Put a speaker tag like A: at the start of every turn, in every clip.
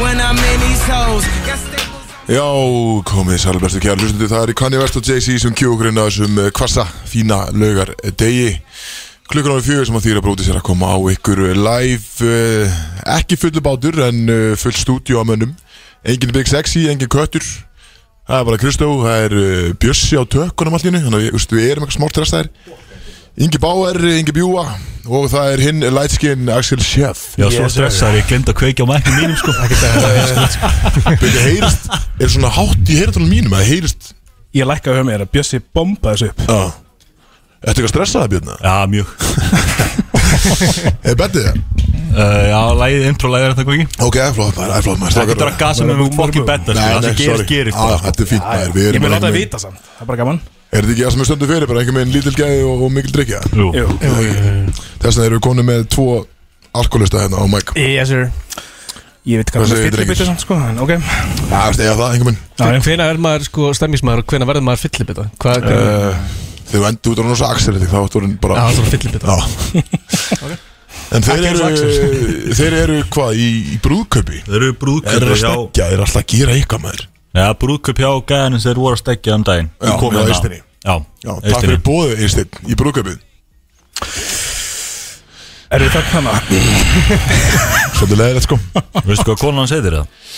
A: when I'm in these hoes. Got staples
B: Já, komið sælbestu kjær hlustundu, það er í Kanye West og Jay-Z sem kjókur inn á þessum eh, hvassa fína laugar degi klukkan árið fjögur sem að þýra bróti sér að koma á ykkur live eh, ekki fullu bátur en eh, full stúdíu á mönnum engin Big Sexy, engin Köttur það er bara Kristó, það er eh, Bjössi á tökunum allinu þannig að við- veistu, við erum eitthvað smátt restaðir Ingi Báer, Ingi Bjúa og það er hinn Lightskin Axel Schiff
C: Já, svo
D: Yes,
C: stressaður, ég glemt að kveikja á mæknum mínum sko
B: Byrja, heyrist, er svona hátt í heyratunum mínum að heyrist
D: Ég lækkaði höfum mér að Bjössi bomba þessu upp
B: Já Ertu eitthvað stressaði Björn?
C: Já, mjög
B: Er betið það?
C: uh, Já, lægið, intro-lægið er þetta kveiki
B: Ok, það er flott maður, það er flott maður
C: Það er
B: strákar.
C: ekki að gasa með mjög fokkin betta sko, Það sem gerist, gerist
B: Á,
C: bara, sko.
B: Þetta er fínt maður, við
D: Ég
B: erum
D: mun
B: einhvern
D: láta það
B: veginn-
D: vita samt Það er bara gaman
B: Er þetta ekki það sem við stöndum fyrir, bara einhvern veginn lítil gæði og, og mikil drikja
C: Jú.
D: Jú
B: Þess vegna erum við konum með tvo alkoholista hérna á mæk
D: Yes sir Ég veit hvað
B: Hvað
D: það
B: segir
D: er
B: drengir?
D: fyllibitur samt sko En ok
B: Já, veistu, eða það, einhvern veginn
D: Já, já.
E: Hvena er maður sko stemmismæður og hvena verður maður fyllibita? Hvað er það?
B: Eh, Þegar við endur út á náttúrulega Axel þetta, þá ættu orðin bara
E: Það var fyllibita
B: Já En þeir
D: Ekki eins og
B: eru, þeir eru hvað, í, í brúðkaupi
C: Þeir eru
B: Þeir
C: brúðköp
B: eru að
C: hjá
B: stekja, þeir eru alltaf að gera eitthvað maður
C: Já, brúðköp hjá gæðanins þeir voru að stekja um daginn
B: Já,
C: Ég kom
B: já,
C: hérna.
B: Eystinni.
C: Já,
B: Já, takk fyrir bóðu, Einstein, í brúðkaupið
D: Er þið þögn hana?
B: Svolítið leðilegt sko
C: Veistu hvað konan hans heitir það?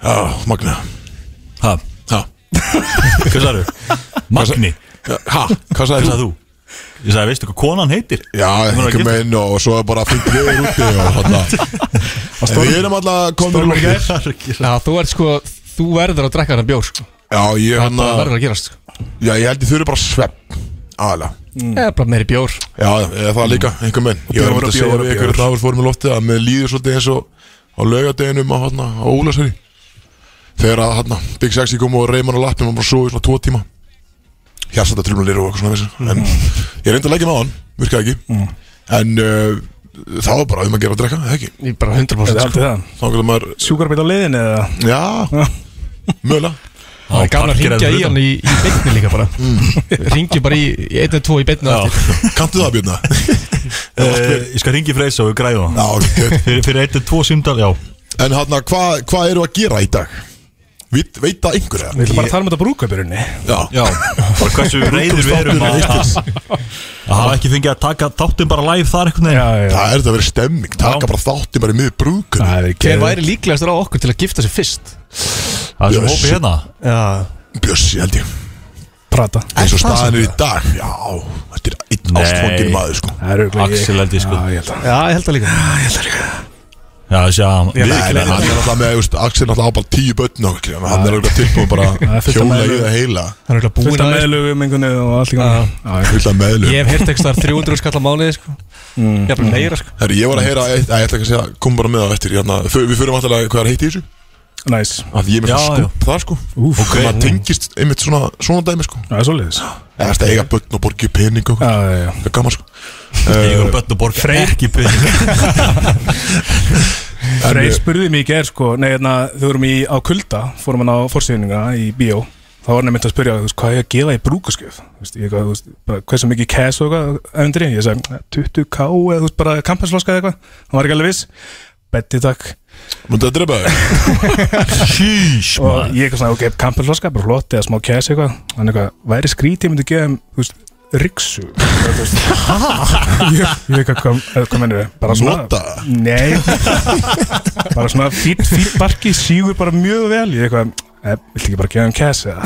B: Já, magna
C: Ha,
B: Já,
C: hvað sagðu? Magni,
B: ha, hvað
C: hvað
B: sagði
C: sagðu þú? Ég sagði, veistu hvað konan heitir?
B: Já,
C: var að
B: einhver
C: giftast.
B: meginn og svo er bara fengt við er úti og hann að En við erum alltaf komin úr Já,
E: Já, þú ert sko, þú verður að drekka hann bjór sko
B: ég hann
E: Það
B: að
E: verður að gerast sko
B: Já, ég held ég þurfi bara svepp Aðalega
E: Eða bara meiri bjór
B: Já, eða það líka, einhver meginn Ég
D: bjór
B: var einmitt að
D: Mm. og bjór
B: segja
D: og
B: við ykkur
D: bjór.
B: að við fórum í loftið að mér líður svolítið eins og á laugardeginum á, hana, á Ólasari Þegar að hana, Big Sexy kom og reyman á lappin og bara svo í svona tvo tíma Hjartsætta trumlulir og eitthvað svona þessu
D: Mm.
B: En ég reyndi að leggja með hann, virkaði ekki En uh, það var bara um að gera að drekka, eða ekki
E: Ég bara
D: Er
E: 100%
D: þið
E: sko
D: haldið það?
B: Þá getur maður
D: Sjúkarbeit á leiðin eða?
B: Já, mögulega
E: Það er gaman að ringja í hann í, í beinni líka bara
B: Mm.
E: Ringi bara í, í 1-2 í beinni á eftir.
B: Kanntu það Björna?
C: Eh, Ég skal ringi Freysa og við græðum
B: Já,
C: það
B: ok
C: Fyrir- Fyrir eitt eða tvo símdal, já
B: En hann, hvað hva eru að gera í dag? Veit, veit það einhverja?
D: Við ætlum bara að tala um þetta brúðkaupirunni
B: Já,
C: Já, bara hversu reyður við erum að að að hafa ekki fengið að taka þáttum bara live þar einhvern veginn
D: já
B: Það er þetta að vera stemming Taka
C: Já.
B: bara þátti bara í miður brúkun
D: Það er ekki
E: Hver væri líklegastur á okkur til að gifta sig fyrst?
C: Það er sem
B: Jössi.
C: hópi hérna
E: Já
B: Bjössi held ég
D: Prata
B: Eins og staðan er í dag Já, þetta er einn
C: Nei.
B: ástfóngin maður sko
D: Það er auðvitað
C: Axel held ég sko
D: Já, ég held að
E: Já, ég held það líka
C: Já, þessi að
D: Ég
B: Nei, nei, hann
C: viðurkenna-
B: er alltaf með, veist, Axel er alltaf á bara tíu börn og okkur Hann er alltaf tilbúin bara
D: Það er
B: að
D: fullt af
B: hjóla í
D: meðlum.
B: það heila
E: Hann er
D: Fullt
E: örugglega búinn
D: af
E: að þessu.
D: meðlugum einhvern veginn og allt í gangi. Já, já.
B: Hvilt að meðlum
E: Ég hef heyrt ekki þar 300 skall á mánuði sko
B: Mm.
E: Ég er bara meira sko
B: Herri, ég var að heyra, eitt- að ég ætla ekki að segja, kom bara með það eftir hérna, för- Við fyrir vantilega hvað er heitt í þessu
D: Næs
B: að ég er með
C: Já,
B: svona skúp þar sko
D: Úf.
B: og maður tengist einmitt svona, svona dæmi sko
D: Það er svolítið
B: eða þetta eiga börn og borgi pening og
D: Já,
B: eitthvað.
D: já, já
B: það er gaman sko
C: Ég er bönn og borg ekki pening
D: Freyr spurði mig í gerð sko Nei, hérna, þau vorum í á kulda Fórum hann á forsýninga í bíó Þá var hann einmitt að spyrja þú veist, Hvað er ég að gefa í brúkaskjöf Þú veist, ég eitthvað, þú veist bara, Hversu mikið cash og eitthvað Öndri Ég sagði 20k Eða þú veist bara kampansloska eða eitthvað Hann var ekki alveg viss Betti takk
B: mútið að drepa þig
C: Sheesh,
D: Og
C: maður
D: ég eitthvað svona Ok, kampansloska Bara flott eða smá cash eitthvað Hann eitthvað Væri skrítið ég myndi gefa þeim, þú veist, ryksu. Þú veist, ég ég eh, veit hvað hvað- hvað mennur bara svona
B: nota
D: Nei Bara svona fýtt fýtt barki sígur bara mjög vel Ég eitthvað eh, Viltu ekki bara gefa um cash eða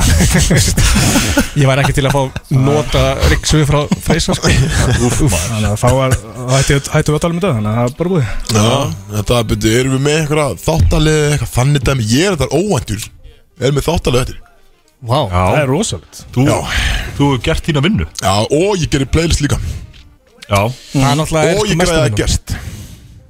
E: Ég væri ekki til að fá nota riksu frá Freysa sko
C: Úff, maður
D: Þannig að þá var þá hætti hættu við að tala um þetta Þannig að það er bara búið
B: Já, þetta byrju, erum við með eitthvað þáttalið eitthvað þannig dæmi, ég er þetta óvæntur erum við þáttalið eftir
E: Vá
D: Það
C: Já,
D: er rosalegt
C: þú,
B: Já.
C: þú hefur gert þína vinnu
B: Já, og ég gerir playlist líka
C: Já,
E: Það er náttúrulega
B: og ég græði að gest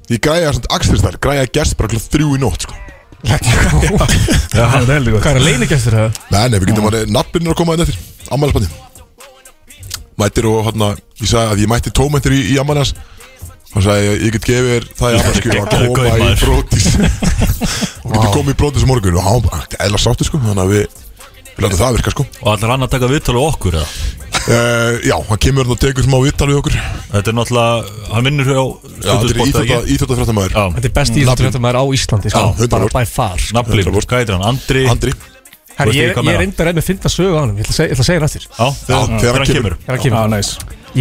B: ég græði að svona Axel þær, græði að gest bara klart þrjú í nótt sko
E: gert
D: Það er heldur
E: Hvað
D: gott
E: er að leina gestur það?
B: Nei, nei, við getum að nafnbyrnir að koma inn eftir Ammælisbandi Mættir og hérna, ég sagði að ég mætti tómentir í, í ammælis Hann sagði ég, ég get gefið þér það í ammælisku að
C: Geggjaður
B: koma
C: gaur,
B: í
C: maður.
B: brótis Og getur komið í brótis á morgun Og hann var eðla sáttu sko, þannig að við Við látum það virka sko
C: og allar annar taka viðtal á okkur eða
B: uh, Já, hann kemur hérna og tekur smá vittal við okkur Já,
C: Þetta er náttúrulega, hann vinnur hjá
B: þetta er
C: Stöðusport
B: íþjóta, íþjótafrættamæður
C: Já,
E: Þetta er besti íþjóttarfréttamaður á Íslandi sko.
B: Já, hundrað
E: Bara
B: prósent.
E: by far sko.
C: nafnlinn, hvað heitir hann? Andri
B: Andri
E: Herri,
C: veist
E: Ég
C: ekki hvað
E: ég
C: meira.
E: er reyndar enn með að finna sögu á hann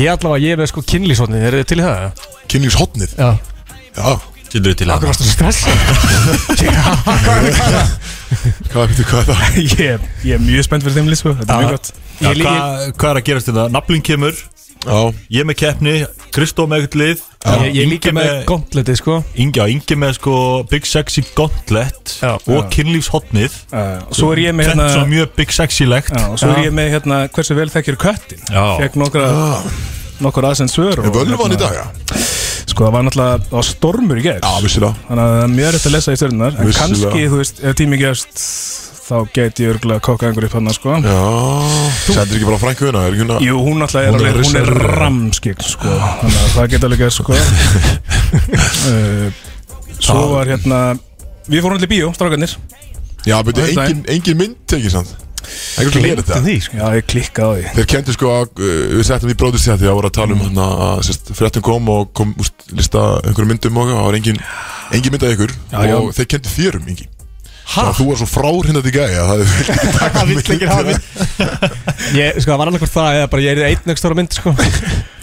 E: Ég ætla að seg-
C: Já, þegar, þegar hann kemur
D: Já, næs
E: ég ætla að segja hann aftur Þegar hann kemur. Ég allavega, ég er með sko kynlísvotni, er þið til í það? eða?
B: Kynningshotnið
E: Já,
B: Já,
C: Sýndur til
E: okkur
C: hann
E: varstu svo stressað
B: hvað veitir hvað er það?
D: Ég ég er mjög spennt fyrir þeim lýs sko, Þetta er mjög gott
C: Já,
E: Ég lí-
C: hvað, hvað er að gerast þetta? Naflinn kemur,
B: Já,
C: ég með keppni Kristó með eitthvað lið
E: Ég, ég líka með gondleti sko
C: Ingi, Ingi með sko Big Sexy Gauntlet
E: Já.
C: og kynlífshotnið
D: Uh, og Svo er ég með
C: Þetta er
D: hérna
C: svo mjög Big Sexy-legt
D: Já, og svo er ég með hérna hversu vel þekkir köttin
C: Já.
D: Fekk nokkra, nokkra aðsend svör og-
B: er völvan í
D: hérna,
B: dag, já
D: Sko það var náttúrulega, það var stormur í gerð
B: Já, vissilega
D: Þannig að það er mjög rétt að lesa í stjörnunar En
B: Vissulega.
D: kannski, þú veist, ef tími gefst Þá get ég örgulega að kokka einhverju upp hann sko.
B: Já, sendir ekki bara frænku hérna, er ekki hérna
D: Jú, hún alltaf er,
B: Hún er
D: alveg, hún er
B: risa-
D: ramskik sko. Þannig að það geta alveg gerst sko. uh, Svo var hérna Við fórum allir í bíó, strákarnir
B: Já, betur,
D: Á
B: engin, engin mynd tekið samt Ekkert sem hér þetta
E: Gleymdi því sko
D: Já, ég klikkaði á því
B: Þeir kendi sko að, uh, við settum í bróðistjætti að voru að tala um hann að sérst, fréttum kom og kom úst, lista einhverjum myndum og það var engin, engin mynd af ykkur
D: já.
B: og þeir kendi þér um engin Þannig að þú var svo frárhindandi gæja það er vilt ekki taka mynd
E: Ég, sko, það var annað hvort það eða bara ég er einn ekstra mynd, sko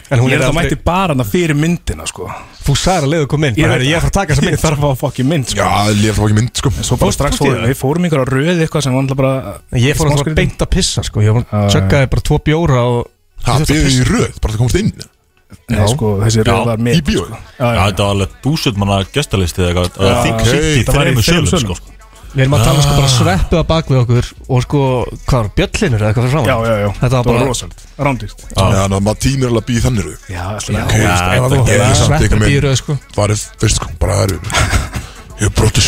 E: En
D: Ég
E: hún
D: er
E: er
D: það
E: aldrei
D: mætti bara hana fyrir myndina sko.
E: Þú sagði að leiðu kom inn
D: Ég
E: Ég
D: veit
E: er ég er að fara að taka þessa
D: Ég
E: mynd
D: þarf að fá fokkin mynd sko.
B: Já, ég frá ekki mynd sko
D: Svo bara
E: Fórst-
D: strax
E: fórst í
D: fórum
E: það?
D: við fórum ykkur á röði eitthvað sem var alltaf bara
E: Ég fór að beint að pissa, sko Ég var
D: Já,
E: að tjökkaði bara tvo bjóra og
B: Það byrði í röð, bara það komast inn
D: Nei, sko, þessi röð var með
B: í bíói
D: Já,
C: Já,
D: já.
C: þetta var alveg búsut manna gestalistið eða eitthvað Það þing
B: ok.
C: sitt í
B: Þetta
D: var í
C: þreimur
D: þremur
C: sölum
D: sölum,
C: sko
E: Við erum að tala sko bara sveppu að bak við okkur Og sko, hvað var, bjöllinur eða eitthvað fyrir
D: já,
E: framan
D: já, já
E: Þetta var bara
D: rosald Rándýrt
B: Þannig að maður tímir alveg að býja þannig röð
D: Já, alltaf
B: Ok,
C: Já,
E: Það var
B: ég er
C: þetta
B: samt ekki mynd
E: rosa Sveppu býru, sko
B: Farið fyrst sko, bara það eru Ég er bróttis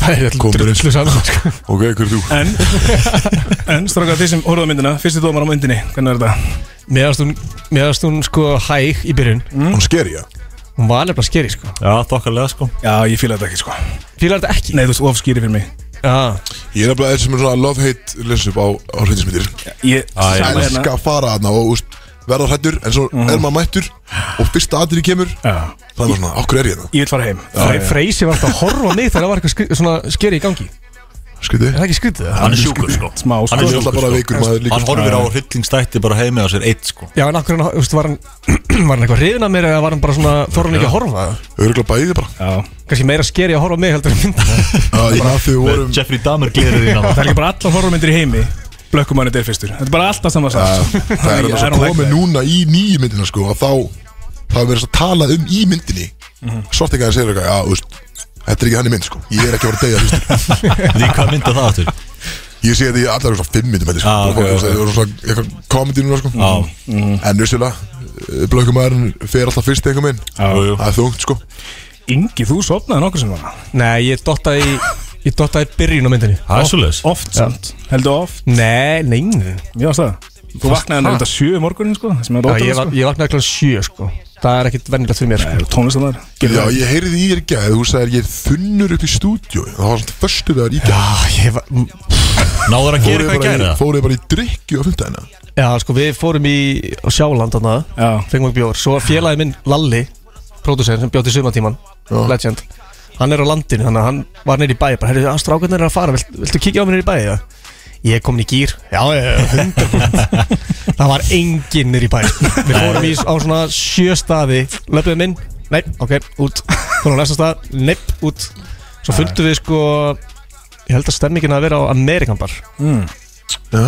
E: Það er alltaf
B: Komur inn.
E: drullu saman, sko
B: Ok, hver er þú?
D: En, en, strákar, þið sem horfðu á myndina Fyrsti dómar á myndinni, hvernig er þetta?
E: Mér varst hún, mér varst hún, sko, hæg í byrjun
B: Hún sker ég
E: Hún var nefnilega skeri, sko
C: Já, þokkarlega sko
D: Já, ég fíla þetta ekki, sko Nei,
E: Fýlar þetta ekki?
D: þú veist, ofskýri fyrir mig
E: Já,
B: Ég er nefnilega þessum svona love-hate lesup á, á hreinsmyndir
D: Ég,
C: Æ,
D: sama
B: elska
D: hérna
B: að fara þarna og úst, verða hrættur en svo er maður mættur og fyrsta aðri kemur
D: Já,
B: það er maður svona, okkur er ég það?
D: ég vil fara heim
E: Fre Freysi var alltaf að horfa á mig þegar það var eitthvað skri- svona skeri í gangi Er
B: Skriði?
E: það ekki skrítið? eða?
C: Hann er sjúkur sko
D: Smá, sko.
C: Hann
B: Hann
C: er
B: er alltaf
C: sjúkur
B: bara
C: sko
B: veikur maður líka
C: Hann horfir á hryllingstætti bara heimi á sér eitt sko
E: Já, en akkur hann, þú veist, var hann Var hann eitthvað hrifin af mér eða var hann bara svona Þorra hann ekki að horfa?
B: Öruglega bæði bara
D: Já,
E: Kanski meira skeri að horfa á mig heldur en mynda
B: Það er að þau
C: Með
B: vorum
C: Jeffrey Dahmer glerið þín
D: það er ekki bara allar horfmyndir í heimi Blökkumann er fyrstur Þetta er bara alltaf saman
B: að-
D: saman
B: Það er að það komið núna í nýju myndina sko að þá það er verið að tala um í myndinni svart ekki að það segir eitthvað, já, þú veist Þetta er ekki hann í mynd sko, ég er ekki að voru að deyja fyrst
C: Því hvað mynda það aftur?
B: Ég sé þetta í allar svona fimm myndum þetta sko
C: Ah, ok,
B: Bara, þú veist,
C: ok.
B: Það voru svona eitthvað komedi núna sko
C: Já.
B: En vissulega, blökkumæðurinn fer alltaf fyrst einhver minn
C: Jú, jú.
B: Það er þungt sko
D: Ingi, þú sopnaði nokkur sem var
E: Nei, ég dottaði í Ég dottaði í byrjun á myndinni
C: Það er svoleiðis
D: Oft samt, heldur oft
E: Nei, nei, nei
D: Já, það Þú vaknaði hann reynda sjö morgunin, sko sem er
E: Já,
D: ótrúlega,
E: ég, var, ég vaknaði kláð sjö, sko Það er ekkit vennilegt fyrir mér,
D: sko.
E: sko
D: Eru tónlistarnar?
B: Já, ég heyrði í þér í gæð, þú sagðir ég er þunnur upp í stúdíu Það var svona förstu dagar í gæð
E: Já, ég var m-
C: Náður að gera
B: Fóruðu
C: eitthvað að
B: bara,
C: gera
B: í- fóruðu bara í drikju á fymtæðina
E: Já, sko, við fórum í á Sjáland þarna
D: Já,
E: fengum við bjór Svo félagi minn Lalli, pródusser sem bjóti sumatíman Legend Hann er á landinu, þannig að hann var neyri í bæi bara, heyrðu, strákarnir er að fara, Vilt, viltu kíkja á mér neyri í bæi? Ja? Ég er komin í gýr Já, já, já, 100%. Það var enginn neyri í bæi Við fórum í á svona sjö staði Löfum inn, nei, ok, út Fórum á næsta stað, nei, út Svo fundum við sko Ég held að stemmingin að vera á Amerikan bar
B: Já,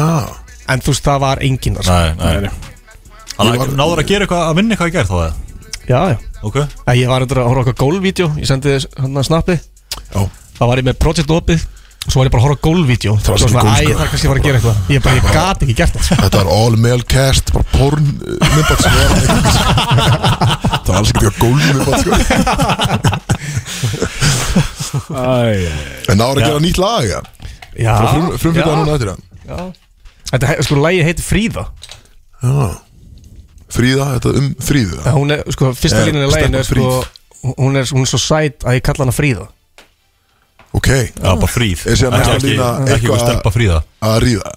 E: En þú veist, það var enginn þar, sko.
C: Nei, nei
D: Nei.
B: Ég var-
C: Hann- Náður að gera eitthvað að vinna eitthvað að gera þá það
E: Já, já
C: Ok
E: Nei, Ég var reyndar að horfa á eitthvað gólvídeó Ég sendi þess hann að snappi
B: já,
E: Það var ég með Project Opið og Svo var ég bara að horfa á gólvídeó
B: Það var
E: Svo
B: svolítið gólf,
E: svona, æ,
B: sko.
E: það er kannski að fara að gera eitthvað Ég bara, ég gat ekki gert það sko.
B: þetta var all male cast, bara porn uh, myndband sem var á einhverjum. Það var alls ekki eitthvað góð myndband sko
D: Æ,
B: En náður að gera nýtt lag, Ah, já
E: Já,
B: Frum, Frumfyrtaði núna eftir það
E: já. Þetta, he- sko, lægi heiti Fríða
B: Já Fríða, þetta um fríðu
E: Það, Hún er, sko, fyrsta
B: Eh,
E: línan í læginu er,
B: stelpan
E: sko, hún er, hún er svo sæt að ég kalla hana Fríða
B: Ok,
C: Já, bara fríð
B: Ég sé að
C: Ekki-
B: næsta
C: ekki-
B: lína
C: Ekki
B: eitthvað-
C: eitthvað stelpa fríða
B: að ríða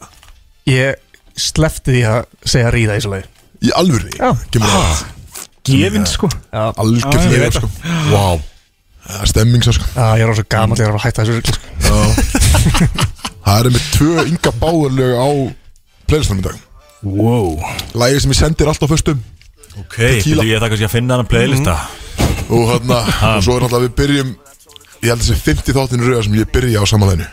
E: Ég slefti því að segja ríða í þessu lagi
B: Í alvöru
E: Já.
B: Kemur það
D: Gefin sko
E: Já,
B: Algjörlega
D: ég
B: ah,
D: veit
B: sko. Wow Það er stemming svo sko
E: ég er á svo gaman þegar að hætta þessu rugli, sko.
B: Það er með tvö ynga báðurlög á playlistanum í dag
D: Wow
B: Lægið sem ég sendir alltaf föstum
C: Ok, betur ég það kannski að finna hann að playlista
B: Og hérna Og svo er náttúrulega við byrjum Ég held að þessi 50 þáttin rauða sem ég byrja á samanleginu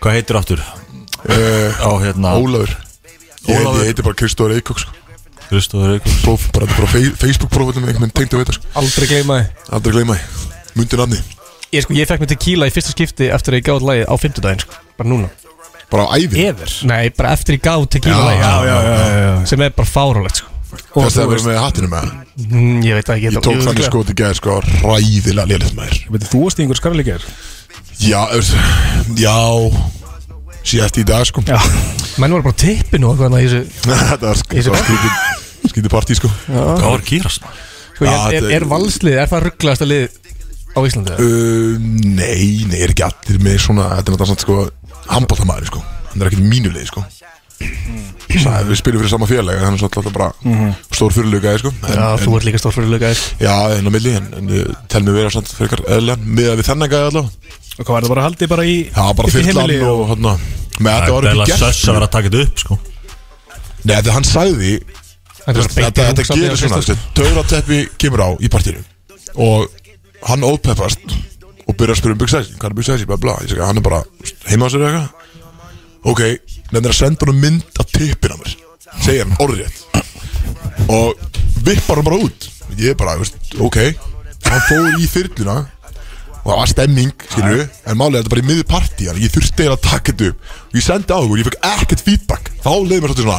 C: Hvað heitir aftur?
B: uh,
C: Á hérna
B: Ólafur Ég,
C: Ólafur.
B: ég heiti bara Kristóður Eikok sko.
C: Kristóður Eikons
B: Próf, bara, bara fei- Facebook prófum einhvern veginn tengd að veita sko.
E: Aldrei gleyma þið
B: Aldrei gleyma því Mundi nafni
E: Ég sko, ég fekk mig tequila í fyrsta skipti eftir að ég gáði lagið á fimmtudaginn, sko Bara núna
B: Bara á ævi
D: Ever
E: Nei, bara eftir ég gáði tequila lagið
D: Já, já, já, já, já.
E: Sem er bara fárálegt, sko
B: Þess að vera með hattinu með það
E: mm, Ég veit það ekki
B: Ég tók
E: þetta-
B: þannig skot í gæð sko Ræðilega lélitt maður
D: Veitir, þú varst í einhver skarli ger
B: Já, eftir, já Síðast í dag sko
D: Já
E: Menn voru bara á tippinu og eitthvað annað í þessu
B: Þetta var sko-
E: Í þessu bæ?
B: skrítið Skrítið partí sko
C: Hvað var að kýrast?
E: Sko,
B: Já,
E: ég, er,
B: þetta-
E: er valslið, er það rugglaðasta lið á Íslandi? eða?
B: uh, Nei, nei, er ekki allir með svona Þetta er náttúrulega svona sko Hamboltamæður sko Hann er ekkert mínulegi sko Sæ, Við spilum fyrir sama félag Þannig svo alltaf bara Stór fyrirlega sko en,
E: Já,
B: en,
E: þú ert líka stórfyrirlega, sko
B: Já, en á milli En, en ég tel mig vera svona fyrir eitthvað eðlega Miðað við þennan gæði allavega
D: Og hvað var það bara haldið bara í
B: Já, bara
D: upp í
B: fyrir
D: heimili
B: hann og hann Með þetta var
C: eiginlega
B: ekki gert
C: söss að vera að taka þetta upp sko
B: Nei, þegar hann sagði
E: Þetta er
B: Þetta,
E: bara beittir
B: þetta gerir svona Töfrateppi kemur á í partínu Og hann ópeppast Og byrjar að spyrja um byggsæsi Hvað er byggsæsi, bla bla Ég segi, hann er bara heima á sér eða eitthvað Ok, nefnir að senda hann mynd af tippin á mér Segir hann, orðrétt Og vippar hann bara út Ég er bara, veist, ok Hann fór í þyrluna Og það var stemming, skilur við En málega þetta bara í miður partí Þannig ég þurfti eiginlega að taka þetta upp Og ég sendi á ykkur, ég fekk ekkert feedback Þá leiði mér svolítið svona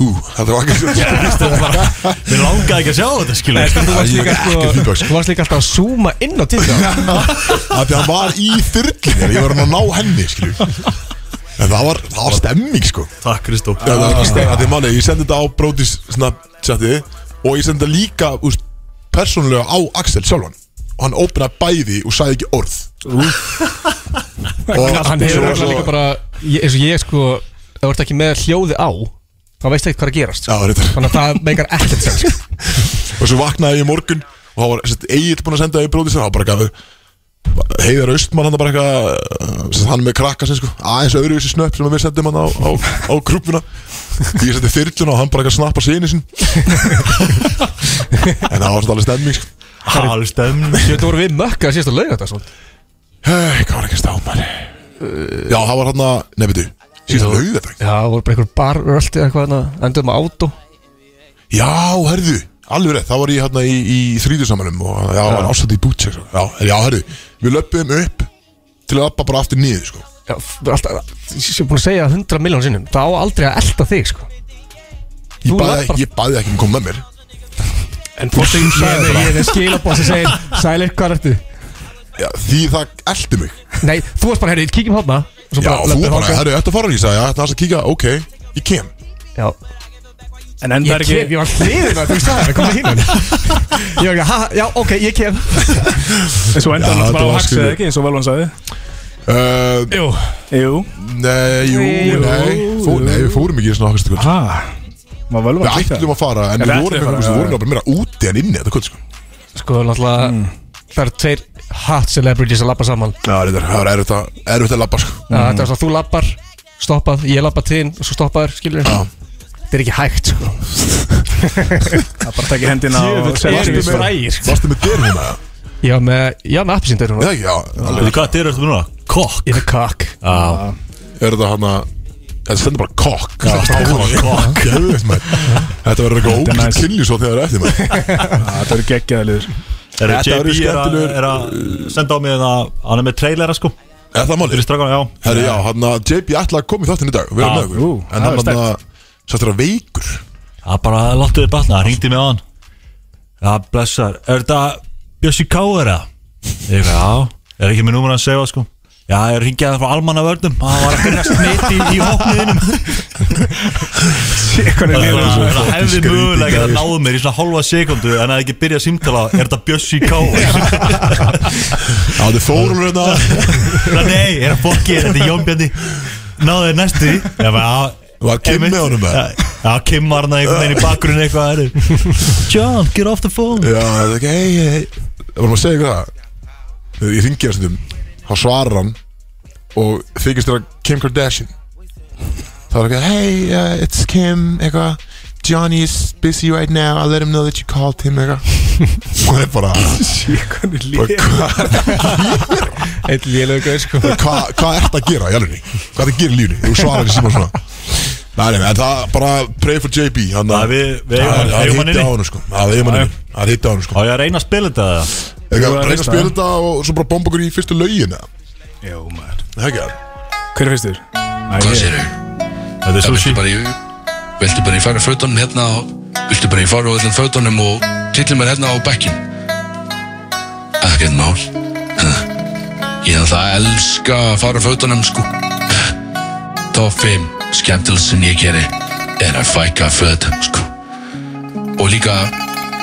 B: Ú, þetta var ekki svolítið
C: Mér langaði ekki að sjá þetta skilur
E: En þú varst
B: Ég
E: líka,
B: er
E: sko,
B: ekki feedback, sko.
E: þú varst líka alltaf að zooma inn á Tinder
B: að því hann var í þyrlinni ég var hann að ná henni skilju en það var, það var stemming sko
C: Takk Kristó
B: Já, það var ekki stemming, að því máli ég sendi þetta á Brodís Snapchati og ég sendi þetta líka úst, persónulega á Axel sjálfan og hann opnaði bæði og sagði ekki orð og
E: Hann hefur
B: svo-
E: örugglega líka bara ég- eins og ég sko, ef þú ert ekki með hljóði á þá veist ekki hvað er að gerast sko.
B: Já, reyndar.
E: þannig að það meikar ekkert sem sko.
B: og svo vaknaði ég í morgun og það var sett, eigið búin að senda í bróðis og það var bara gafið heiðar austmann hann bara eitthvað sett, hann með krakka sem sko aðeins öðruvísi snöpp sem við sendum hann á, á, á grúpuna ég sendi þyrluna og hann bara eitthvað snappa sinni sin en það var svolítið alveg stemming sko.
C: Hallstem
E: þetta voru við mökka sko. að síðast að lauga þetta svona
B: hei, hvað var ekki stámar já, það var hérna, hann að, nefndu síðan lögðu þetta
E: Já, það voru bara einhver barröldi eða eitthvað þarna, enduðum á átó
B: Já, herðu, alveg rétt, þá var ég hérna í, í þrýðursamanum og já, það var ásætt í bútsek sko. já, já, herðu, við löpum upp til að lappa bara aftur niður sko.
E: Já, f- alltaf, ég er búin að segja 100 miljón sinnum það á aldrei að elda þig sko.
B: Ég
E: Þú
B: baði,
E: lapp bara-
B: ég baði ekki um að koma með mér
E: En fórstu ég er ég er með skilabóð sem segir Sælir, hvað ertu?
B: já, Því það eldi mig
E: Nei, þú varst bara, herri, kíkjum hérna." hátna
B: Já, þú bara, herru, þetta fara ég sagði, já, þetta er að kíka, ok, ég kem
E: Já,
D: En enda
E: ég
D: er
E: kem,
D: ekki
E: ég var hliðin að þú sagði það, komið hinn Ég var ekki, ha, já, ok, ég kem
D: En svo
B: Já,
D: enda hann
B: þetta
D: bara á
B: var
D: haxið
B: skrítið.
D: ekki eins og Valvan sagði
B: uh,
E: Jú
D: Jú
B: Nei, jú,
E: Jú,
B: nei, fó, nei, við fórum ekki í svona okkur
D: Ha Var Valvan
B: Við ætlum að fara, en
D: Já,
B: við
D: við
B: vorum
D: ætlum
B: eitthvað,
D: að fara,
B: við
D: já,
B: vorum bara meira úti en inni þetta kvöld, sko
E: Sko, náttúrulega, það eru tveir hot celebrities að labba saman
B: Já, reyndar, það var erfitt að, erfitt að labba, sko
E: mm. Það er svo að þú labbar, stoppað, ég labba til þín og svo stoppaður, skilur
B: Já.
E: Þetta er ekki hægt, sko
D: Það bara tekja hendina og
E: Djöfull,
D: segja
E: erum við
D: sko.
E: frægir, sko
B: Varstu með dyrum hérna?
E: Ég var með, ég var með appisinn, þeir
B: Já,
E: eru
B: já, alveg
C: Veitu hvað dyrir ertu núna? Kokk
E: Ég er með kakk
C: Já,
B: er þetta hann að Þetta stendur bara kokk Kokk Geðveikt, maður. Þetta verður eitthvað
D: Þetta er
B: ógætt
D: nice.
B: kynlýs og þegar eftir maður.
D: Já, Þetta eru geggjaðaliður
C: er
B: Þetta
C: JB
B: eru
C: er að-
B: skemmtilegur-
C: er að senda á mig það Hann er með trailera sko
B: Er það
C: Fyrir
B: málið?
C: strafgan, já
B: Herri, já, hann að JB ætla að koma í þáttinn í dag og vera
C: Já.
B: með okkur
D: Ú,
B: En
D: það er
B: hann að Sættur að veikur
C: Það bara láttu þið batna, það ringdi mig á hann Já, blessar Er þetta Bjössi K. er það? Ég veit, já Er ekki með númur að segja sko Já, ég ringið það frá almanna vörnum Það var að finna smiti í, í hóknuðinum
D: Eitthvað er liður
C: Það það hefði
B: skrítið
C: mögulega að
B: gæði,
C: náðu mér í svona hálfa sekundu En að ekki byrja að símtala Er þetta Bjössi K.
B: Já, þið fórum hérna
C: Nei, er það fólki, er þetta Jón Björni Náðu þið næstu Já, bara, já
B: Var Kim með honum með?
C: Já, já, Kim var hann einhvern veginn í bakgrunni eitthvað herri. John, get off the phone
B: Já, það er ekki, hei, hei, hei Það varum að segja ykkur það Þegar ég ringi þessum Þá svarar hann Og þykist þér að Kim Kardashian Það var ekki, hey, uh, it's Kim Eitthvað Johnny is busy right now I'll let him know that you called him Eitthvað Og það er bara
D: Hvernig
B: bara,
D: líka
B: Hvað
E: Eitt lélög gauð sko
B: hva, hva er þetta að gera í alveg? Hvað er þetta að gera í lífni? Þú svarar ekki síma svona Nei, nei, en það bara pray for JB hann
C: Já,
B: að-
C: við- við eigum hann-
B: Það
C: eigum hann
B: hitti
C: inni.
B: á hann sko Það hitti á hann Það hitti á hann sko
C: Á ég að reyna að spila þetta eða?
B: Ég
D: Jú,
B: kann
D: það
B: reyna að
D: veist
B: spila
D: það.
B: þetta og svo bara bomba okkur í fyrstu laugin eða?
D: Jó maður
B: Það er ekki það
D: Hver er fyrstur? Æ,
F: Hvað
D: ég-
F: sérðu?
C: Þetta er
F: Viltu
C: sushi
F: bara í Viltu bara í fara fötunum hérna og Viltu bara í fara á öllum fötunum og Tillir mér hérna á bekkin Ekkert mál Ha. Ég er það elska að fara á fötunum sko Top 5 skemmtileg sem ég geri Er að fæka fötum sko Og líka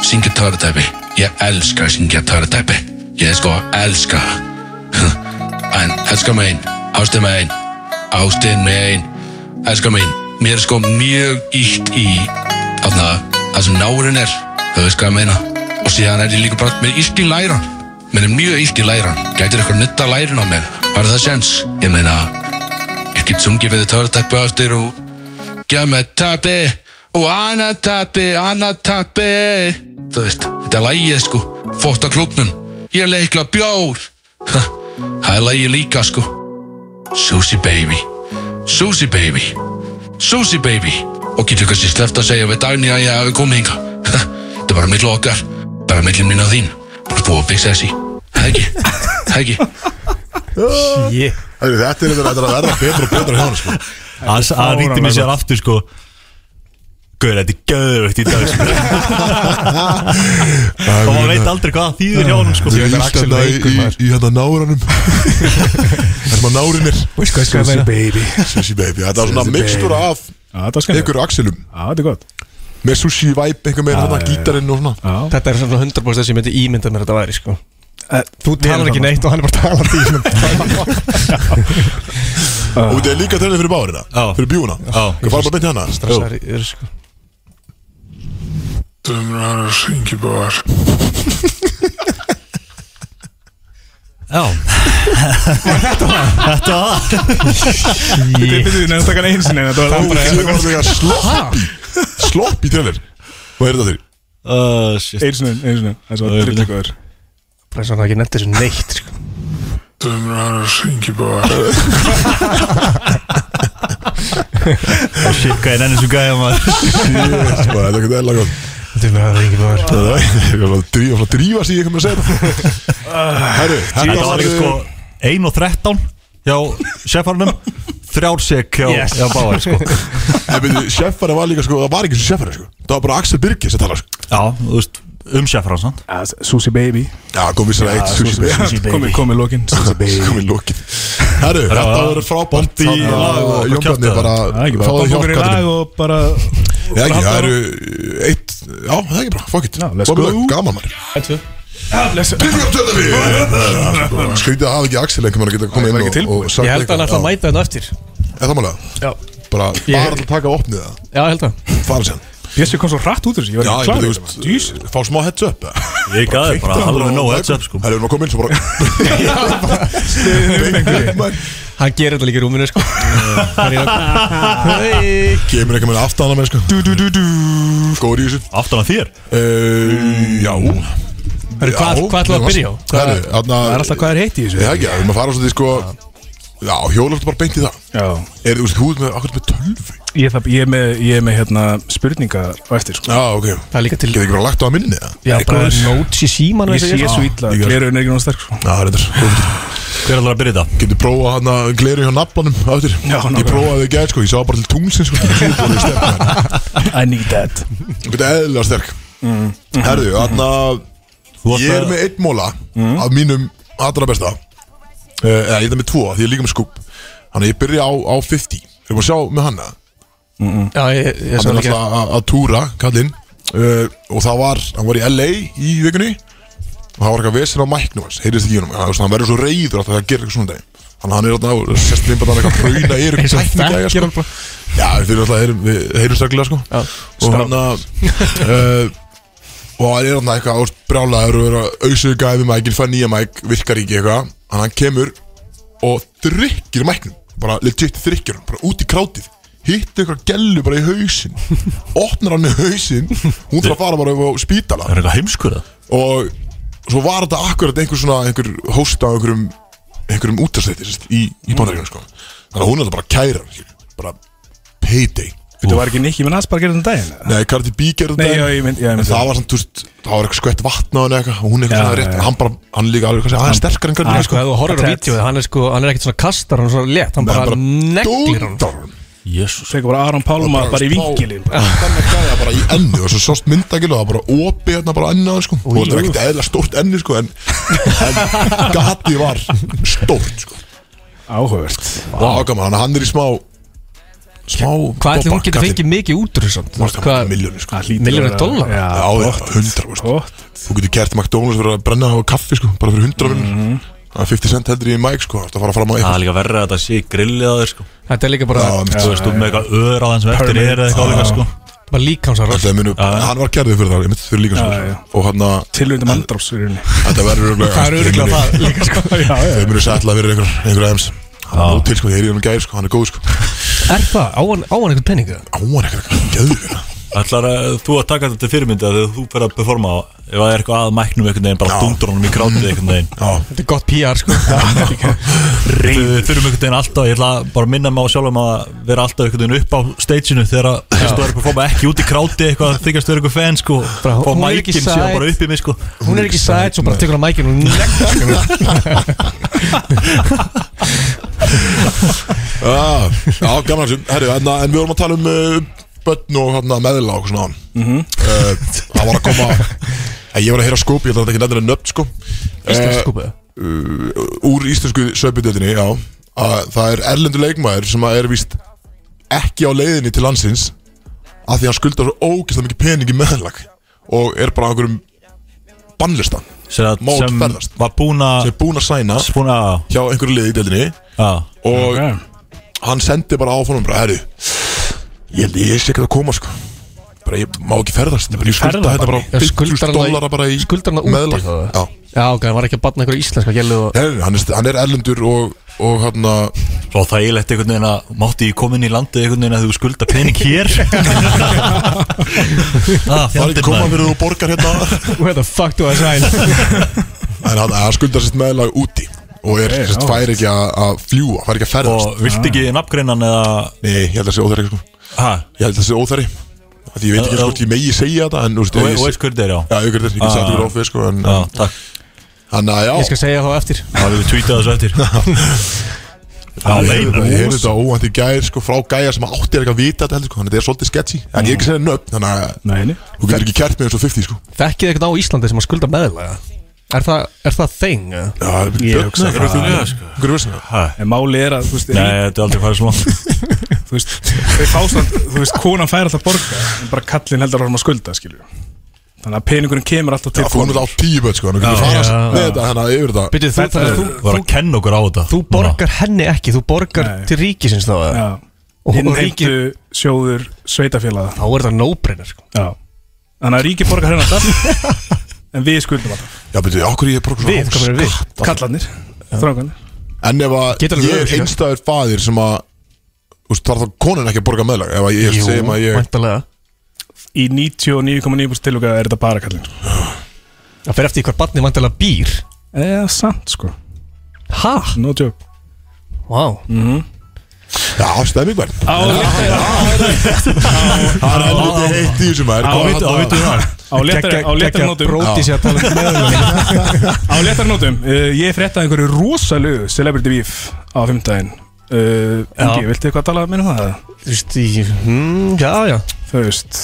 F: Syngja törutæpi Ég elska að syngja törutæpi Ég sko elska Ha. En elska mig einn Ástin mig einn Ástin mig einn Elskar mín, mér er sko mjög ítt í aðna, það sem nárin er, þau veist hvað ég meina og síðan er ég líka bara, mér er ítt í læran mér er mjög ítt í læran gætir eitthvað nutta lærin á mér, var það sens? Ég meina, ég get sungið við törutæppu ástir og gef mér tappi og annað tappi, annað tappi þú veist, þetta er lægið sko fótt á klubnum, ég leikla bjór Ha, það er lægið líka sko Susie Baby Susie Baby Susie Baby og getur kannski sleft að segja við Dagný að ég hafi komið hinga þetta er bara millu okkar bara millin mín og þín bara búið að fixa þessi hegi, hegi
E: Ég
B: Heyrðu, Þetta er þetta er að verða betra og betra hjá hann sko
C: Hann hann ringdi mér sér aftur sko Guður, þetta er gæðvögt í dag sko. Og maður veit aldrei hvað það þýðir hjá honum sko
B: Ég er hérna, Axel leikur í, í hérna náranum Það er maður nárinir
E: Veistu hvað
D: Susie baby
B: Sushi baby, þetta er svona
D: Sushi
B: mixtur af
D: Já, þetta var skemmt
B: einhverju Axelum
D: Já, þetta er gott
B: Með sushi vibe, einhver meira þarna gítarinn og svona
D: Já
E: Þetta er svona 100% þess að ég myndi ímynda mér að þetta væri sko
D: Eh,
E: Þú talar ekki neitt og hann er bara talað í
B: Og þetta er líka treinlega fyrir bárina,
C: Já.
B: fyrir bjúna Hvað fara bara beint í hana?
E: Stressar eru sko
C: Já Þetta var það
D: Ég finnst því nefnst að kanna einsin en þetta var
B: Ég var líka sloppy Sloppy treinlega Hvað er þetta þeir?
C: Oh, shit.
D: einsin en einsin en það
C: Já,
D: var
C: ég
D: drullu góður
E: Bara svona að ekki nefnt þessu neitt sko
C: Oh, shit, hvað er ennig svo gæða maður
B: Yes, bara, Þetta er ekki eðla gott
E: Þetta er mér að það ekki bara
B: Það er ekki bara að drífa, svona drífa sig í einhverjum að segja þetta Herru,
C: Ah. Þetta var ekki sko 1 og 13 hjá sefarnum Þrjár sek hjá,
E: Yes.
C: hjá báðar sko
B: En byrju, sjeffari var líka sko, það var ekki svo sjeffari sko Það var bara Axel Birgis að tala sko
C: Já, þú veist, um sefarn sant?
D: Susi baby
B: Já, kom við sér að eitt sushi
C: Sushi baby.
D: Komið, komið lokin Susi baby
B: Kom við lókin Herru, þetta
C: var
B: var frábært
C: bondi í lag og
B: Jón
C: kjafta
B: Bjarni
C: það.
B: bara
D: Það er ekki bara
B: Fáðu
D: Bók
B: hjálpkallinu Já, ekki,
D: okkur í lag og bara
B: það eru eitt Já, það er ekki bara, fuck it
D: Já, let's
B: Bobby
D: go.
B: Lag, Gaman maður
D: Blessa
B: Byrjum tölta við Skrítið að hafa ekki Axel einhvern veginn að geta komið
D: var ekki
B: inn og- og sagt
E: Ég held að hann
B: eitthvað.
E: ætla að mæta þetta eftir
B: Já, Er það málega?
E: Já
B: Bara,
E: Ég-
B: bara til að taka opnið það
E: Já, ég held að
B: Fara sér
D: Bjössi kom svo rætt út úr þessu Ég
B: Já, ég
D: var ekki
B: byrju,
D: klar
B: þú veist, fá smá heads up eða?
C: Ég gæði bara alveg no heads up sko
B: Það er um að koma inn svo bara Maður
E: Hann gerir þetta líka í rúminu sko Hann er að- Hey.
B: Kemur ekki með aftan að mér sko Du du du du Góður í þessu
C: Aftan að þér
B: Eh, Já
E: Hörru, hvað-
B: Já,
E: hvað ætlum við að byrja á?
B: Herru, þarna
D: Það er alltaf hvað er heitt í þessu
B: Ég ekki, við erum að fara svolítið sko Já, hjólöftu bara beint í það
D: Já
B: Er þú veist, þú ert með, akkur með tölvi
D: Ég þarf- ég er með- ég er með hérna spurningar á eftir sko
B: Já, ok
E: Það er líka til
B: Getur ekki bara lagt á að minni það?
E: Já,
D: Ég
E: bara
D: góður.
E: notes í síman
D: Ég sé svo illa
B: líka.
D: Glerun er ekki náttúrulega sterk sko
B: Já, reyndar góð punktur.
C: Hver ætlar að byrja þetta?
B: Getur prófað hann að gleru hjá naflanum á eftir
D: Já,
B: Ég
D: nákvæmlega.
B: prófaði þau gæð sko, ég sá bara til tungsin sko Ég er bara sterk maður.
D: I need that
B: Þetta er eðlilega sterk Herðu, þarna
C: Þú ert
B: Ég er með einn móla
E: Mm.
B: Af mínum allra besta Eh, Eða ég er með tvo Því ég er líka með skúb Þannig að ég byrja á, á 50 Erum við að sjá með hanna
E: Já, ég, ég, ég
B: Hann
E: svo
B: er
E: líka
B: alltaf að- að túra kallinn uh, Og það var Hann var í LA í vikunni Og það var eitthvað vesen á mæknum hans Heyrðist ekki í honum Hann hann verður svo reyður Alltaf að gera eitthvað svona dag Þannig að hann er alltaf, sérst limbat hann eitthvað brauna yfir
E: Eins og
B: tæknigæja,
E: þekkir
B: sko.
E: hann bara.
B: Já, við fyrir alltaf, heyrum- við heyrum staklega sko Og hann að uh, Og hann er alltaf eitthvað ást brjálæður og er að auðsöðu gæfi mækil, fæ nýja mæk, virkar ekki eitthvað Þannig að hann kemur og þrykkir mæknum Bara legit þrykkir hann, bara út í krátið Hitti eitthvað gellu bara í hausinn Opnar hann í hausinn Hún þarf að fara bara upp á spítala
C: er eitthvað heimskur það
B: og svo var þetta akkurat einhver svona einhver hóst á einhverjum einhverjum útastætti í, í
D: Mm.
B: bandaríkjum sko. þannig að hún er alltaf bara kæra hann, skilur. bara payday
D: Þetta var ekki Nicky Minaj bara að gera þetta um daginn
B: Nei, Cardi B gerði
D: Nei,
B: þetta
D: já, ég mynd- já, ég
B: En
D: myndi
B: það
D: það.
B: var samt, þú veist, það var eitthvað skvett vatna og eitthvað og hún er
D: Já,
B: eitthvað svona
D: já,
B: rétt
D: já.
B: Hann bara, hann er líka alveg, hvað sé, hann er sterkar en Cardi
D: Hann-
B: B sko
E: Sko, ef þú horfir á
D: Attack.
E: vítjóið, hann er sko, hann er ekkert svona kastar, hann er svona létt, hann
B: Nei,
E: bara neglir hann
B: dúndar hann
C: Jésús
D: Þegar bara Aron Pálma
B: Og
D: bara í
B: spá-
D: vinkilin
B: Þannig að gæja bara í enni og svo sást myndagil og það bara opi hérna bara enni á hann sko og þetta er ekkert eðla stórt enni sko en, en gati var stórt sko
D: Áhugvöld
B: Það var gaman, þannig að hann er í smá Smá
E: Hvað ætli hún getur fengið mikið út úr þessan? Hvað,
B: Miljónu sko
E: Milljónir dollara?
D: Já,
B: Já, já, hundra veist.
D: gott
B: Þú getur kert McDonalds fyrir að brenna á kaffi sko Bara fyrir hundra
E: Mhm.
B: vinnur Það er 50 cent heldur í Mike sko Það fara fram á
C: Það er
B: eitthvað
C: líka verra að þetta sé grillið á þér sko
E: þetta er líka
B: Já,
E: bara,
B: mitt.
C: Þú veist, þú með eitthvað öður á þann sem eftir er eða eitthvað líka sko
E: bara líkamsar
B: Þetta er munu, hann var gerðið fyrir það, ég myndi fyrir líka
D: Já, já.
B: sko Og hann að,
D: Tilvöndum andrás í rauninni
B: þetta verður örugglega-
E: Það er
B: þeir
E: öruglega
B: munu-
E: það líka sko
B: Þeir munu sætla fyrir einhver, einhver ems Hann er til sko, ég heyri hann gæri sko, hann er góð sko
E: Er það, á hann, á hann einhvern penning það?
B: Áan ekkert, geðvika
C: Ætlar að þú að taka þetta til fyrirmynda þegar þú fyrir að performa á ef það er eitthvað að mæknum einhvern veginn bara
B: Já.
C: dundur honum í krátið einhvern veginn
E: Þetta er gott PR sko
C: Við þurfum einhvern veginn alltaf ég ætla bara að minna mig á sjálfum að vera alltaf einhvern veginn upp á stageinu þegar að þú er að performa ekki út í krátið eitthvað þykast vera eitthvað fan sko
E: Bara,
C: fá
E: hún er ekki
C: mækinn síðan
E: sæt.
C: bara upp í mig sko
E: Hún er ekki sæt, svo bara tekur hann mækinn og neglir
B: Já, já, gaman að þessu Herru, en, en við vorum að tala um uh, börn og hérna, meðla og svona mm -hmm. Það var að koma en Ég var að heyra skóp, ég held að þetta ekki nefnilega nöfn sko
E: Íslensk
B: Eh,
E: skúpið
B: Úr íslensku söpudöðinni, já að Það er erlendur leikmaður sem að er víst ekki á leiðinni til landsins af því að hann skuldar svo ógeðslega mikið pening í meðlag og er bara á einhverjum bannlistan
C: sem, að-
B: Mót
C: sem
B: ferðast.
C: var búin
B: sem
C: að
B: er búin að sæna
C: búin að
B: hjá einhverju liði í deildinni
C: já.
B: og
D: Ok.
B: hann sendi bara áfannum bara, herru ég held ég sé ekki að koma sko bara ég má ekki ferðast ég skulda
D: ferðabanni.
B: þetta bara
E: Já, skuldar
B: 50
E: hann það í-
B: dólara bara í
E: skuldar hann það úti
B: meðlag.
E: þá, eða?
B: Já.
E: Já, ok, hann var ekki að batna einhverju íslenska gælu og
B: Nei, nei, hann er, hann er erlendur og, og hérna, hann að
C: Svo þægilegt einhvern veginn að mátti ég koma inn í landið einhvern veginn að þú skulda pening hér Það
B: það er ekki
C: fjandinn
B: koma
C: maður
B: fyrir þú borgar hérna
E: Where the fuck do I sign?
B: en hann, hann skuldar sitt meðlag úti og er, sérst, fær ekki að, að fljúa fær ekki að ferðast
C: Og vilt ekki nafngreinan eða
B: nei, ég held að það sé óþæri sko.
C: ha,
B: ég held að það sé óþæri Af því ég veit ekki hvort ég megi segja þetta en þú veist
C: Þú
B: ef ég-
C: veist þú veist hvernig það er já
B: já, ég getur þetta, ég get sagt
C: Ah.
B: þetta ofið sko, en,
C: Já, takk
B: hann að já
E: Ég skal segja þá eftir
C: Það við tweetað þessu eftir Já,
B: Ég
C: meina
B: er þetta óvænt í gær sko, frá gæja sem átti er ekki að vita þetta heldur sko, þannig að þetta er svolítið sketchy en ég er ekki að segja nöfn, þannig að
D: Nei, nei
B: þú getur ekki kært með eins og 50 sko
E: Þekkið eitthvað á Íslandi sem að skulda meðlega Er það, er það þeng? eða?
B: Já,
D: Ég hugsa
B: björn,
D: það.
B: eru þú
C: Já,
B: nýja sko Hverju veist það?
C: Ha,
D: En máli er að, þú veist,
C: Nei,
D: rík,
C: þetta er aldrei farið svona
D: þú veist Þeir fástand, þú veist, konan fær alltaf borga En bara kallin heldur að hann að skulda, skilju Þannig að peningurinn kemur alltaf
B: Já,
D: til
B: þú erum þetta á tíu börn sko, þannig að þú getur
E: já,
B: farað með þetta þannig að yfir þetta
E: Byrju, þú,
D: Þetta
E: þannig að
D: er-
E: þú,
C: Var að kenna okkur á þetta
E: þú borgar henni ekki, þú borgar
D: Nei.
E: til ríkisins þá eða?
D: Já
E: Og- og
D: Innheimtu sjóður sveitafélaga
E: Þá er það no-brainer sko.
D: Já Þannig að ríki borgar hérna alltaf En við skuldum alltaf
B: Já, betur, okkur ég er bara
E: Við, hvað
B: svona
E: verður við?
D: Kallarnir, þrákanir
B: En ef
E: Getur
B: að
E: alveg
B: ég
E: verið,
B: er
E: sko.
B: einstæður faðir sem að Þú veist, þarf þá konan ekki að borga meðlag Ef að ég
E: Jú,
B: segjum að ég
E: væntanlega.
D: Í 99,9% tilhuga er þetta bara kallin
E: Það fer eftir í hvar barni vantilega býr
D: Eða samt sko
E: Ha?
D: No joke
E: Vá
B: Já, stemming verð
D: Á,
B: Það er helviti heitt í þessum
D: á,
B: verð
D: á, á léttari- á léttari nótum
E: Bróti sér að tala um meðlega
D: Á léttari nótum uh, Ég fréttaði einhverju rosalegu Celebrity Beef á fimmtæðin uh, Engi, viltu eitthvað tala meira um það?
E: Þú veist, ég- hmm, já, já
D: Þú veist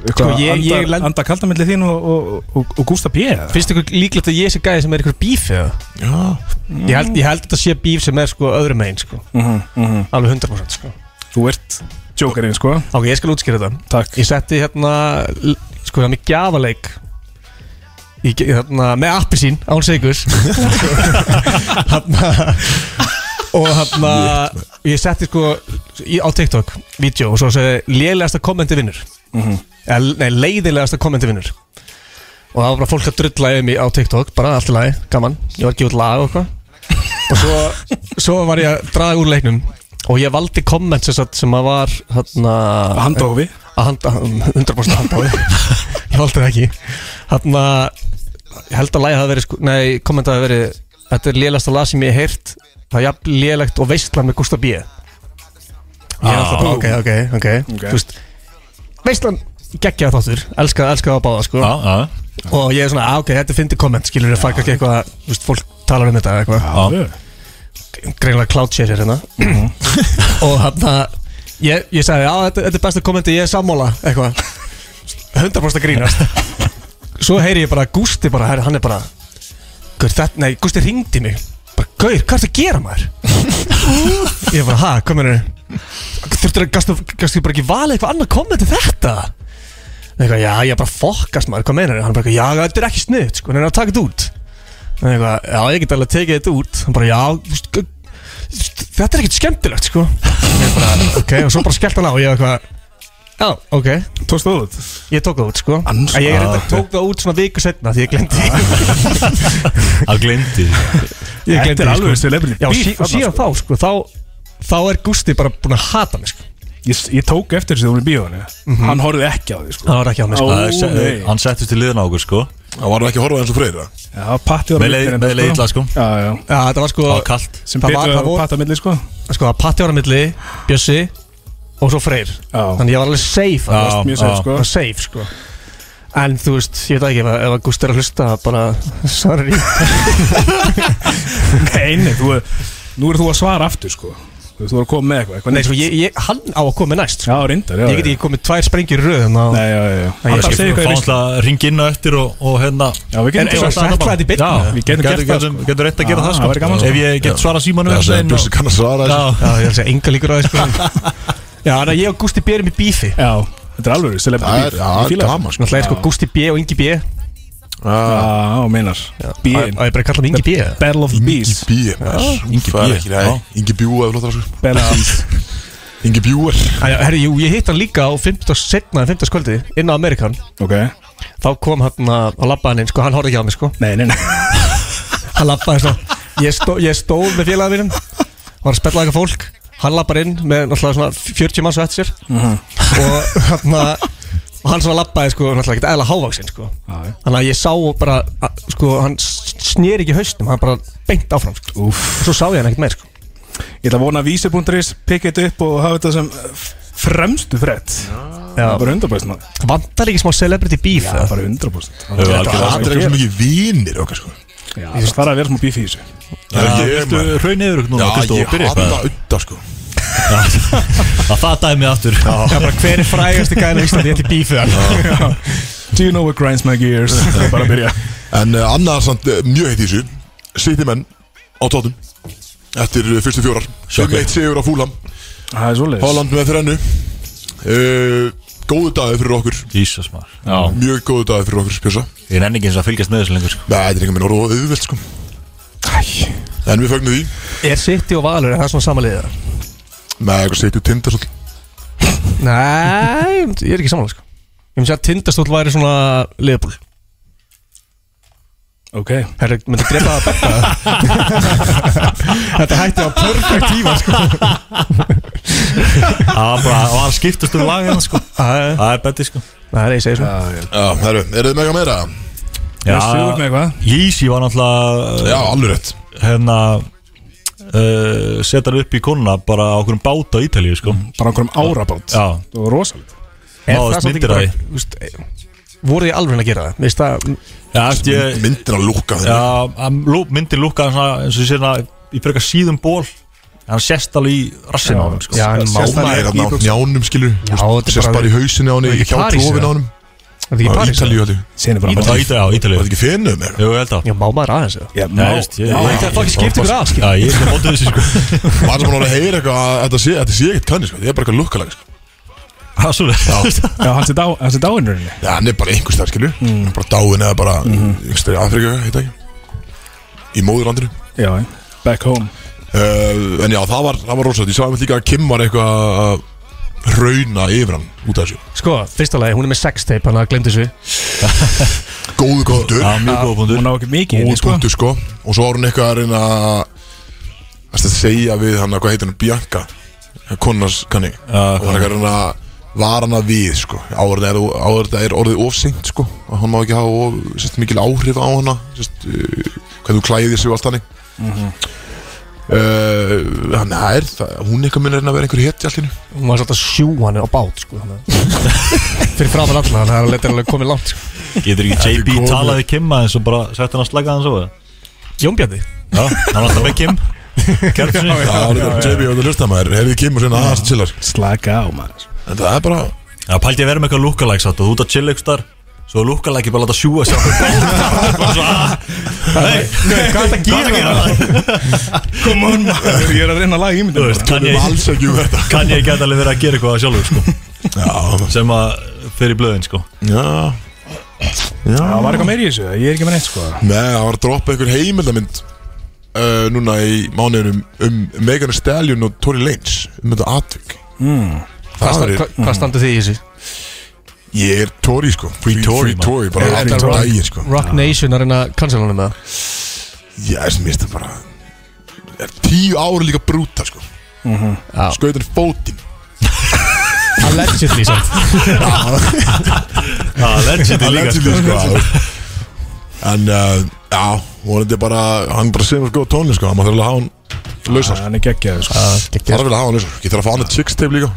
D: Eitthvað
E: Sko, ég-
D: andar,
E: ég lend-
D: andar kaldamilli þín og, og, og, og Gústa P eða?
E: Finnst ykkur líklegt að ég sé gæði sem er ykkur bíf eða?
B: Já,
E: Ég held, ég held að þetta sé bíf sem er sko öðrum megin sko
D: Mhm, mhm.
E: Alveg 100% sko
D: Þú ert jokerinn sko
E: Ok, ég skal útskýra þetta
D: Takk
E: Ég setti hérna l- Sko, það er mér gjafaleik hérna í, ge- hérna, með appi sín án segus hérna, og hérna ég setti sko í, á TikTok vídeo og svo segi lélegasta kommenti vinnur eða nei, leiðilegasta kommenti vinnur og það var bara fólk að drulla yfir mig á TikTok bara allt í lagi, gaman, ég var ekki út lag og eitthvað og svo, svo var ég að draga úr leiknum og ég valdi komment sem, sagt sem að var hérna,
D: Handófi
E: að handa, 100% handa á því ég valdi það ekki þarna, ég held að lægi hafi verið sko- nei, kommenta hafi verið þetta er lélast að laga sem ég hef heyrt það er jafn lélegt og veistla með Gustaf B ég held að, Ah, ok, ok, ok, þú veist veistlan, geggja þáttur elska, elska það báða, sko
C: Já, já,
E: og ég er svona, ah, ok, þetta er fyndi komment skilur þér, fæk ekki eitthvað, þú veist, fólk talar um þetta eða eitthvað
C: já
E: greinlega cloud chaser hérna og hann að ég, ég sagði, já þetta, þetta er besta kommenti, ég er sammála eitthvað, 100% að grínast svo heyri ég bara Gústi bara, herri, hann er bara Gaur, þetta, nei, Gústi ringdi mig bara, Gaur, hvað ertu að gera maður? ég bara, ha, hvað mennur þurftur að, gastu, gastu bara ekki valið eitthvað annað kommenti þetta eitthvað, já, ég er bara að fokast maður, hvað meinar hann bara, eitthvað, já, þetta er ekki sniðt, sko, hann er að taka þetta út Nei, eitthvað, já, ég get alveg að tekið þetta út hann bara, já, þú veist, g- þetta er ekkert skemmtilegt, sko ég bara, ok, og svo bara skellt hann á og ég eitthvað, já, ok
D: Tókst þú út?
E: ég tók það út, sko
D: Ans-
E: En ég reyndar tók það út svona viku setna því ég glemdi
C: Það gleymdi
E: ég
D: Þetta er
E: glemdi,
D: alveg
E: sko
D: celebrity
E: já,
D: beef
E: sí, og
D: þarna,
E: síðan þá, sko, þá þá er Gusti bara búin að hata mig, sko
D: sko. ég, ég tók eftir þessi þú voru í bíóinu
E: Mhm.
D: Hann horfði ekki á því sko.
E: hann var ekki á mig,
D: Ó,
E: sko
D: nei.
C: Hann settist til liðan á okkur sko
B: Það var ekki að horfa eins og freyra
D: Já, patti var
C: Með leið- með leiðilla sko
D: Já, já
E: já, þetta var sko
C: Það var kallt
D: Sem
E: Það var-
D: betur
E: það
D: að
E: voru-
D: patta milli sko
E: sko, að Patti var á milli, Bjössi og svo Freyr
D: Já.
E: þannig ég var alveg safe
C: Já,
E: alveg,
D: mjög safe, sko.
E: var safe sko En þú veist, ég veit það ekki, ef, ef að Gúst er að hlusta bara, sorry
D: Nei, nei, þú Nú er þú að svara aftur sko Þú veist, þú er að koma með eitthvað eitthvað
E: Nei,
D: nýtt.
E: sko, ég, ég, hann á að koma með næst sko.
D: Já, reyndar, já
E: Ég get
D: já.
E: ekki komið tvær sprengjur í röð þannig að-
D: Nei, já, já, já
E: Ég
D: Hann
E: skal
D: bara
C: Ég
D: segir hvað er
C: fann
D: veist
C: alltaf að ringa inn á eftir og, og hérna
D: Já, við
E: En-
D: getum
E: en-
D: sagt
E: sagt það þetta í beinni?
C: Já,
D: Við getum gert það, sko.
C: Getur reynt að gera
D: Já,
C: það sko
D: það væri gaman, sko.
C: Ef ég get svarað símanum
B: Það sem Bjössi kann að svara þessu
C: Já,
E: Já, ég held að segja enga líkur á þessu sko. Já, þannig að ég og Gústi B erum í bífi
D: Já, þetta er alveg
B: Það er,
D: celebrity beef.
B: já, það
D: Ég
B: er
D: fíla það.
B: gaman sko
E: Náttúrulega er sko Gústi B og Ingi B
B: Já,
E: Á
D: Já, meinar Bíin
E: á ég bara að kalla mig Ingi B eða?
D: Battle of Bees
B: Ingi Bíu Ingi
C: Bíe, já.
B: Bíu Ingi Bíu er flottar sko
D: Battle of Bees
B: Ingi Bjúar
E: Æ, Herri, jú, ég hitt hann líka á 15. setna en 15. kvöldi inn á Amerikan
D: Ok
E: Þá kom hann að, að labba hann inn, sko, hann horfði ekki á mig, sko
D: Nei, nei, nei
E: Hann labbaði svo Ég, stó, ég stóð með félagið mínum Var að spella eitthvað fólk Hann labbar inn með náttúrulega svona 40 manns á eftir sér Og hann Og hann svona labbaði sko Náttúrulega ekkert eðla hávaksinn sko
D: já.
E: Þannig að ég sá bara að, Sko hann snýr ekki haustum Hann bara beint áfram sko
D: Úff
E: Svo sá ég hann ekkert meir sko
D: Ég ætla að vona að vísir.is pikka þetta upp og hafa þetta sem eh, f- fremstu frett
E: Já
D: Það er bara 100% maður.
E: Vantar ekki smá celebrity beef
D: Það er
E: eða?
D: bara 100%
C: já
D: Já,
B: Það
C: algjörlega.
B: er ekki svo mikið vinir okkar sko
D: Það þarf að vera smá bíf í þessu
B: Það er ekki ég
C: Viltu
B: maður
C: hraun yfir okkur núna,
B: Já,
C: Kristó, og
B: ég
C: byrja
B: hata
C: eitthvað?
B: Udda sko
C: Já, Það dæmi aftur
E: Já bara hver er frægast í gæðinu Íslandi Ég ætti beefið hann
D: Do you know what grinds my gears? Það er bara að byrja
B: En uh, annað samt uh, mjög heitt í þessu City menn á tótum Eftir uh, fyrstu fjórar Sem eitt sigur á fúlam
D: Það er svolítið
B: Holland með þrennu uh, Góðu dagið fyrir okkur
C: Jesus maður
B: Mjög góðu dagið fyrir okkur spjösa Nei,
C: Ég nenni ekki eins að fylgjast með þessu lengur sko
B: þetta er ekki minn orð og auðvilt sko En við fögnum því
E: Er City og Valur Er það svona samanliðið
B: Með eitthvað City og Tindasól
E: Nei, ég er ekki samanlega sko Ég myndi að tindastóll væri svona liðbúl
D: Ok
E: Herru, myndi drepa það betta Þetta hætti á perfect tíma sko.
C: Það var skiptast um lagin sko
E: Æ,
C: Það er betti sko
E: Það er ég segi svona
B: Já, herru, eru þið með eitthvað meira?
C: Já,
D: Þú ert með eitthvað?
C: Yeezy var náttúrulega
B: Já, alveg rétt
C: uh, hérna uh, setar upp í konuna bara á okkurum báta á Ítalíu sko
D: Bara einhverjum árabátt
C: Já,
D: Það var rosalegt
E: Er
C: náðist
E: samt ekki
C: myndir af því
E: bara, þú veist, eh, Voru ég alveg að gera það Vist það
C: Já, eftir ég
B: Myndin að lúka þeim
C: Já, hann lú- myndir lúkka svona, eins og ég sé hérna í frekar síðum ból hann sést alveg í rassinu á hann sko
E: Já, en má
B: Sérst hann
E: maður
B: er
E: Er
B: hann á njánum skilur
E: Já, þetta er
B: Sérst
E: bara-
B: bara í hausinu á hann
E: Það er
B: Hjá
E: ekki París,
B: klófinu á
E: eða?
B: hann
E: þetta ekki
B: Á
E: París?
B: Ítalíu allir
D: Sýnir bara
C: Á Ítalíu, á
B: Var
C: Ítalíu
B: þetta ekki fennu með
C: Jú, ég held að
E: Já, má maður aðeins eða?
D: Já,
C: Já,
D: má
C: veist, ég-
D: Já,
C: ég-
E: Það er fokkin skipt ykkur að skil
C: Já, ég er mótið þessu sko
B: Maður sem hann að heyra eitthvað að Þetta sé, þetta sé ekkert kanni sko Þetta er bara eitthvað lukkalega sko
C: Það er svolítið
D: Já, hans er dá- hans er dáinurinn
B: Já, hann er bara einhver stær, skilju Hann
C: Mm.
B: er bara dáin eða bara
C: Mhm.
B: einhver stær í Afrika, heit það ekki Í móðurlandinu
D: Já, já. back home
B: uh, En já, það var, það var rosalega Ég sá einmitt líka að Kim var eitthvað að rauna yfir hann út af þessu
E: Sko, fyrsta lagi, hún er með sextape, hann að glemdi þessu
B: Góðu punktur,
C: Já, mjög góða punktur
D: Hún á ekki mikið inni,
B: góðu
D: sko.
B: punktur sko Og svo var hún eitthvað að reyna að að segja við hann, hvað heitir hann, Bianca Konnas kanni
C: Já,
B: Og hann er eitthvað að reyna að var hann að við sko áður en það er, áður en það er orðið ofsengt sko að hann má ekki hafa of, sérst, mikil áhrif á hana sérst, uh, hvernig þú klæðir sig og allt þannig Mhm. uh, hann er það, hún eitthvað minn er að vera einhver hétt í allinu
E: Hún var svolítið að sjú hann á bát, sko þannig að- Fyrir framan allan, þannig að hann letur alveg komið langt sko.
C: Getur ekki JB
B: komið.
C: talaði Kim aðeins og bara sett hann að slagga hann svo
E: Jón Bjarni
C: Já, hann var alltaf með Kim Kjartsinni
B: það er það, JB og það lusta maður heyrðu Kim og svona aðast chillar
D: Slaka á maður
B: en það er bara
C: Já, pælti ég að vera með eitthvað lookalike sátt og þú ert að chilla ykkur star Svo er lookalike bara að láta sjúa sér Bara svo að Nei, hvað er það að gera það?
D: Come on maður Ég er að reyna að laga
C: Þú
D: ímyndinu
C: veist, kann
B: við erum
C: ég
B: alls ekki um þetta
C: Kann ég geta alveg verið að gera eitthvað sjálfur sko
B: já,
C: Sem að fyrir blöðin sko
B: já
D: Það var eitthvað meiri í þessu, ég er ekki með neitt sko
B: Nei, það var að droppa einhver heimildamind uh, núna í mánuðinum um Megan Thee Stallion og Tory Lanez um þetta atvik mm.
E: Hvað
B: Það
E: sta-
B: er,
E: hva- Hmm. Hvað standu þið í þessu?
B: ég er Tory sko Free
C: Tory,
B: Free Tory, bara
E: Er
B: allan
E: þetta rock-
B: daginn sko
E: Rock Nation að reyna að cancel hann með það
B: Ég er sem mista bara er Tíu ára líka brúta sko
E: Mhm. Já.
B: Skautin fótinn
E: Allegedly, sant
C: Það er legendið líka sko
B: Allegedly, sko En, uh, já, vonandi bara Hann bara semur góð tónlist sko Hann maður þarf alveg að hafa hann lausar
D: Hann er geggjaður sko
B: Það er vel að hafa hann eins og Ég þarf að fá hann að chickstape líka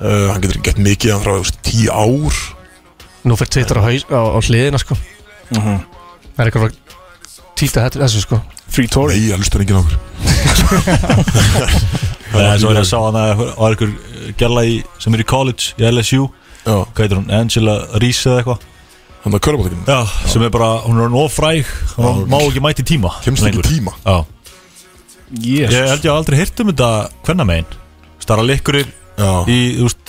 B: uh, Hann getur gett mikið hann frá þú veist, tíu ár
E: Nú fyrir Twitter á, haus, á, á hliðina sko Það er eitthvað að týta þetta þessu sko
D: Free Tory
B: Nei, hann lustar enginn á okkur
C: Nei, svo er ég að sá hann að og er ykkur gæla í sem er í college í LSU
B: Já,
C: Hvað heitir hún? Angela Reese eða eitthvað
B: hann er körfbóttakinn
C: Já, sem er bara, hún er orðin ofræg Hún
B: Já.
C: má ekki mæti tíma
B: Kemst ekki
C: lengur.
B: tíma
C: Já,
D: Yes
C: ég held ég hafi aldrei hirt um þetta hvenna megin Stara likkurir
B: Já,
C: í, þú veist,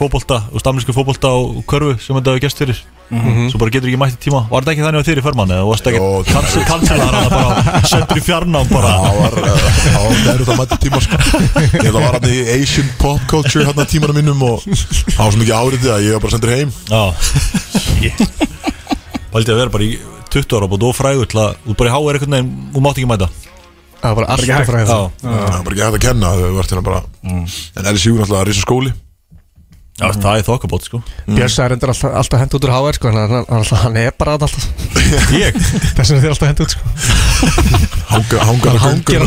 C: fótbolta Þú veist, amlísku fótbolta og körfu sem þetta hefur gæst fyrir Svo bara getur ekki mæti tíma Var þetta ekki þannig að þér í förmann eða þú varst ekki
B: Jó,
C: Kansi, kansi var hann bara sendur í fjarnám bara
B: það var uh, Það var verið að mæta tíma sko Ég það var hann í Asian pop culture hann að tímanum minnum og það var svo mikið áriði að ég var bara sendur heim
C: Já Valdi að vera bara í 20 ára búið og frægur til að þú bara í HR einhvern veginn og mátt ekki mæta
E: Það var bara alltaf
C: Já,
E: frá
C: Mm.
B: Það
E: þetta
B: var bara ekki hægt að kenna þau vart hérna bara En LSU er náttúrulega að risa skóli
C: Já það er þokkabót sko
E: Björsa er endur alltaf, alltaf hend út úr HR sko en hann, hann, alltaf, hann er bara að alltaf
C: Ég?
E: Þess vegna þið er alltaf hend út sko
B: Hanga- Hangar að
E: hangir
B: göngur
E: alltaf
C: Ég er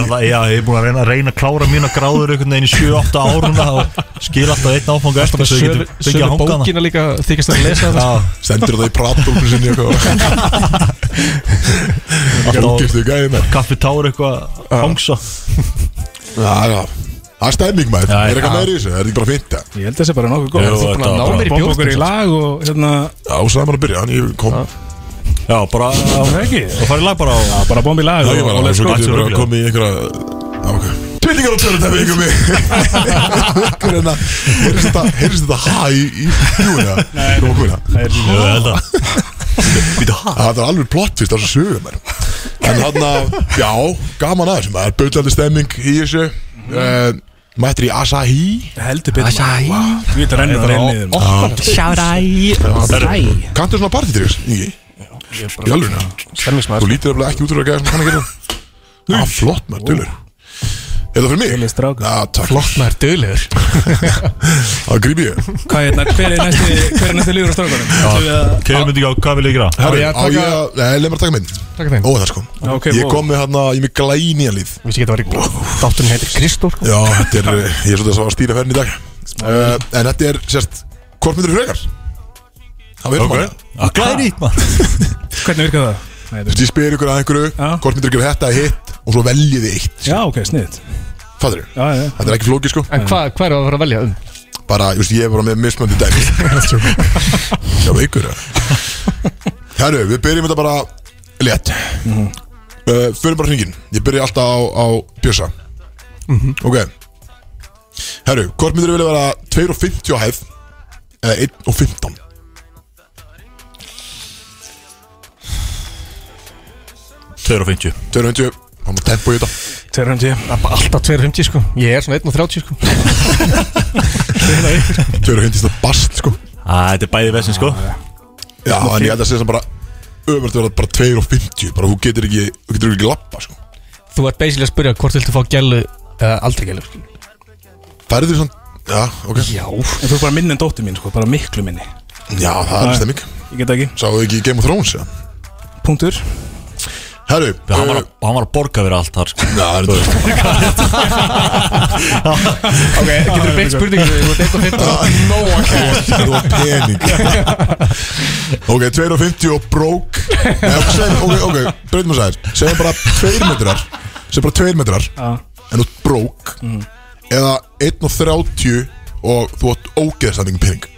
C: alltaf, já, ég er búin að reyna, reyna að klára mína gráður einhvern veginn í 7-8 áruna og skil alltaf einn áfanga eftir
E: Bara
C: þess að ég getur fengið
E: sögur
C: að hanga hana
E: bókina líka þykist að lesa þetta sko.
C: Já,
B: Sendur það í pratbólfinu sinni eitthvað
C: Alltaf-
B: Hangirstu gæðina
C: kaffi tár eitthvað að hangsa
B: Já, já Það er stemming maður,
C: Já,
B: er eitthvað
C: já.
B: meira í þessu, er þetta ekki bara fint það?
D: Ég held þessi bara nokkuð
C: Jú,
D: góð
C: þetta var
E: ná
C: bara-
E: mér í
D: Bomba
E: bjór,
D: okkur í
E: sko.
D: lag og hérna
B: Já, sagði maður að byrja, en ég kom
C: Já, bara
D: Það
C: að
D: er ekki
C: fara í lag bara á
D: Bara bomba í lag
B: Já, ég
D: og
B: var
D: og
B: alveg
D: let's
B: svo
D: go
B: getur bara að
C: Þetta er
B: koma í einhverja Já, ok Tvillingar og törnum þetta veikum mig Hvernig hérna, heyrðist þetta, heyrðist þetta hæ í, í hérna. bjúna? Nei Rókuna
C: Jú, ég held að Býtu hæ
B: Það er alveg plott fyrst þess að sögum mér En hann að, já, gaman aðeins Það er böllandi stemming í þessu uh, Mættir í Asahi
D: Heldur betur Æsæ Þú getur ennur að reyna niður maður.
B: Kanntu svona partitryggs, Ingi? Í alveg Þú
D: Stemningsmaður sko.
B: lítir eflega ekki út úr að gæða sem kann að gera Já, flott maður, dullur Er það fyrir mig?
D: Duglegur strákur.
B: Já, takk Flott
E: Það er döglegur
B: Það grípi ég
D: Hvað hérna, hver er næsti Hver er næsti lífur á strákunum? Ætlum við að-
C: Kefum myndi ekki á hvað vil ég gera
B: Herru,
E: ég
B: á
E: að taka-
B: ég að, nei, leið mér að taka minn
E: Takk þeim
B: Ó, það sko
D: Ok,
B: Ég
D: wow.
B: kom með hérna, ég er með glæni að líf
E: Við séum geta verið Dátturinn heitir Kristór sko.
B: Já, þetta er, eh, ég er svolítið að svara að stýra ferðin í dag uh, En þetta er, sérst, hvort myndir þú frekar? Það verður maður Þú
C: Að glæði ít mann
D: Hvernig virkar það? Nei, þetta er-
B: veist, ég spyr ykkur að einhverju,
D: Já.
B: hvort myndir þú gera þetta hitt Og svo veljið þið eitt,
D: Já, ok, sniðt
B: fattur
D: Já, já
B: Þetta er ekki flókið sko,
E: En hvað hva er að fara að velja um?
B: bara, ég veist, ég er bara með mismöndi dæmi Já, veikur ja. Herru, við byrjum þetta bara létt uh, Förum bara hringin, ég byrja alltaf á, á Bjössa Ok Herru, hvort myndir þú vilja vera 2.50 á hæð eða 1.15
C: 250
B: 2.50, hann má tempo í þetta
D: 250
E: Það er bara alltaf 250 sko Ég er svona 1.30 sko
B: 2.50 er það bast sko
C: Ah, Þetta er bæði vesinn sko
B: Já, en ég held að segja sem bara öfverð að vera bara 2.50 bara þú getur ekki, þú getur ekki lappa sko
E: Þú ert basically að spyrja hvort viltu fá gælu eða aldrei gælu sko.
B: Færið þér svona, já, ok
E: Já
D: En þú er bara minni en dóttir mín, sko, bara miklu minni
B: Já, það er stemming
D: Ég get það ekki
B: Sáðu ekki Game of Thrones, já
D: Punktur
B: Herru,
C: Hann var,
B: uh,
C: að, hann var að borga fyrir allt þar sko.
B: Já, það er þetta
E: Ok, getur þú beitt spurningu Þú ert 1.15
B: Það var pening Ok, 250 og brók Nei, ok, segjum- ok, ok, breytum þess aðeins Segjum bara 2 metrar Segjum bara 2 metrar
D: Já.
B: En þú ert brók Eða 1.30 og þú átt ógeðstæðningum pening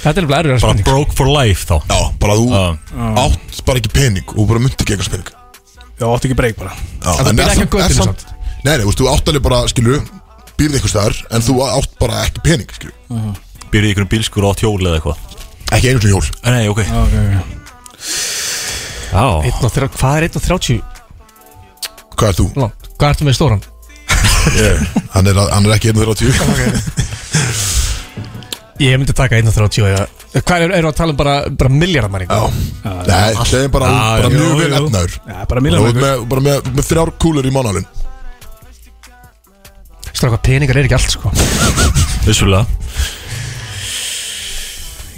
E: Þetta er alveg erfið
C: Bara
E: spurning
C: broke for life þá
B: Já, bara þú
C: Já.
B: átt bara ekki pening og þú bara myndi ekki eitthvað pening
D: Já, átti ekki breyk bara
B: Já,
E: En þú býrð
B: er
E: ekki á
B: er
E: götunni
B: samt- Nei, nei, þú veist, þú átt alveg bara, skilur Býrði einhvers staðar, en þú átt bara ekki pening, skilur
C: Byrði ykkur um bílskur og átt hjól eða eitthvað
B: Ekki einu sinni hjól
C: Eh, Nei, ok
D: Ok, ok
C: Já,
E: 1.30 Hvað er 1.30
B: Hvað er þú?
E: langt? Hvað ertu með stóran?
B: Hann er, hann er ekki 1.30
E: Ég myndi taka 1.30 eða Hvað er, erum við að tala um bara, bara miljardamæring?
B: Já, nei, segjum bara,
C: Já,
B: bara
C: jú,
B: mjög vel
D: jú.
B: efnaður
D: Já, bara
B: Bara
D: milli
B: með, bara með, með þrjár kúlur í mánalinn
E: Stráka, peningar er ekki allt sko
C: vissulega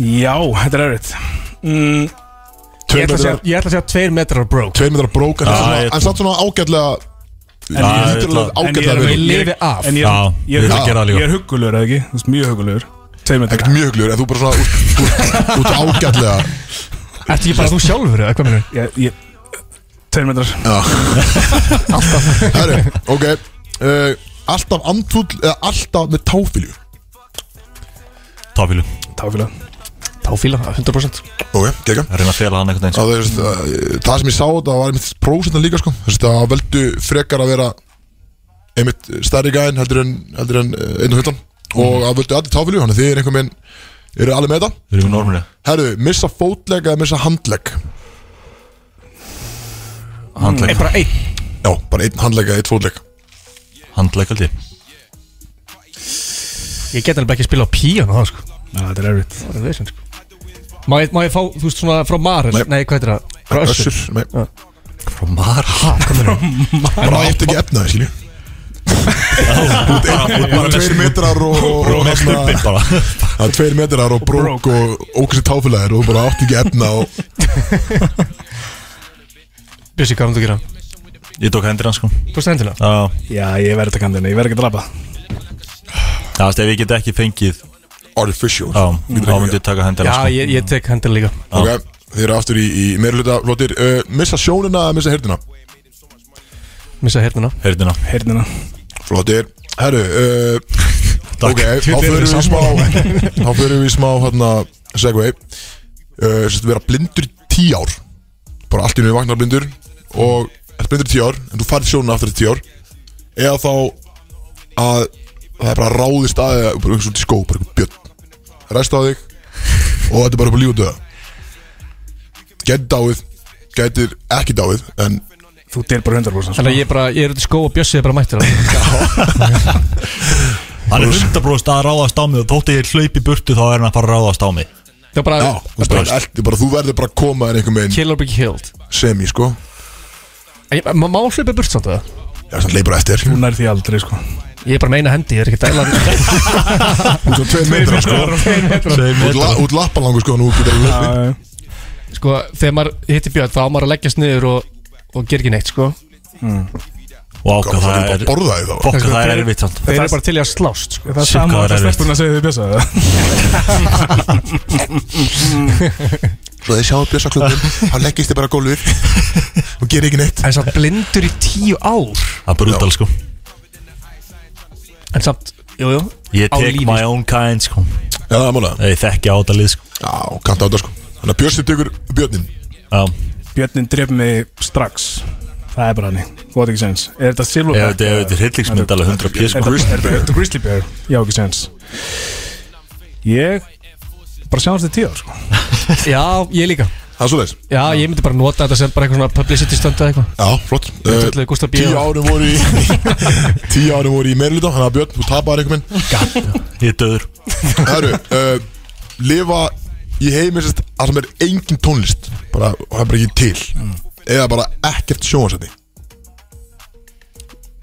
D: Já, þetta er erfitt mm,
E: Ég
B: Tveir
E: ætla að segja-
B: metrar,
E: ég ætla að segja 2 metrar broke
B: tveir metrar brók En
C: Já,
B: samt
C: ég-
B: svona- en samt svona ágætlega
D: En ég-
B: Lítur
C: ég-
B: alveg
D: en ég
B: ágætlega
D: er-
B: vel
E: Ég
B: út.
E: lifi af
D: En ég,
C: Já,
D: ég,
C: við
D: ég,
C: erum að gera það
D: ég
C: líka.
D: er huggulegur, eða ekki? Þú veist, mjög huggulegur Tveir metrar
B: Ekkert mjög hugljur, en þú bara svona út- út- Út ágætlega
E: Ertu ekki bara þú sjálfur eða hvað minnur?
D: ég, ég, Tveir metrar
B: Herri, ok uh, Alltaf andfúll eða alltaf með táfylju
C: Táfílu
D: Táfíla
E: Táfíla, 100%
B: Ok, gegga
C: Að reyna að fela hann einhvern veginn sko.
B: Það, er, veist, það, það sem ég sá þetta var einmitt prósentan líka sko Þú veist, Það veldu frekar að vera einmitt stærri gæðin heldur en, heldur en eh, 1.15 og að völdu allir táfylju þannig að þið er einhver minn eru alveg með þetta
C: Við erum í norminu
B: Herru, missa fótlegg eða missa handlegg
E: Nei,
C: Handlegg
E: bara einn
B: Já, bara einn handlegg eða einn fótlegg
C: Handlegg aldrei
E: Ég get alveg ekki að spila á píano það sko
D: Já, þetta er erfitt
E: Það er vesen sko Má ég, má ég fá, þú veist svona frá Marel
B: Nei.
E: Nei, hvað heitir það? Frá Össur
B: nei
C: Frá Mara Hvað með það?
B: Bara átt ekki efnaði, skilju Bara tveir metrar og, og, og,
C: Með
B: hérna,
C: stubbin bara
B: það er Tveir metrar og brók og ókvæmst táfylæðir og þú bara átt ekki efna og
E: Bjössi, hvað erum þú að gera?
C: Ég tók hendur hans sko
E: Þú veist hendina?
C: Já
D: Já, ég verði þetta kandina, ég verði ekki að drapa
C: Það veist, ef ég get ekki fengið
B: artificial
C: Já, þá myndi ég taka hendur
E: Já,
C: hans sko
E: ég, ég tek hendina líka
B: Ok, þið eru aftur í, í meirluta Lóttir, uh, missa sjónina eða missa herdina?
E: Missa hérna
C: Hörðina
D: Heyrnina
B: Flottir Herru, uh,
C: Takk.
B: ok, þá
E: Tjöfull
B: fyrir
E: eru
B: við í smá Þá fyrir við í smá, hérna, segway uh, Sérst, vera blindur í tí ár Bara allt í nöðu vagnar blindur Og ert blindur í tí ár En þú færð sjónuna aftur í tí ár Eða þá að Það er bara ráðist að Bara einhvers út í skó, bara einhver björn Ræst á þig Og þetta er bara upp á líf og döða Gæti dáið Gætir ekki dáið En
D: Þú deyr bara sko. 100%
E: Þannig að ég bara, ég er út í skó og Bjössi er bara mættur það
C: Hann er hundabróst að ráðast á mig og þótti ég hlaupi burtu þá er hann að fara að ráðast á mig
E: Það er bara,
B: Já, þú, veist, bara, allt, bara, þú verður bara að koma þér einhver meginn
E: kill or be killed
B: semi, sko
E: En ég- Má má hlaupa burt samt það?
B: Já, þannig leipur eftir
D: Hún nær því aldrei, sko
E: Ég er bara meina hendi, ég er ekki að dæla
B: Út á tveir metrar, sko
C: Segir
B: Út, la, út lappalangur, sko, nú getur það löpið
D: Já,
E: Sko, þegar maður hittir Björn þá á maður að leggjast niður og, og ger ekki neitt sko
C: Og
B: Það
C: ákvað það
B: er
C: er
B: bara að borða því þá
C: Fokka það er erfitt samt
E: Þeir eru bara til í að slást sko
D: Það er
C: Shit,
D: sama
C: hvað það
D: að
C: er erfitt.
D: stelpurinn að segja því bjösa það
B: Svo þið sjáu bjösa klubun Þá leggist þið bara á gólfið Og gerir ekki neitt
E: En samt blindur í tíu ár
C: Það er brutal sko
E: En samt, jú, jú
C: Ég
E: Á
C: tek
E: lífi.
C: my own kind sko
B: Já, það er málega
C: Ég þekki átalið sko
B: Já, kanta á þetta, sko Þannig að bjössi tekur björnin
C: Já,
D: Björnin dref mig strax það er bara hannig Þú átt ekki sens Er þetta silver
C: Ef þetta- ef þetta er hryllingsmynd alveg 100 pés,
D: Er
C: sko.
D: þetta- er þetta grizzly bear? Já, ekki sens Ég bara sjáumst þið tíu ár sko
E: Já, ég líka
B: Það er svo leiðis
E: Já, ég myndi bara nota þetta sem bara eitthvað svona publicity stunt eða eitthvað
B: Já, flott
E: Þetta ætlaði Gústaf B.
B: Tíu árum voru í Tíu árum voru í meirluta Þannig að Björn, þú tapar einhvern minn
C: Ég er döður
B: Herru, uh, lifa í heimi sérst Það sem er engin tónlist bara, og Það er bara ekki til
E: Mm.
B: Eða bara ekkert sjónvarsætti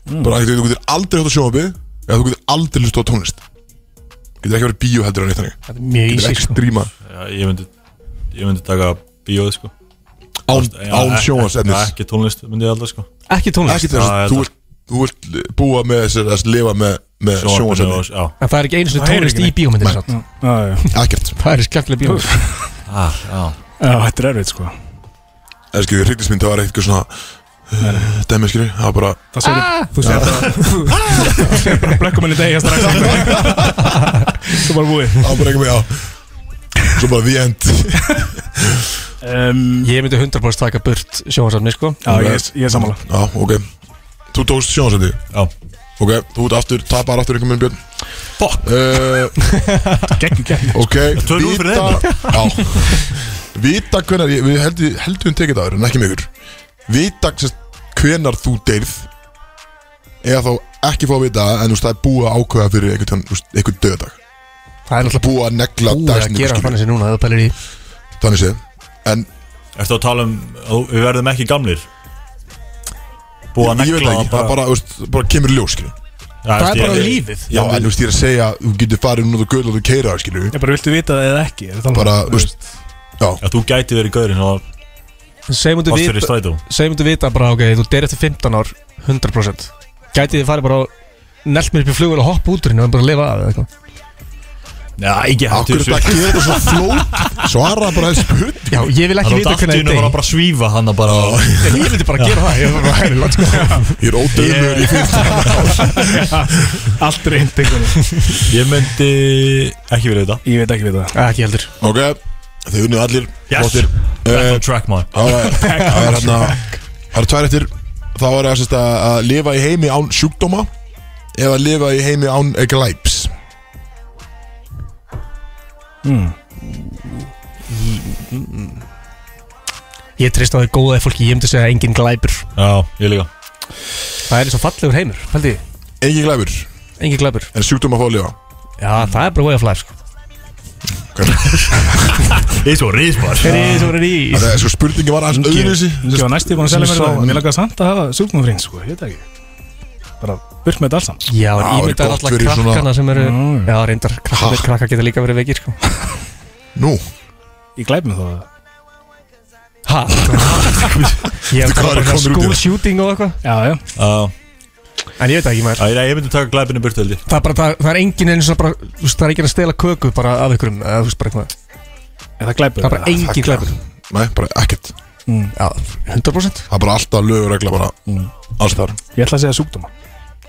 E: Mm.
B: Bara ekkert, þú getur aldrei hótt á sjónvarpið Eða þú getur aldrei hlustu á tónlist Getur ekki verið bíó heldur en eitt þannig
E: Þetta er mjög
B: Getur
E: easy
B: ekki
E: sko
B: stríma
C: Já, ég myndi Ég myndi taka bíóð sko
B: án, án
C: Já,
B: sjónvarsættis
C: e- Ekki tónlist myndi ég aldrei sko
E: Ekki tónlist
B: Ekki þess
C: Já,
B: að
C: ég
B: þú
C: held
B: vilt Þú vilt búa með þess að lifa með, með
C: Sjónvarpinu
B: sjónvarsætti
C: og- Já,
E: En það er ekki einu svona
D: Það er
E: tónlist
D: ekki
E: í bíómyndinni
B: Nei.
E: samt.
D: Já, já
B: Ekkert
E: Það er skemmtileg bíómynd
C: Ah, já
D: Já, þetta er erfitt sko
B: Það er skilur, hryggismynd, það var eitthvað svona uh, Dæmi skilur, það var bara
D: Það segir
E: Ah.
D: Þú segir bara Þú segir bara blökkum henni degja strax Þú bara búið
B: Það var bara eitthvað, já Svo bara the end
D: um,
E: Ég myndi 100% taka burt sjónvarsafni sko
D: Já, ég, ég er sammála
B: Já, ok Þú tókst sjónsætti
C: Já.
B: Ok, þú ert aftur, tapar aftur einhvern minn björn
C: Fuck.
B: uh,
D: Gekki, gekki
B: Ok,
C: Tvö núll fyrir
B: vita Já Vita hvenar, ég- við heldum held við tekið það áður en ekki með ykkur Vita sérst, hvenar þú deyrð Eða þá ekki fá að vita En þú veist, það er búið að ákveða fyrir einhvern, þú veist, einhvern döðdag
E: Það er náttúrulega
B: Búið að negla
E: búið að
B: dagsetningu,
E: gera
B: skilur.
E: þannig sem núna Það pælir í
B: Þannig séð En
C: Ertu að tala um að Við verðum ekki gamlir Búið að
B: Ég- ég veit
C: negla
B: það ekki, það bara, veist, bara kemur ljós skilur.
E: Það er bara lífið
B: Já, en þú veist, ég er að segja Þú getur farið nú og göll og þú keira skilur.
D: Ég bara viltu vita það eða ekki er það
B: Bara,
D: þannig?
B: þú veist Já,
C: Já, þú gæti verið gaurinn og
E: Segmundu
C: varst fyrir
E: vita,
C: strætó
E: segmundu vita bara ok Þú deyr eftir 15 ár 100% Gæti þið farið bara á Nellt mér upp í flugvel og hoppa út úr henni Og bara lifa af eða eitthvað
C: Já, ekki hættu
B: Akkur er þetta
C: þessu
B: að gera þetta svo flót Svara bara þessi spurning
E: Já, ég vil
C: Hann
E: ekki
C: átti
E: vita hvernig
C: aftíðinu var
E: ég
C: að
E: deyr
C: bara svífa hann bara
E: Ég myndi bara gera það Ég var bara hæri langt
B: Ég er ódöðlur í fyrst
D: Allt reynd einhvern veginn.
C: Ég myndi ekki verið þetta
D: Ég veit ekki við það
E: Ekki heldur
B: Ok, þið unnið allir Flottir. Eh,
C: Back on track maður
B: Það er- það er hérna Það eru tvær eftir Þá er það sérst að að lifa í heimi án sjúkdóma Eða lifa í heimi án glæps
E: Ég treyst á því góða eða fólki Ég myndi segja engin glæpur
C: Já, ég líka
E: Það er eins og fallegur heimur Fældi
B: Engin glæpur
E: Engin glæpur
B: En sjúkdóma fá að lifa
E: Já, það er bara way of life sko.
C: Ég er svo rismar
E: Það er svo verið í
B: Það er sko spurningi var aðeins öðruvísi
D: Ég var næstu búin að
B: sem
D: selja mér
B: sá
D: það
B: hann.
D: Mér langar samt að hafa sjúknumfrín sko Ég veit það ekki Bara burt með þetta alls saman
E: Já,
B: Já,
E: en
B: það er
E: ímyndar
B: gott
E: alltaf
B: fyrir svona-
E: krakkana sem eru
D: Mm.
E: Já, reyndar krakkar,
B: Ha?
E: krakkar geta líka verið veikir sko.
B: Nú,
D: Ég glæp með það
E: Ha? Ég hef
B: Veitu hvað
E: bara
B: er
E: eitthvað
B: komnir út í
E: school
B: það?
E: shooting og eitthvað
D: Já, já
C: Já,
E: En ég veit það ekki maður
C: ég myndi taka glæpinu burt held ég
E: Það er bara, það, það er engin eins og bara þú veist, Það er engin að stela köku bara af ykkurum eða, þú veist, bara eitthvað.
D: En það glæpur
E: Það er bara engin glæpur
B: nei, bara ekkert Mm.
E: Já, 100%
B: Það er bara alltaf lögur regla bara Alls þar
D: Ég ætla að segja sjúkdóma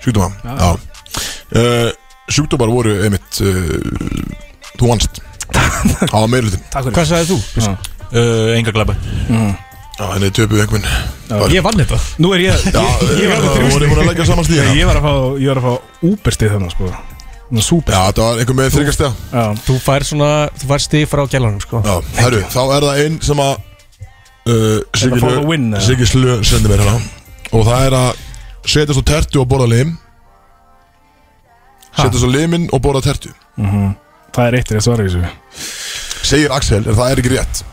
B: Sjúkdóma, já uh, Sjúkdómar voru einmitt uh, Þú vannst Það var meirlutin
D: Takk fyrir
E: Hvað sagðið þú?
D: Eh,
C: uh, Enga glæpa
B: Já, henni töpuð einhvern Bara-
E: Ég vann þetta
D: Nú er ég
B: Já,
D: Ég var með
B: það
D: þrjú
B: voru búin að leggja saman stíð
D: Ég
B: Já,
D: var að fá Ég var að fá úberstið þarna sko Nú súper
B: þetta var einhver með þryggast það
D: Já
E: Þú fær svona, þú fær stig frá gælanum sko.
B: Já, herru, þá er það einn sem að uh, Siggi
D: for the win,
B: Slö-
D: eða?
B: Siggi Slö sendi mér hérna Og það er að setja svo tertu og borða lim
E: Ha?
B: Setja svo limin og borða tertu
D: Það er eittir að svara í þessu sko.
B: Segir Axel, en það er ekki rétt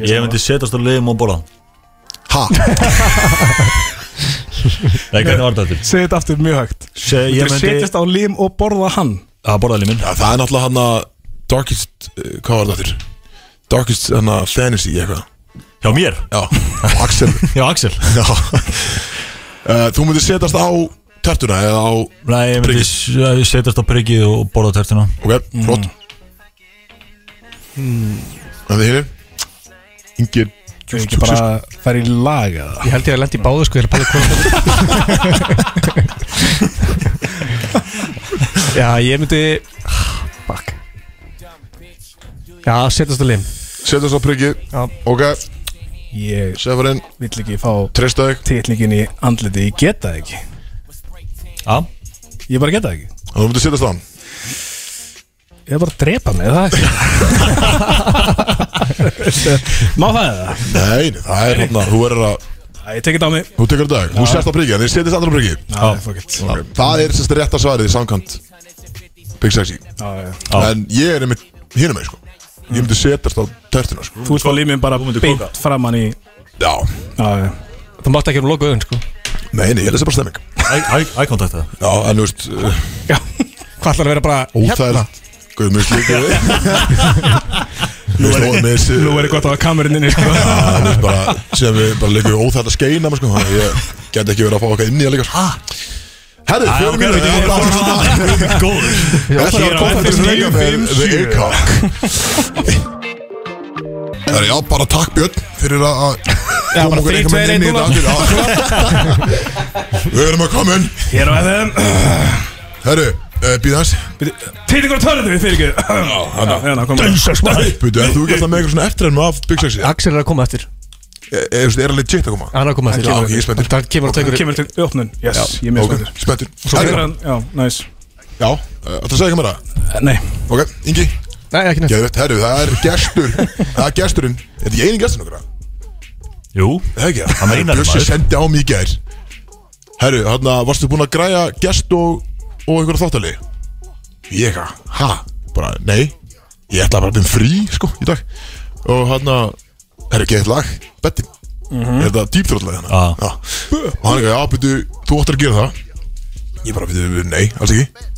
C: Ég myndi setjast á liðum og borða
B: Ha,
C: Nei, hvernig var þetta til?
D: Segð þetta aftur mjög hægt
C: Se,
D: Þú
C: ég myndi
D: setjast á lim og borða hann
C: að borða limin
B: Já, það er náttúrulega hann að Darkest, uh, hvað var það þurr? Darkest hann að Fantasy eitthvað
C: Hjá mér,
B: Já, Axel
C: hjá Axel
B: Já uh, Þú myndir setjast á tertuna eða á
C: Nei, ég myndi
B: Priggið.
C: s- eh, setjast á priggið og borða tertina
B: Ok, flott En þið hér Ingir
D: Ég ekki bara fara í lag eða
E: Ég held ég að lendi í báðu sko, ég er að pæla hvað Já, ég myndi Fuck Já, setjast á lim
B: Setjast á priggi
E: Já.
B: Ok
D: Ég
B: Severin,
D: vill ekki fá
B: treystaðu þig
D: titlingin í andliti, ég get það ekki
C: Já,
D: Ég bara get það ekki
B: og þú myndir setjast á hann
D: Ég er bara að drepa mig, er það ekki Má það eða?
B: Nei, nei, það er hérna, þú verður að
D: Æ, Ég tekið á mig
B: Þú tekur þetta dag, þú sérst á prikið, en þið setjast aðra prikið
D: Já, fuck it Já,
B: okay. Það er sérst rétta svarið samkant Big Sexy
D: já.
B: En ég er einmitt hinum með, sko Ég myndi setjast á tertina, sko
D: Þú ert fá límið bara beint framann í
B: Já,
D: Já, já
E: Það mátt ekki um loka auðin sko
B: nei, nei, ég lesi bara stemming
C: ækontakt það
B: Já, en þú veist, uh,
E: Hvað ætlar að vera bara hérna?
B: óþægilegt Guð, mér slíkur við Þú veist, og með þessi
D: Nú er ég gott á kamerunni sko.
B: Já, þú veist, bara, sem við bara leikum við óþægt að skeina maður, sko, þannig að ég get ekki verið að fá okkar inn í að leika sko. Herri, fjögur mínútur í að Þetta er að koma til leika með The Eikak Það er já, bara takk Björn fyrir að að koma okkur
D: þrír,
B: einhvern
D: tveir,
B: veginn inn í
D: einn
B: þetta aftur, já. Við erum að koma inn
D: Hér á FM
B: Herri, uh, býð hans
D: Tilingur og törnum við fyrir ekki Dönsastæð
B: Býtu, er þú ekki alltaf með eitthvað svona eftirrennum af Big Sexy?
E: Axel er að koma eftir
B: Er eh, er- þú veist, er hann legit að koma?
E: Hann er að koma eftir
B: Já, ok, ég er spenntur.
E: Það kemur að
D: Það
E: tegur
D: kemur til opnun Yes, ég er mjög
B: Ok,
D: spenntur
B: spenntur
D: Svo
B: Herri,
D: fyrir hann Já, næs
B: Já, uh, ætla að segja ekki meira
D: Nei
B: Ok, Ingi
E: Nei, ekki neitt
B: Geðvett, herru, það er gestur Það er gesturinn Er þetta eini gesturinn okkar?
C: Jú,
B: Það er ekki
C: Hann meinar
B: Bjössi
C: maður.
B: sendi á mig í gær Herru, hérna, varstu búin að græja gest og og einhverja þáttali? Ég eitthvað, ha? Bara, nei Ég ætla bara að byrja frí, sko, í dag Og hérna, herru, geðið lag Bettin Er þetta dýpþrótlega hérna?
C: Já.
B: Já Og hann eitthvað, já, byrju, þú ættir að gera það Ég bara, byrju, nei, alls ekki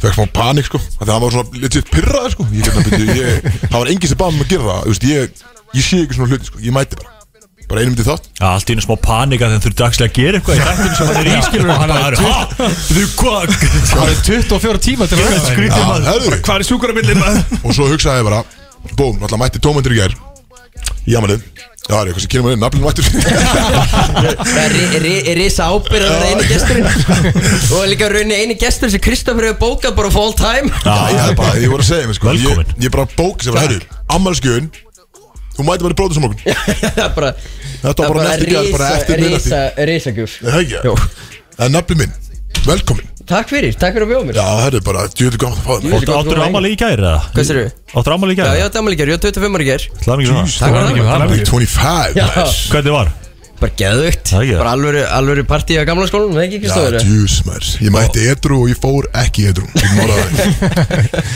B: fekk smá panik sko af því að hann var svona legit pyrraði sko ég hérna byrju, ég, það var enginn sem bað mér að gera það þú veist, ég, ég sé ekki svona hluti sko ég mæti bara bara einum til þátt
C: Já, allt í einu smá panika þegar þurfti axli að gera eitthvað í þættinu sem það er ískilur og hann er hæ, þú hvað
E: Það er 24 tíma til að vera
C: skrítið
B: Já,
C: maður
B: herðu.
D: Hvað er sjúkurabillin maður?
B: og svo hugsaði ég bara búm, náttúrulega mætti tómendur í gær í amalið já, það er eitthvað sem kynum að reyna nafnum mættur
G: Það er ri- ri- risa ábyrð að vera eini gesturinn Og líka raunin eini gesturinn sem Kristoffer hefur bókað bara full time
B: já, ég, bara, ég voru að segja mér sko ég,
C: Velkomin.
B: ég bara bók sem bara, herru, amalskjöðun þú mæti bara í bróðum morgun
G: Það er bara
B: þetta var bara nætti gær bara eftir minnati
G: Risa, risa guf Jó.
B: það er nafnum minn velkomin
G: Takk fyrir, takk fyrir að bjóða mér
B: já, herru, bara djúðu gaman að fá þig
G: Djöfull.
C: Áttu- Áttu ámali í gæri eða?
G: Hvað sérðu?
C: Áttu ámali í
G: Já, ég
C: gæri?
G: átti afmæli í gær, ég var 25 ára í gær
C: Það er mikið
G: Takk
C: svona
G: fyrir það.
B: bara 25
G: Já,
B: maður.
C: Hvernig var?
G: bara geðugt
C: Það er ekki.
G: Bara alvöru, alvöru partí á gamla skólanum, það ekki
B: Já,
G: Kristoffer?
B: djús maður, ég mætti edru og ég fór ekki edru Ég morðaði það.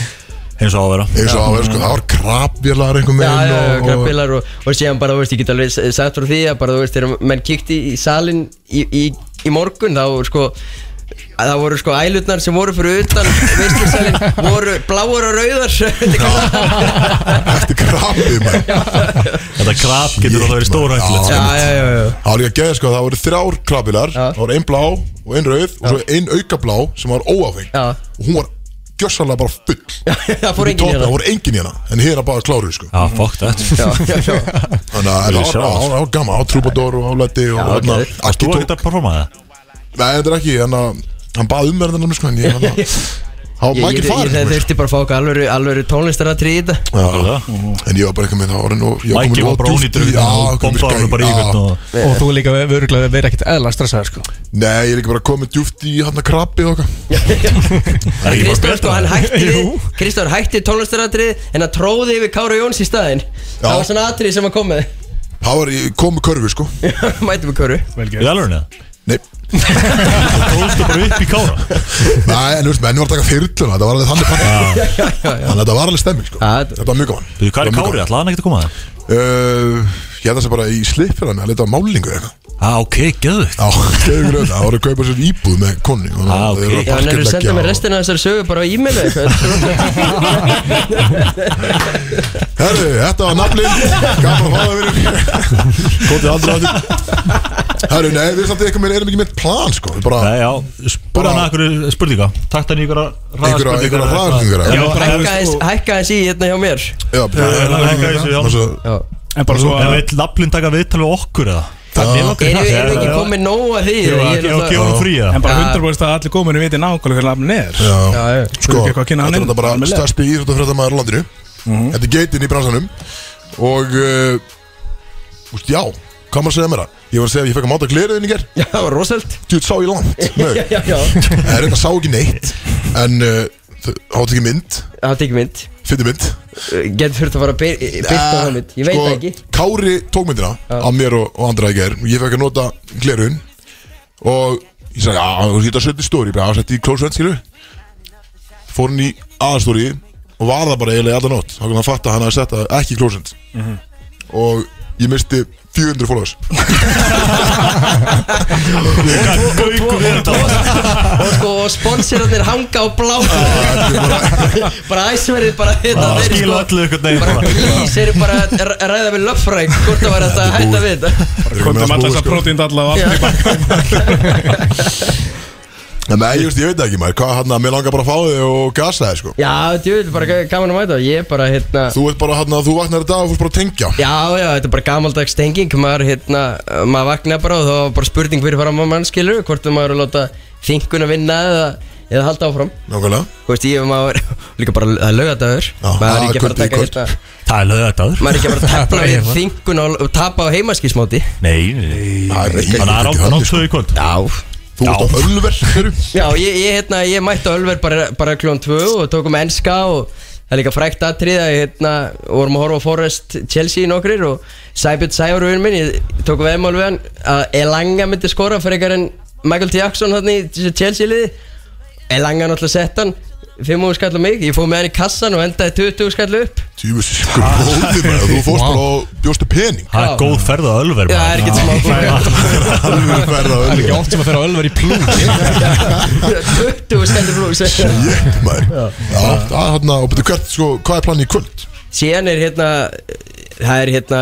C: Eins og á að vera
B: eins og á að vera sko, það var krabjarlar einhvern
G: Já,
B: veginn
G: já, já,
B: og- og-
G: grabbilar og, og síðan bara, þú veist, ég get alveg s- sagt frá því að bara, þú veist, þegar menn kikti í salin í, í, í morgun, þá, sko að það voru sko ælutnar sem voru fyrir utan veistlusalinn, voru bláar og rauðar Þetta er
B: Eftir krabbi maður
C: Þetta krab getur alltaf verið stóra
B: Já.
G: Já, já, já, já
B: Það var líka að geða sko, það voru þrjár krabjarlar
G: Já.
B: Það voru ein blá og ein rauð og svo ein aukablá sem var óáfeng
G: Já.
B: Og hún var gjössalega bara full
G: Það fór
B: Í toppnum,
G: enginn hérna
B: Það voru engin hérna, en hérna bara kláruð sko
C: Já, fuck that
G: Já, já, já
B: Þannig að
C: Ég
B: það
C: sjá
B: var-
C: Ah. það.
B: það var gaman, á trúbador og á leti og hérna
G: geðveikt.
B: allt í
C: Þú var
B: tók
C: ekkert að performa það?
B: Nei, þetta er ekki, hann að- hann bað um verðan sko, en ég hann að- Það var
G: Ég,
B: mækir
G: ég, ég, ég
B: farin
G: þurfti bara að fá okkur alvöru, alvöru tónlistaratri í þetta
B: Já, Mhm. en ég var bara eitthvað með það orðin og ég
C: Mæki
B: komin
C: var
B: of
C: bara
B: djúpt
C: ón í drögn
B: já,
C: og
B: komin
C: bombaði hann
B: skæ-
C: bara í
B: já.
C: hvern og
E: Og þú líka öruglega verið ekkert eðla stressaður sko
B: Nei, ég er ekki bara komin djúft í hann að krabbi og okkar
C: Nei, ég var
G: Kristóður sko,
C: betra.
G: hann hætti
C: Jú.
G: Kristóður hætti tónlistaratri en hann tróði yfir Kára Jóns í staðinn Það var svona atrið sem hann kom með
B: Það var, ég kom með körfu sko
G: Mætum við Káru
C: Í alveg neða?
B: Nei,
C: Þú tóðstu bara upp í kára
B: Nei en þú veist, menn var að taka þyrluna, þetta var alveg þannig pakka Þannig að þetta var alveg stemming sko
G: Já, þetta-
B: Þetta var mjög gaman
C: Þú, hvað er kári? Ætlaði hann ekkert að koma það?
B: Uh, ég held að það sé bara í slipfjörðan að leta á málingu eða eitthvað
C: Já, ok, geðvikt
B: Já, skefur auðvitað, það voru að kaupa sér íbúð með konni og
C: Ah,
B: þeir eru að
C: ok.
G: Já, hann er að
B: parkerleggja
G: senda
B: og-
G: mér restina af þessari sögu bara á e-mailu eða eitthvað.
B: Herru, þetta var naflinn Gaman að fá það verið Kótið aldrei áttir Herru, nei, við samt eitthvað með erum ekki með plan sko Við bara
C: Nei, já, spurði hann einhverju spurninga Takt hann í einhverja
B: einhverja einhverja hraðarspurningar eða?
G: Hækka aðeins- hækka aðeins í hérna hjá mér
B: Já,
C: já, já, já, já.
B: bara- svo-
G: Já.
D: En bara svo
C: En
D: að
C: veit Laplin taka viðtal við okkur eða?
G: Erum við erum við
C: Já,
G: ekki
C: já.
G: komið nóg að því?
C: Jú,
G: Ég er
C: ekki og
G: náttúrulega-
C: gefa hann frí eða?
D: En bara 100% að allir góminni veitir nákvæmlega hvernig lafnir er
B: Já,
G: Já, já.
B: sko,
D: Þú ekki
B: þetta
D: eitthvað að
B: er
D: kynna hann inn?
B: þetta bara
D: Almennilega. Mhm.
B: stærsti íþróttafréttamaður á landinu Þetta er geitin í bransanum og uh, Úst, já, hvað maður að segja mér það? Ég var að segja að ég fekk að máta glerðin í ger
G: Já, það var rosald
B: Þú sá ég langt Nei,
G: Já, já, já
B: það er þetta sá ekki neitt En uh, hátt ekki mynd,
G: Það tekið mynd
B: fyrir mynd Sko,
G: Getur þurft að fara að byr- byrta
B: Ah,
G: það mynd Ég veit það ekki
B: Kári tók myndina af mér og, og andra í ger Ég fekk að nota glerðin Og ég sagði, já, þú getur að setja í stóri Ég bara setti í klósvend, skilu Fór hann í aðastóri Og var það bara eiginlega í alla nótt Þá kannu hann fatta að hann að setja ekki í klósvend Og ég misti 400 followers
C: Gaukur er þetta
G: Og sko, og sponsorarnir hanga á blá Bara æsverið bara hérna
C: Það
G: þeir
C: skilur
G: sko-
C: öllu ykkur neginn
G: Bara
C: bara.
G: please, eru bara að r- ræða við löffræk Hvort það var þetta að hætta við þetta
D: Kontum alltaf
B: sko.
D: þess að prótínd allavega
G: Já.
B: Nei, Nei, ég, veist, ég veit það ekki maður, hvað hann að mér langar bara að fá þig og gasa þig sko
G: Já, djúvill, bara g- gaman að mæta Ég er bara, hérna
B: Þú veit bara hann að þú vaknar í dag og fórst bara að tengja
G: Já, já, þetta er bara gamaldags tenging maður, hérna, maður vakna bara og þá var bara spurning fyrir fram að mann skilur hvort að maður er að láta þinguna vinna eða, eða halda áfram
B: Nákvæmlega
G: Þú veist, ég maður, líka bara það er lögadagur maður er
B: ah,
G: ekki að fara
B: kvöldi,
G: að taka
B: kvöld.
G: hérna
C: Það er lögðardagur
G: maður er ekki að fara að tefla við þinguna og- og tapa á heimaskísmáti
C: Nei, nei
B: Æ, nei,
C: Þannig
B: ekki
C: að það er átt að
B: þannig,
C: nátt
B: sko.
C: svo í kvöld
G: Já
B: Þú veist á ölver fyrir
G: Já, ég, ég, hérna, ég mætti á Ölver bara, bara klón 2 og tókum enska og það er líka frækt aðtrið að hérna, vorum að horfa á Forrest Chelsea í nokkrir og Sæbjörn Sæjárúin minn, ég tók veðmál við hann að Elanga myndi skora fyrir ykkar en Michael T. Jackson hann í þessu Chelsea liði Elanga náttúrulega sett hann 5 úr skall á mig, ég fóð með hann í kassan og endaði 20 skall upp
B: Tjúfus, sko
G: Ah.
B: góði maður, þú fórst bara og bjóstu pening
C: Það er góð ferð að ölver
G: Já, það er ekkert smá
B: Alveg verða ölver
E: Ekki oft sem að fer á ölver í plús
G: 20 skall blús
B: Jætt maður Já, það er hann að, og betur hvert, sko, hvað er planið í kvöld?
G: síðan er hérna það er hérna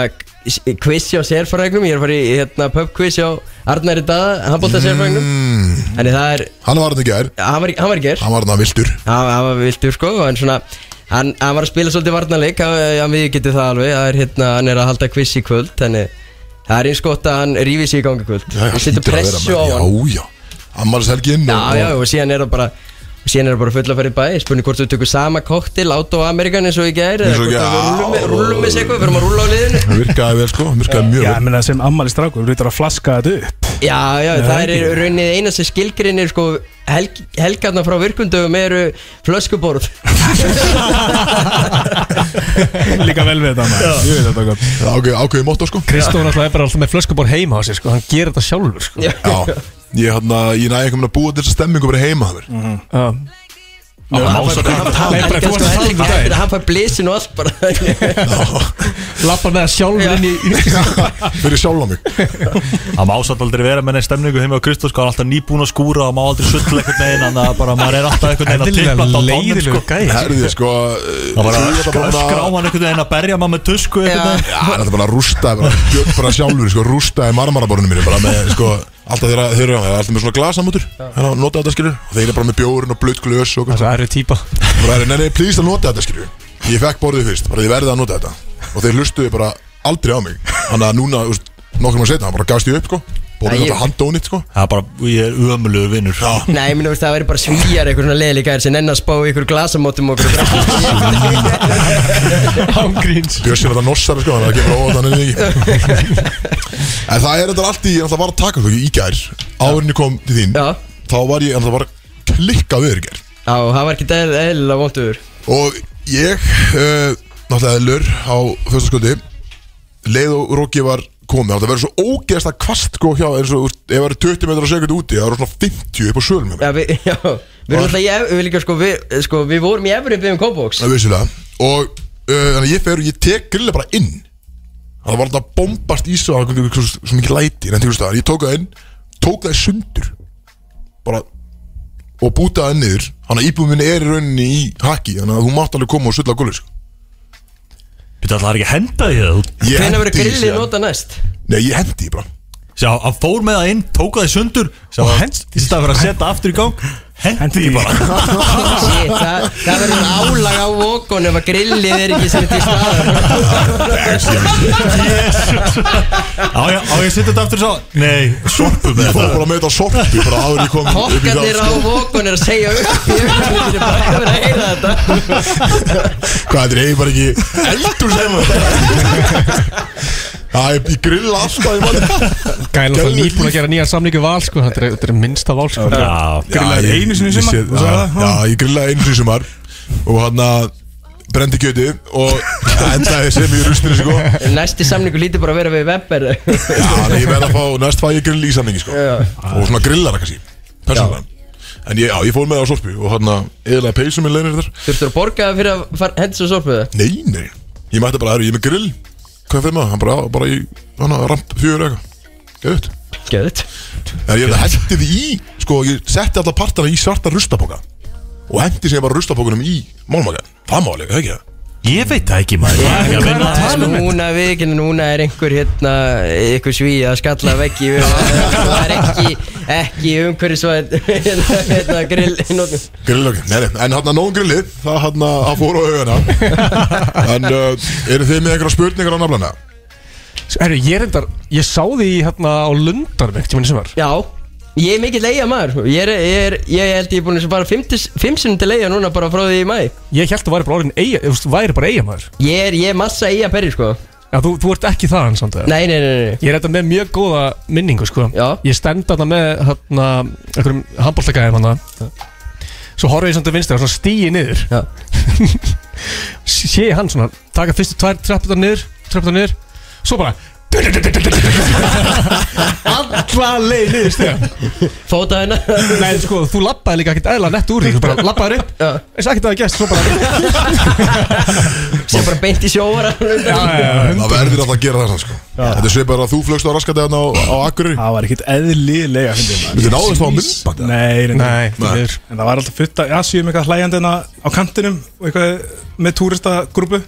G: quiz hjá sérfræðingnum, ég er að fara í hérna, pub quiz hjá Arnari Dada handbólta sérfræðingnum
B: Mm,
G: þannig það er,
B: hann var hann í gær,
G: hann var, hann var í ger
B: hann var hann að viltur
G: hann, hann var viltur sko en svona, hann, hann var að spila svolítið varnarleik hann, hann við getum það alveg, það er hérna hann er að halda quiz í kvöld, þannig það er eins gott að hann rífi sig í gangi í kvöld
B: Já, já,
G: og setur
B: hlýtur að vera,
G: pressu á
B: maður.
G: hann
B: Já, já, ammars helgin
G: já, já, og síðan er það bara og síðan er það bara fulla að fara í bæ spurning hvort þú tökur sama koktil, átó Amerikan eins og í gær eða
B: Eins og í
G: hvort
B: gær,
G: að við rúllum með-
B: já.
G: rúllum með sig eitthvað, við erum að rúlla á liðinu
B: Virkaði vel, sko, virkaði mjög
D: Já, ég
B: vel
D: meina sem ammali strákur, þú reytar að flaska þetta upp
G: Já, já,
D: Nei,
G: það
D: ekki.
G: er raunnið eina sem skilgrinir sko, helg, helgarna frá virkundum eru flöskuborð
D: Líka vel við þetta maður Ég veit þetta gott
B: Ákveði, ákveði mótt sko
E: Kristóf náttúrulega er bara alltaf með flöskubor heima á sér sko. Hann gerir þetta sjálfur sko.
G: Já,
B: Já, ég, hann að, ég næði einhvern veginn að búa til þessa stemmingu fyrir heima það verið
E: Já. Nei, bara, þú varst að tala um þetta
G: Helgarna, hann fær blísin og allt bara
E: Lappar með það sjálfur inn í
B: Fyrir sjálf á mig
C: Það má satt aldrei vera með neinn stemningu heima á Kristus Hvað er alltaf nýbúin að skúra og má aldrei sull eitthvað neginn Þannig að bara maður er alltaf eitthvað neginn að tippa alltaf á tónum sko.
E: gæði
B: Herðið sko
C: Það var að öskra öskra á hann eitthvað neginn að berja maður með tusku eitthvað
G: Já.
C: neginn
B: Það er bara að rústa bara, gjörn bara sjálfur, sko, rústa í marmaraborinu mínu bara með, sko, alltaf þeirra, þeirra það er alltaf með svona glasamútur, hérna, nota þetta skilur og þeir eru bara með bjórun og blöitt glös og
E: Það er típa
B: bara, nei, nei, please að nota þetta skilur ég fekk borðið fyrst, bara þið verðið að nota þetta og þeir hlustuðu bara aldrei á mig þannig að núna, þú veist, nokkur maður setja hann bara gafst ég upp, sko,
G: Æ,
B: borðið
G: ég-
B: þetta handónit, sko
C: Það er bara, ég er ömulegu vinnur Já,
G: Nei, ég minna veist það væri bara svíjar eitthvað svona leðlíkar sem enn að spá í ykkur glasamótum okkur
E: Ángríns
B: Bjössi var það nossari sko, þannig að það kemur óvart hann inn í ekki En það er þetta allt í, ég náttúrulega var að taka þú í gær Áðurinn ég kom til þín,
G: Já,
B: þá var ég náttúrulega bara klikkað við þér í gær
G: já, það var ekki eðlilega vondur
B: Og ég, uh, náttúrulega eðlur á fyrstasköldi Leið og Róki var komið, það verður svo ógeðslega kvast sko hjá eins og, þú veist, ef það eru 20 metrar á sekundu úti, það eru svona 50 upp á sölum hérna. hjá mér
G: Já, við, já, við erum alltaf í ef- við líka sko, við, sko, við vorum í efrið byggjum kópóks
B: Það er vissulega Og uh, þannig að ég fer og ég tek grilla bara inn Það var alltaf bombast í svo Það var svo, svo mikið læti en, staðar, Ég tók það inn, tók það í sundur Bara Og bútaði það niður Þannig að íbúið minni er í rauninni í haki Þannig að þú mátt alveg koma og sulla gulli sko.
C: Býta alltaf ekki að henda því það þú-
B: Ég
G: Hvenær verður
B: hendi í
G: grillið
B: síðan.
G: nota næst?
B: Nei, ég hendi í bara
C: Sjá, hann fór með það inn, tók það í sundur Sjá,
E: Og
C: hann,
E: hendi-
C: í stað fyrir að setja aftur í gang Hendi
D: Hendi
C: því
D: í.
C: bara
G: Shit, það, það verður álag á vokun ef að grillið er ekki sett í staðar
C: Á ég á ég að setja þetta aftur svo Nei, sorpu
B: Ég
C: með
B: fór
C: þetta
B: bara með þetta sorpu Bara áður en ég kom upp í
G: Kokkarnir
B: það,
G: á
B: sko.
G: vokun er að segja upp í augnablikinu, bara að vera að heyra þetta
B: Hvað þetta er eiginlega bara ekki Eldur sem þetta Já, ég, ég grilla alltaf í manni
E: Gæla það
B: Gæla
E: nýbúin
B: líf.
E: að gera nýjan samningu val sko, þetta er, þetta er minnsta val sko.
C: Já,
D: Grillaði
B: Já, ég-
D: einu sinni
B: ég
D: í sumar,
B: sé-
D: þú sagði
B: já,
D: það?
B: Já, ég grillaði einu sinni í sumar Og hann að brendi kjöti Og endaði sem í rustinu sko Já,
G: Næsti samningu lítið bara að vera við Webber
B: þannig að ég verð að fá Næst fæ ég grill í samningi sko Og svona grillara kannski Persónlega En ég, já, ég fór með það á sorpu Og hann að eðlaði peysum í leirinu þar
G: Þurftur að borga fyrir að fara- henda svo sorpuðu
B: Nei, nei Ég mætti bara, herru, ég er með grill Hvað fyrir maður? Hann bara, bara í, hann að ramp fjögur eða eitthvað Geðut
G: Gjöðut
B: En ég hendi því í, sko, ég setti alla partana í svarta rustapoka Og hendi sem bara rustapokunum í málmakan Það má alveg, ekki það?
C: ég veit það ekki maður Ég sko. er ekki að vinna
G: Núna við ekki, núna er einhver hérna Einhver sví að skalla veggi við- Það er ekki, ekki umhverfisvæð Hérna, hérna grill notkun.
B: Grillökin, nei, nei, en hann að nógum grillið Það hann að að fór á augana En uh, eru þið með einhverja spurningar á naflana?
E: Herru, ég reyndar, ég sá því hérna á Lundar með tímann sem var
G: Já Ég er mikill leiða maður sko. Ég, er, ég, er, ég held ég er búin að bara fimm til- fimm sinnum til leiða núna bara frá því í mæ
E: Ég held þú væri bara orðin eiga, þú veist, þú væri bara eiga maður
G: Ég er, ég er massa í að perri sko
E: Já, þú, þú ert ekki það hans samt eða?
G: Nei, nei, nei,
E: Ég
G: nei
E: er þetta með mjög góða minningu sko
G: Já.
E: Ég stend þarna með hérna einhverjum handbóltagæðum hann Svo horfði ég samt til vinstri og svona stíi niður
G: Já.
E: Sé ég hann svona taka fyrstu tvær trapputar niður trapputar niður Svo bara Alla leið niður stíðan
G: Fóta hennar
E: Nei sko þú labbaði líka ekkert eðla nett úr því Þú bara labbaði upp
G: Já.
E: Eins og ekkert að það gæst Svo bara
G: Sem bara beint í sjóvar
B: Það verður alltaf að gera það, samt, sko Þetta er svipar að þú flögst á raskati hann á, á Akureyri
D: Það var ekkit eðlilega fyndið, maður.
B: Þú náðist á myndbandi eða?
D: Nei, reyndar.
E: Nei, því
B: Nei.
E: miður.
D: En það var alltaf fullt að Asíum eitthvað hlægjandi hérna á kantinum og eitthvað með túristagrúpu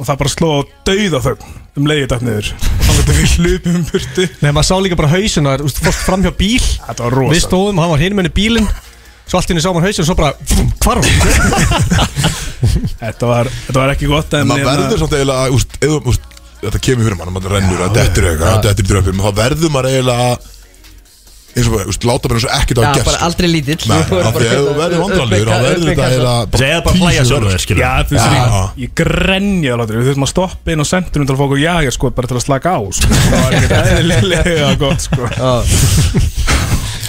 D: og það bara sló á dauða þögn um leiði datt niður og þannig að við hlupum um burtu
E: Nei maður sá líka bara hausuna Þú veist fórst fram hjá bíl
D: Þetta var
E: Við
D: rosa
E: stóðum, hann var hinum henni bílinn Svo allt henni sá maður hausinn og svo bara fum, Hvarf hann?
D: þetta var, þetta var ekki gott
B: En
D: en hérna-
B: maður verður samt eiginlega, að, úst, eða, úst, þetta kemur fyrir mann Maður rennur að dettur eitthvað, að dettur í dröfum Það verður maður eiginlega að- eins og bara, úst, láta bara eins og ekkert á
G: Já,
B: gerst
G: bara aldrei lítill
B: Nei, af því að þú verður vandralur þá verður þetta eiginlega
C: Segðu bara að hlæja sjálfur þér, skilur
D: Já, þú veist,
B: Já.
D: ég, ég grenja alveg Við þurfum að stoppa inn á sendunum til að fá okkur jager sko, bara til að slaka á sko. Það var ekkert eðlilega gott sko.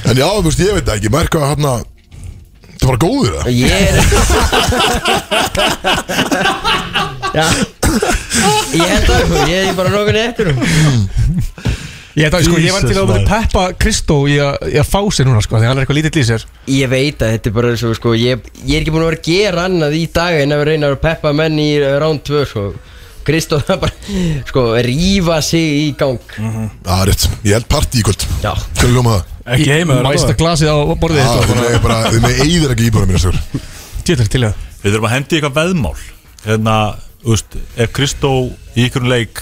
B: En já, þú veist, ég veit það ekki, maður eitthvað hérna Það var góður það
G: Ég er Já Ég held það, ég er bara nokkur eftir
E: Ég, það, sko, ég var til
C: Jesus,
E: að vera
C: maður.
E: peppa Kristó í að í að fá sér núna sko, Því hann er eitthvað lítill í sér
G: Ég veit að þetta er bara svo sko ég, ég er ekki búin að vera að gera annað í dag En að vera reyna að peppa menn í eh, round 2 sko Kristó það bara sko rífa sig í gang
B: Já, rétt, ég held partí í kvöld
G: Já.
B: Hvernig ljóma það?
D: Ekki heima það er
E: Mæsta
D: alveg.
E: glasið á borðið
B: Já, Ah,
E: sko. þetta
B: þið
E: var
B: með bara, þið með eigðir ekki íbúinu mínu stjórn
E: Tjöldar til það
C: Við þurfum að hendi eitthvað veðmál Hérna, þú veist, ef Kristó í ykkur leik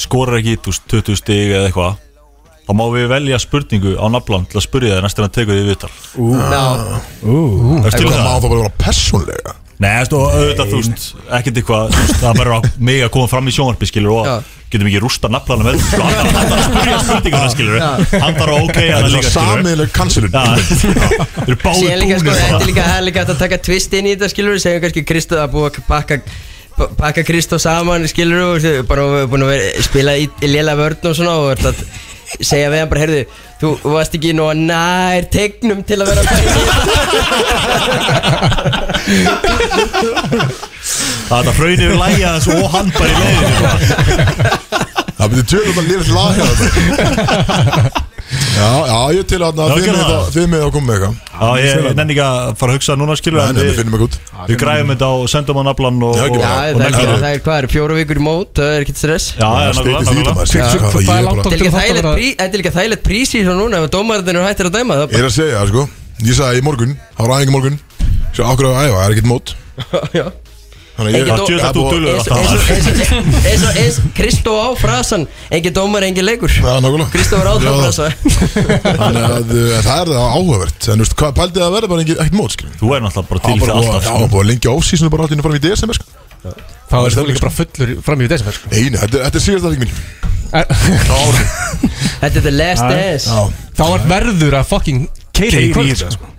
C: skorar ekki þú veist, 20 stig eða eitthvað þá má við velja spurningu á naflan til að spyrja það næstir að teka því viðtal
B: Ah.
G: Já,
C: Ertu til í
B: Það má
C: það?
B: það bara vera persónlega
C: Nei, þú veist, og auðvitað, þú veist, ekkert eitthvað þú veist, það verður á mig að koma fram í sjónvarpi, skilur og
G: Já.
C: getum ekki rústa naflana með þessu, hann þarf- hann þarf að spyrja spurninguna, skilur hann þarf að ok að
B: Það er
C: það líka,
B: það
C: skilur
B: samiðileg kansilun
C: Já, þeir eru
G: síðan
C: báðir
G: líka sko,
C: búnir
G: þetta er
C: bara.
G: líka, það er líka hægt að taka twist inn í þetta skilur við, segjum kannski Kristó að búa að pakka pa- pakka Kristó saman skilur við, og þau bara við erum búin að vera, spila í, í lélega vörn og svona og ert að segja við hann bara, heyrðu, þú varst ekki nú að nær tegnum til að vera að fara í þetta."
C: Það er hraun yfir lægi aðeins og hann bara í leiðinu sko.
B: Það byrði tölum að lifa laga þetta Já, já, ég til að
C: Já,
B: þið
C: gerðu
B: með
C: það.
B: það- þið með að koma með eitthvað
C: Já, ég nenni ekki að fara að hugsa núna skilur
B: Nei,
C: en
B: nei, við
C: við,
B: finnum eitthvað út
C: við græfum þetta og sendum á naflan og,
B: Já,
C: og,
B: ekki
G: Já,
B: bara.
C: og,
G: það
C: og
G: er, ekki,
C: menn-
G: það er, hvað er, fjóra vikur í mót, það er ekkert stress
C: Já, já, nákvæmlega,
B: Steiti því þetta
C: nákvæmlega.
B: maður, shit, sko, ég
E: Hvað er
B: er
E: langt
B: bara-
G: Þetta er líka
E: Þarf að
G: þægilegt
E: vera-
G: prí- þetta er líka þægilegt prísís og núna ef dómarinn eru hættir að dæma það
B: Ég er að segja það sko Ég sagði í morgun, það var aðeins morgun Svo okkur að æfa, það er ekkert mót
G: bara- Já.
B: Þannig að ég-
G: Engin dó-
B: Það er
C: Djöfull, þú
B: búið-
C: duglegur.
G: Eins og- eins og- eins og- eins og- eins og Kristó á frasan, engin dómar, engin leikur
B: Já, nákvæmlega
G: Kristó var átt á
B: Já.
G: frasa
B: Þannig að uh, það er það áhugavert En veist, hvað pældi það að vera bara engin, ekkert mót skilur
C: Þú er náttúrulega bara
B: Það
C: til
B: var
C: í það
B: bara búið-
C: alltaf
B: já,
C: sko.
B: var búið að lengja off-seasonu bara allt inn fram í DSM sko.
E: Það var stöðlega bara fullur í- fram í desember sko.
B: Nei, nei, þetta er- þetta er síðast aðeins mín
E: Er-
G: Þetta er the last dance
E: Þá var verður að fucking keiri
D: Keyri
E: eh. í
D: í
E: kvöld
D: þetta,
E: sko.
D: sko.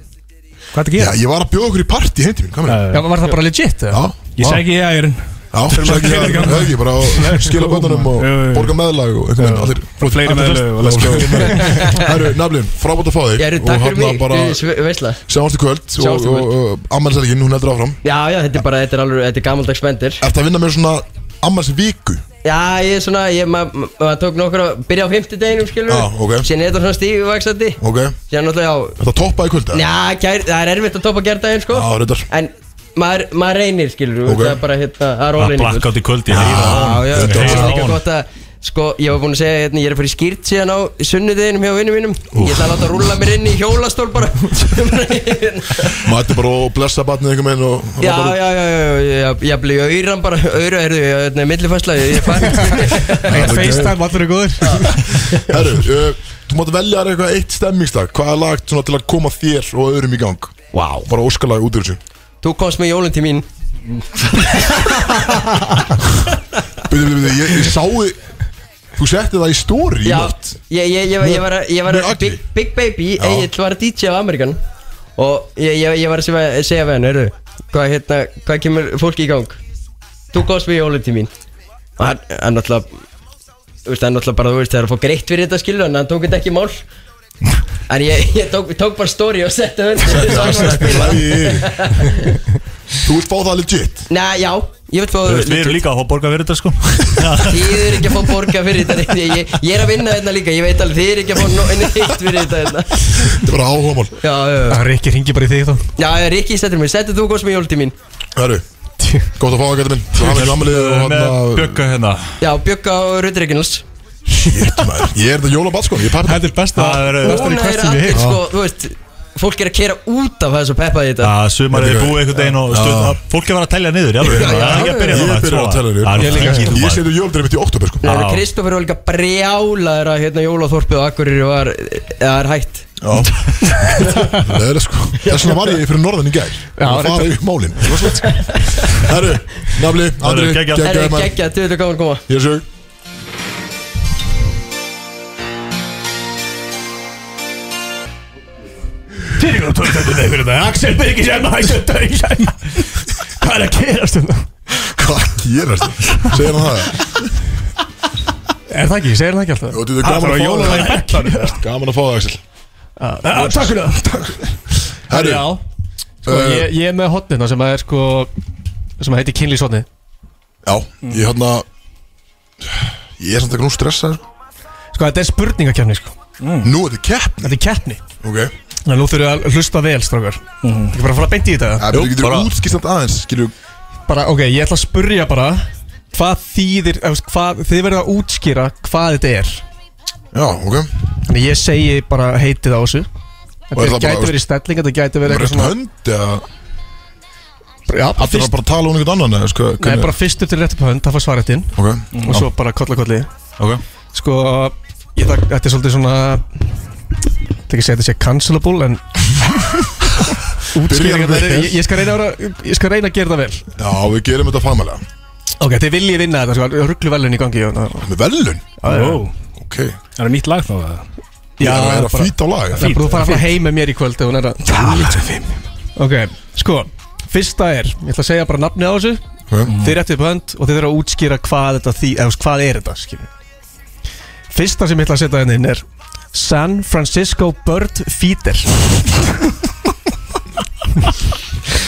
D: Hvað er þetta að
B: Já,
D: gera?
B: ég var að bjóða okkur í partí heimti mín, hvað meina?
E: Já, var það bara legit eða?
B: Já,
D: Ég segi ekki jægurinn
B: Já,
D: Þurfum að
B: sækja
D: gera
B: það,
D: eitthvað.
B: það ekki, bara á- skila bönnunum og
D: Jú, jú.
B: borga meðlag og einhvern veginn, allir
D: Og fleiri
B: allir
D: meðlög og
B: flest-
D: let's go.
B: fleiri meðlög. Herru, naflin, frábært að fá
G: Ég er
B: þig
G: takk fyrir
B: hérna
G: mig,
B: bara
G: bara... veistla
B: sjáumst í kvöld
G: Sjáumst í
B: og,
G: kvöld.
B: og, og ammælishelgin, hún heldur áfram
G: Já, já, þetta er bara, þetta er alveg, þetta er gammaldags bendir
B: Ertu að vinna með svona ammælisviku?
G: Já, ég er svona, ég, ma- ma- maður tók nokkur að byrja á fymtideginum, skilur
B: Já, ok.
G: Sér er þetta svona stífivaksandi
B: Ok,
G: Sér náttúrulega á,
B: þetta toppa í kvöld eða?
G: já, gær, það er erfitt að topa gerdaginn, sko
B: Já, reyndar
G: En maður, maður reynir, skilur
B: Ok.
G: Það er bara, hérna, það er
C: Það
G: óreiningur
C: blakk átt í kvöldi
G: Já, já,
B: Þetta
G: það
B: var
G: er líka
C: gaman.
G: gott að Sko, ég var búinn að segja hérna, ég er að fara í skýrt síðan á sunnudeginum hjá vinnum mínum Ég ætla að láta rúlla mér inn í hjólastól bara hérna.
B: Mæti bara og blessa barnið einhvern veginn og
G: Já, já, já, já, já, já, ég blei auðran bara, auðra, heyrðu, ég er eh, millifæsla, ég er farin
E: Eitt FaceTime, allir er góður
B: Herru, uh, þú mátt velja þér eitthvað eitt stemmingstak Hvað er lagt svona til að koma þér og öðrum í gang? Vá wow. Bara óskalagi út úr þessu
G: Þú komst með jólinn til mín
B: Byrðu, byrðu, byrðu, ég, ég sá þið Þú setti það í story í
G: Já,
B: nótt
G: ég, ég, ég, var- ég var, að- ég var
B: Með
G: að-
B: Agli?
G: big, big Baby,
B: Já.
G: Egil var DJ af Amerikan Og ég, ég, ég var að segja, segja við hann, heyrðu Hvað, hérna, hvað kemur fólki í gang? Þú komst með jólinn til mín Og hann, hann náttúrulega Þú veist, hann náttúrulega bara, þú veist, það er að fá greitt fyrir þetta skilu En hann tók þetta ekki í mál En ég, ég tók, tók bara story og setti það undir svo hann var að spila.
B: Þú vilt fá það legit
G: Nei, já, ég veit
C: Þú
G: fóðu
C: veist, við erum líka að fá borga fyrir þetta sko Já,
G: Þið eru ekki að fá borga fyrir þetta ég, ég, ég er að vinna þetta líka, ég veit alveg Þið eru ekki að fá no- neitt fyrir þetta hérna.
B: Þetta er bara áhugamál
G: Já, já, já
E: Það er ekki ringi bara í þig þá
G: Já, já, Rikki settir mig, settir þú góðs með jólti mín
B: Herru, gott að fá það gæti minn Þú hafði gammalið og hann
C: með
B: að
C: bjögga hérna
G: Já, Bjögga og Rudreginals
B: Shit maður, ég er þetta jólabat sko Ég er pappi
E: Þetta er besta
C: Það er-
E: besta
G: Núna er
E: requestin við
G: allir,
E: heilt
G: sko, þú veist Fólk er að kera út af þessu peppa í þetta
C: Já, sumarið er búið einhvern veginn og stund að fólk er að vera að telja niður, já, já, já, það er ekki að byrja
B: Ég
C: núna,
B: byrjar
C: sko.
B: að tala niður.
C: Það er
B: Ég,
C: fengið
B: ég
C: bara.
B: seti jólum mitt í oktober sko
G: Nei,
C: Já.
G: Kristoffer var líka brjálaður að hérna jólaþorpið og Akureyri var, það er hætt
B: Já Það er sko Þess vegna var ég fyrir norðan í gær Já, að fara í málin Það var svolít Herru, nafli, Andri,
C: geggjað.
G: Það
B: geggjaði
G: er
B: maður
G: geggjað, þú veit að gaman að koma
B: Ég er sög
E: Fyrir og tók þetta fyrir það Axel Birgis er maður hægt að dæla Hvað er að gerast um það?
B: Hvað gerast þér? Segir hann það?
E: Er það ekki, segir það ekki alltaf
B: Jú, þetta er gaman að
E: Það er
B: fá
E: jólalag í
B: það Gaman að fá það, Axel
E: Já, Takk fyrir það
B: Herru,
E: Já, sko,
B: eh,
E: ég, ég er með hotnina sem að er sko sem að heiti kynlífshotni
B: já, ég hann að Ég er samt ekki nú stressað sko.
E: Sko, þetta er spurningakefni sko
B: Nú er þetta keppni
E: Þetta er keppni
B: Ok
E: Þannig að nú þurfum við að hlusta vel, strákar mm. Ekki bara að fara beint í þetta
B: Það getur
C: bara-
B: útskýrstand aðeins Skilju
E: Bara, ok, ég ætla að spurja bara Hvað þýðir, eða, þú veist, hvað, þið verða að útskýra hvað þetta er
B: Já, ok
E: Þannig að ég segi bara heitið á þessu
B: Og er
E: Þetta
B: það bara-
E: gæti verið stelling, þetta gæti
B: Bara
E: verið eitthvað
B: rétt
E: svona
B: hönd eða
E: Já,
B: Þetta er
E: fyrst,
B: bara að tala um einhvern annan eða, sko,
E: nei,
B: hvernig-
E: bara fyrst upp til rétt upp hönd, það fá svaretinn
B: Ok
E: Og svo bara kolla kolli
C: Ok.
E: Sko, ég, það, þetta er svolítið svona Þetta er ekki að segja að þetta sé cancelable En
B: Byrjar vel.
E: útskýringarnar eru- ég, ég, skal reyna að vera- ég skal reyna að gera það vel
B: Já, við gerum þetta fagmælega
E: Ok, þið viljið vinna þetta, sko, rugglu velun í gangi og, og,
B: Með velun
D: Wow.
B: Ok
D: Það er nýtt lag þá það
B: Já, það er að
E: bara,
B: fýta á lag
E: það er bara að fara að fara heim með mér í kvöld ef hún er að Ok, sko, fyrsta er Ég ætla að segja bara nafnið á þessu
B: Ok.
E: Þið réttið upp hönd og þið þurfa að útskýra hvað þetta því, eða þú veist, hvað er þetta, skilur Fyrsta sem ég ætla að setja henni inn er San Francisco Bird Feeder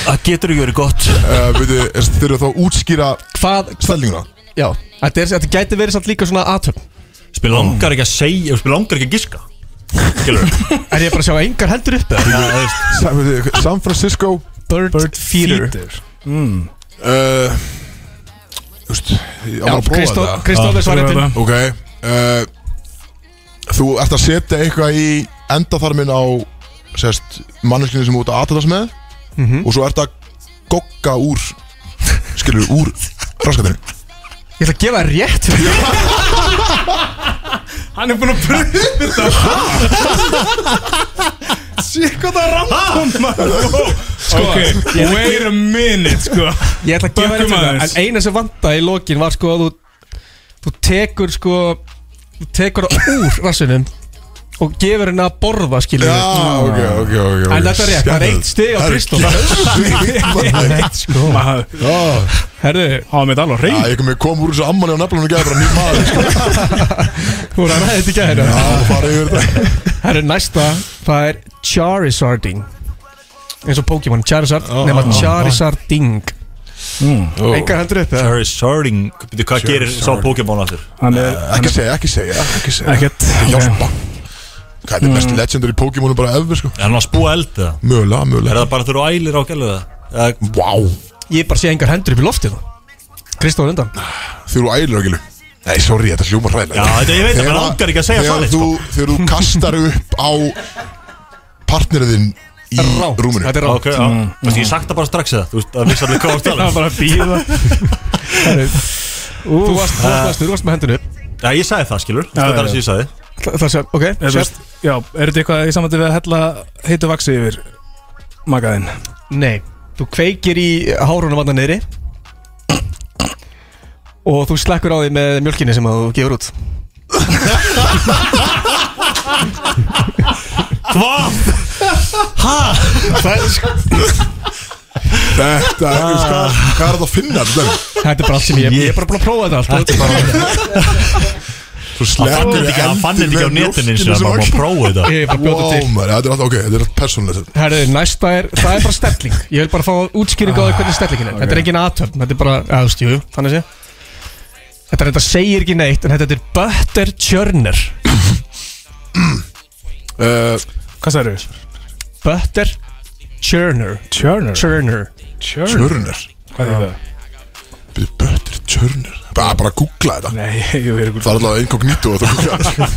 C: Það getur ekki verið gott.
B: Uh, veitu, er- þeir eru þá að útskýra
E: Hvað,
B: stellinguna
E: já, þetta, er, þetta gæti verið samt líka svona aðtöfn
C: Spil langar ekki að segja, spil langar ekki að giska. Skilur þú?
E: Er ég bara að sjá engar hendur upp eða?
B: Sa- veitu, San Francisco
E: Bird, Feeder
B: uh, Þú veist, ég á bara að prófa
E: Kristó,
B: þetta
E: Kristóf
D: Svarið
E: er svaretinn
D: þetta
B: Ok uh, Þú ert að setja eitthvað í endaþarmin á sérst, manneskinu sem þú ert að aðtast með
E: Mhm.
B: og svo ert að gogga úr skilur, úr raskatinu
E: Ég ætla að gefa þér rétt
D: Hann er búin að pröfa þetta Sýk hvað það er rann sko, Ok, wait a minute sko
E: Ég ætla að gefa þér rétt
D: Bökkum
E: fyrir það.
D: aðeins.
E: En eina sem vantaði í lokin var sko að þú Þú tekur sko Þú tekur það úr rassinum og gefur henni að borða skilur
B: Já, ok, ok, ok
E: En þetta er rétt, það er eitt stig á Kristó.
B: Kristó
E: sko
D: Maður,
E: Herðu,
D: hafa mitt alveg reynd
B: Ég kom, ég kom úr þessu ammali á nafnum og gæði bara nýr maður sko.
E: þú voru að ræða þetta í gæðina
B: Já, fara yfir þetta
E: Herru, næsta, það er Charizarding eins og Pokémon, Charizard, nema Charizarding
B: Hmm. Ó.
E: Engar hendur upp eða?
C: Charizarding Býtu, hvað gerir sá Pokémon aftur?
D: Hann er
B: Ekki segja, ekki segja Ekki segja
D: ekkert
B: Hjálpa Hvað er þetta
E: Mm.
B: best legendary Pokémonu bara ever sko
C: Er hann að spúa eld eða?
B: Mögulega,
C: Er
B: mögulega
C: það bara þurru ælir á gælu eða? Eða-
B: Vá
E: Ég bara sé engar hendur upp í loftið Kristóður undan
B: Þau eru ælir ágilu Nei, sorry, þetta hljómar
C: Já,
B: ræðilega
C: þetta ég veit að mér langar ekki að segja
B: þegar
C: svarið
B: þú,
C: sko.
B: Þegar þú kastar upp á partneriðin í
E: Rámt,
B: rúminu
E: þetta er
C: Ok,
E: rámt
C: já Þú veist, ég sagt það bara strax eða Þú veist, það vissi allir hvað að tala um.
D: bara að býða
E: Herru, Þú varst, þú varst, þú varst með hendur upp
C: Já, ég sagði það, skilur Þetta er
D: já.
C: það sem ég sagði
E: Það það sé, ok,
D: Já,
E: sérst
D: er þetta eitthvað í samvændi við að hella heitu vaksi yfir magaðinn?
E: Nei, þú kveikir í hárunum vandan niðri Og þú slekkur á því með mjölkinni sem þú gefur út
C: Hvað?
B: Þetta er,
E: Ah.
B: sko, hvað er þetta að finna þetta?
E: Þetta er bara allt sem ég, ég er bara búin að prófa þetta allt sko.
B: Svo
C: Það fann þetta
B: sleppur
C: ekki, það fann þetta ekki á netinu eins og það maður má
B: Wow,
C: prófa þetta
E: Ég er bara að bjóta til
B: maður, þetta er alltaf, ok, þetta er alltaf persónlega
E: Herðu, næsta er, það er bara stelling Ég vil bara fá útskýringu á því hvernig stellingin er Þetta er engin aðtöfn, þetta er bara, eða, þú veist, jú, jú, þannig sé Þetta er, þetta segir ekki neitt En þetta er butter churner Eh,
B: uh,
D: Hvað sagður þau?
E: Butter churner
D: Churner
E: Churner
B: Eh, Tjörnir
D: Hvað er það?
B: Böttir tjörnir Bara, bara googla þetta
D: Nei, jú, ég er ekki
B: Það er alltaf inkognito að þú googla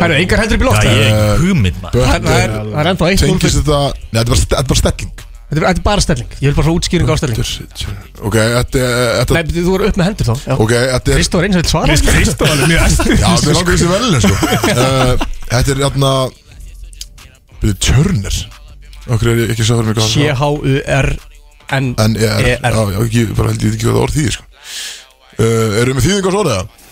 E: Herðu, engar hendur upp
C: Já,
E: í loft
C: ég er
B: Eh,
C: ekki hugmynd maður
E: Það það er, það er ennþá eitt núll
B: Tengist
E: fyrir-
B: þetta, neða, þetta er bara st- þetta er bara stelling
E: Þetta er- þetta er bara stelling Ég vil bara fá útskýringu á stelling
B: Butter churner. Ok, þetta er þetta-
E: Nei, betur, þú eru upp með hendur þá
B: Ok, þetta er
E: Kristóf er eins og þetta svara
D: Mér Kristó alveg mjög æstu
B: Já, þetta er langar þessi velin, sko Eh, Þetta er hérna- þarna Byrðu tjörnir Okkur er ég ekki svo fyrir mig hvað það er.
E: C-H-U-R-N
B: En er,
E: E-R.
B: já, já, ekki, bara held ég ekki hvað það orð þýðir, sko Uh, eru með þýðingar svo orðið?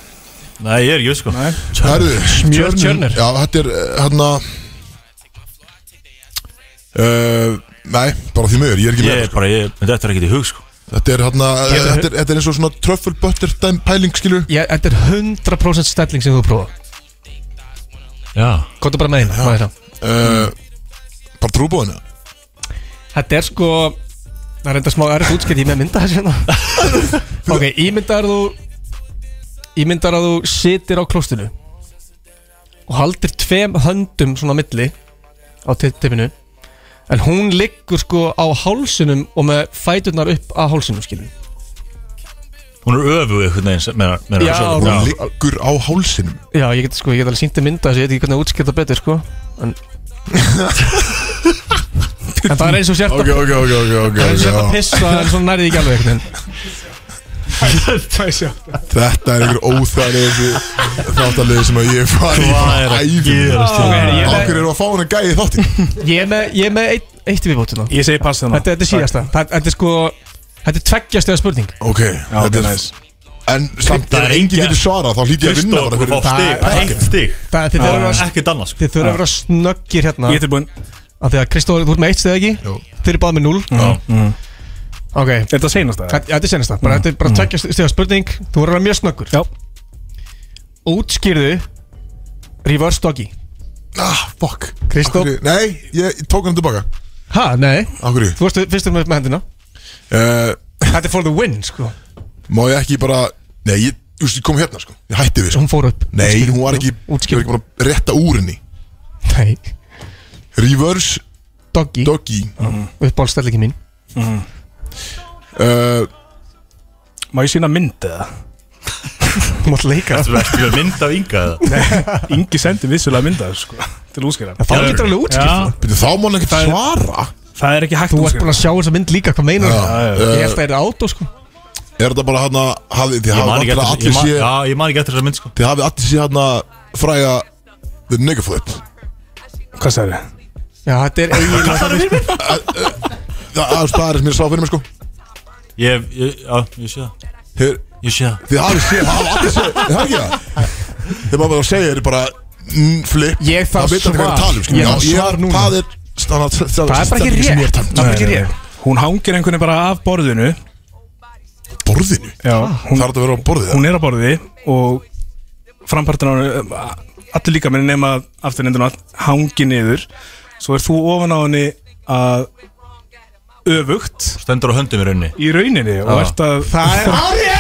C: Nei, ég er ekki, sko
B: Herðu,
E: Smjör
B: tjörnin-
E: churner.
B: Já, þetta er eh, hérna uh, Nei, bara því mögur, ég er ekki
C: Ég
B: með sko.
C: er bara, ég, en þetta er ekkert í hug, sko
B: Þetta er hérna,
E: Ég-
B: þetta er, þetta er eins og svona truffle butter dæm pæling skilu
E: Ég- Þetta er 100% stelling sem þú prófa
C: Já
E: Kóta bara með einu, maður það
B: uh, Bara trúbóðinu
E: Þetta er sko Það er enda smá erfitt útskipt Ég er með að mynda þessu hérna Ok, ímyndar þú Ímyndar að þú sitir á klóstinu Og haldir tveim höndum Svona á milli Á tippinu En hún liggur sko á hálsinum Og með fæturnar upp að hálsinum skilur
C: Hún er öfuð einhvern veginn, sem- meina, meina
E: Já,
C: svo-
B: Hún
E: Já.
B: liggur á hálsinum
E: Já, ég get sko, ég get alveg sýnt að mynda þessu Ég veit ekki hvernig að útskipta betur sko En, en það er eins og sérta
B: Ok, ok, ok, ok, ok,
E: Það er eins og
B: ok
E: sérta
B: já.
E: pissa En svona nærið ekki alveg einhvern veginn
B: Þetta er einhver óþæðlega þáttalegi sem að ég hef farið í
C: Hvað
B: bara
C: er að
B: æfum
C: gerast hérna?
E: ég-
B: Okkur erum að fá hún að gæði þátti
E: Ég er með, ég er með eitt, eitt viðbótuna
D: Ég segi pass hérna. þarna
E: Þetta, þetta er síðasta Þetta þetta er sko Þetta er tveggjast eða spurning
B: Ok, þetta er
D: næs.
B: En samt
C: Það er
B: ef enginn
C: engin-
B: getur svarað þá hlýt ég að vinna
C: Kristó,
B: bara
C: þú fá
B: fyrir
C: stig, bara eitt stig
E: Það þið þurfa að vera
C: Ekkert annað, sko
E: Þið þurfa að vera snöggir hérna
D: Ég er tilbúinn
E: Af því að Kristóður, þú ert með eitt stið ekki
B: Jú.
E: Þið eru báð með núl Ok
D: Er þetta seinast
E: Þetta-
D: það?
E: já, Þetta er senasta bara, Þetta er bara tveggjast eða spurning Þú verður að vera mjög snöggur
D: Já.
E: Útskýrðu Reverse doggy
B: Ah, fuck
E: Kristó.
B: Af hverju- Nei, ég tók hann tilbaka
E: Ha, nei
B: Akkur í
E: Þú varst fyrstur með, með hendina
B: uh,
E: Þetta er for the win, sko
B: Má ég ekki bara Nei, ég, just, ég kom hérna sko Ég hætti við sko
E: Hún fór upp
B: Nei, hún var ekki Ég var
E: Útskýrðu
B: ekki bara að rétta úr henni
E: Nei
B: Reverse
E: Doggy
B: doggy
E: Uppáhaldstellingin mín
B: uh,
D: Má ég sína mynd eða?
E: Þú mátt leika
C: Þú veist, ég er mynd af ynga eða
D: Ingi sendi vissulega mynda sko Til útskýra
E: Það getur alveg útskýrt það.
B: byrju, Þá má hann ekkert svara
D: Það er ekki hægt
E: Þú ert búin að sjá þessa mynd líka, hvað meinar
B: Já, já,
E: það?
B: já.
E: Ég held að það er átó sko
B: Er þetta bara hann að Þið
C: Ég man
B: hafið
C: ekki
B: náttúrulega
C: eftir-
B: allir
C: ég man-
B: sé
C: já, ég man ekki eftir þessa mynd, sko
B: Þið hafið allir sé hann að fræga The nigga flip
D: Hvað sagður þið?
E: Já, þetta er eiginlega
B: Það það er spæðis mér sá fyrir mig sko
C: Ég, ég, já, ég sé það
B: Þið
C: Ég sé það
B: þið hafið sé Það hafið allir sé Það er ekki það Þið má bara segja þér bara mm, flip
E: Ég þarf
B: Það veit allir hvað
E: svar.
B: er að tala um, skilur.
E: Ég þarf
B: Já, ég-
E: svar núna.
B: Það er stannað- Það
E: Það er bara ekki
B: stendur sem ég
E: rétt.
B: er að tala um.
E: Það er bara ekki rétt.
D: Hún hangir einhvern veginn bara af borðinu Ah.
B: Borðinu
D: Já, hún,
B: Það er að vera á borðið
D: hún er á borði og frampartin á henni allir líka minn nema afturlindin og allt hangi niður svo er þú ofan á henni að öfugt
C: Stendur á höndum í rauninni
D: í rauninni og ert að
E: Það er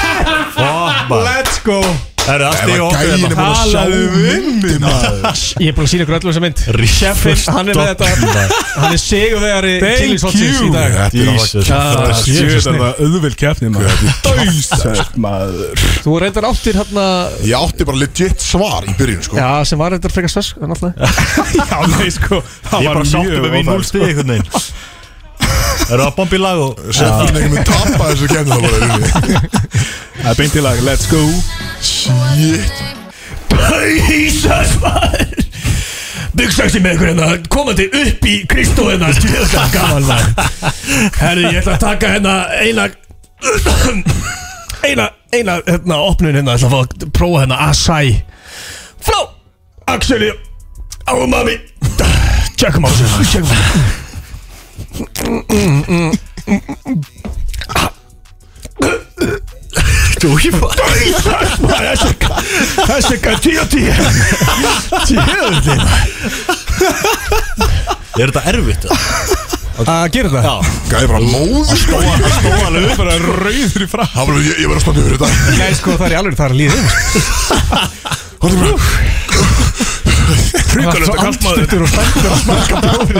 C: Let's go Það er
B: Það
C: allt í
B: er
C: okkur
B: gæðin
C: hérna.
B: er búin að sjá myndi maður
E: Ég er búin að sína ykkur öllu þessa mynd Sheffield, hann er með þetta Hann er sigurvegari
D: Thank
E: kynlífshotsins í
D: you.
E: dag
B: Þetta er
C: Jesus.
B: alveg-
C: Það er
D: Shit,
C: Jesus,
D: þetta var auðvild keppni maður Dauðsætt maður
E: Þú reyndar áttir hann að
B: Ég átti bara legit svar í byrjun sko
E: Já, sem var reyndar frekar svesk náttúrulega.
D: Já, nei sko Það
C: Ég er bara sáttu með mín 0 stig einhvern veginn Það eru að bomba í lag og
B: Sett fyrir einhvern veginn tappa þessu kemni Það bara í rauninni.
D: Það er beint í lag, let's go
B: Shit
H: Jesus maður Byggsaksin með ykkur hérna Komandi upp í Kristó hérna Þetta er gaman maður Herri, ég ætla að taka hérna eina Eina, eina hérna opnun hérna Ég ætla að fá að prófa hérna Asai Frá Axeli Ámami Tjekkum á þessu Tjekkum á þessu Jesus maður Þessi Þessi gæði tíu og tíu Tjöðli
C: Er þetta erfitt? eða?
E: Að gera þetta?
B: Gæði bara móður sko
D: Stóð alveg bara rauður í frá
B: Það var ég, ég var að standa yfir þetta
E: Nei, sko, það er í alveg það er að líða yfir.
B: Hvað er bara
E: Það er svo
D: Hrikalegt að kalla maður
E: andstuttur og spenntur að smakka bjóri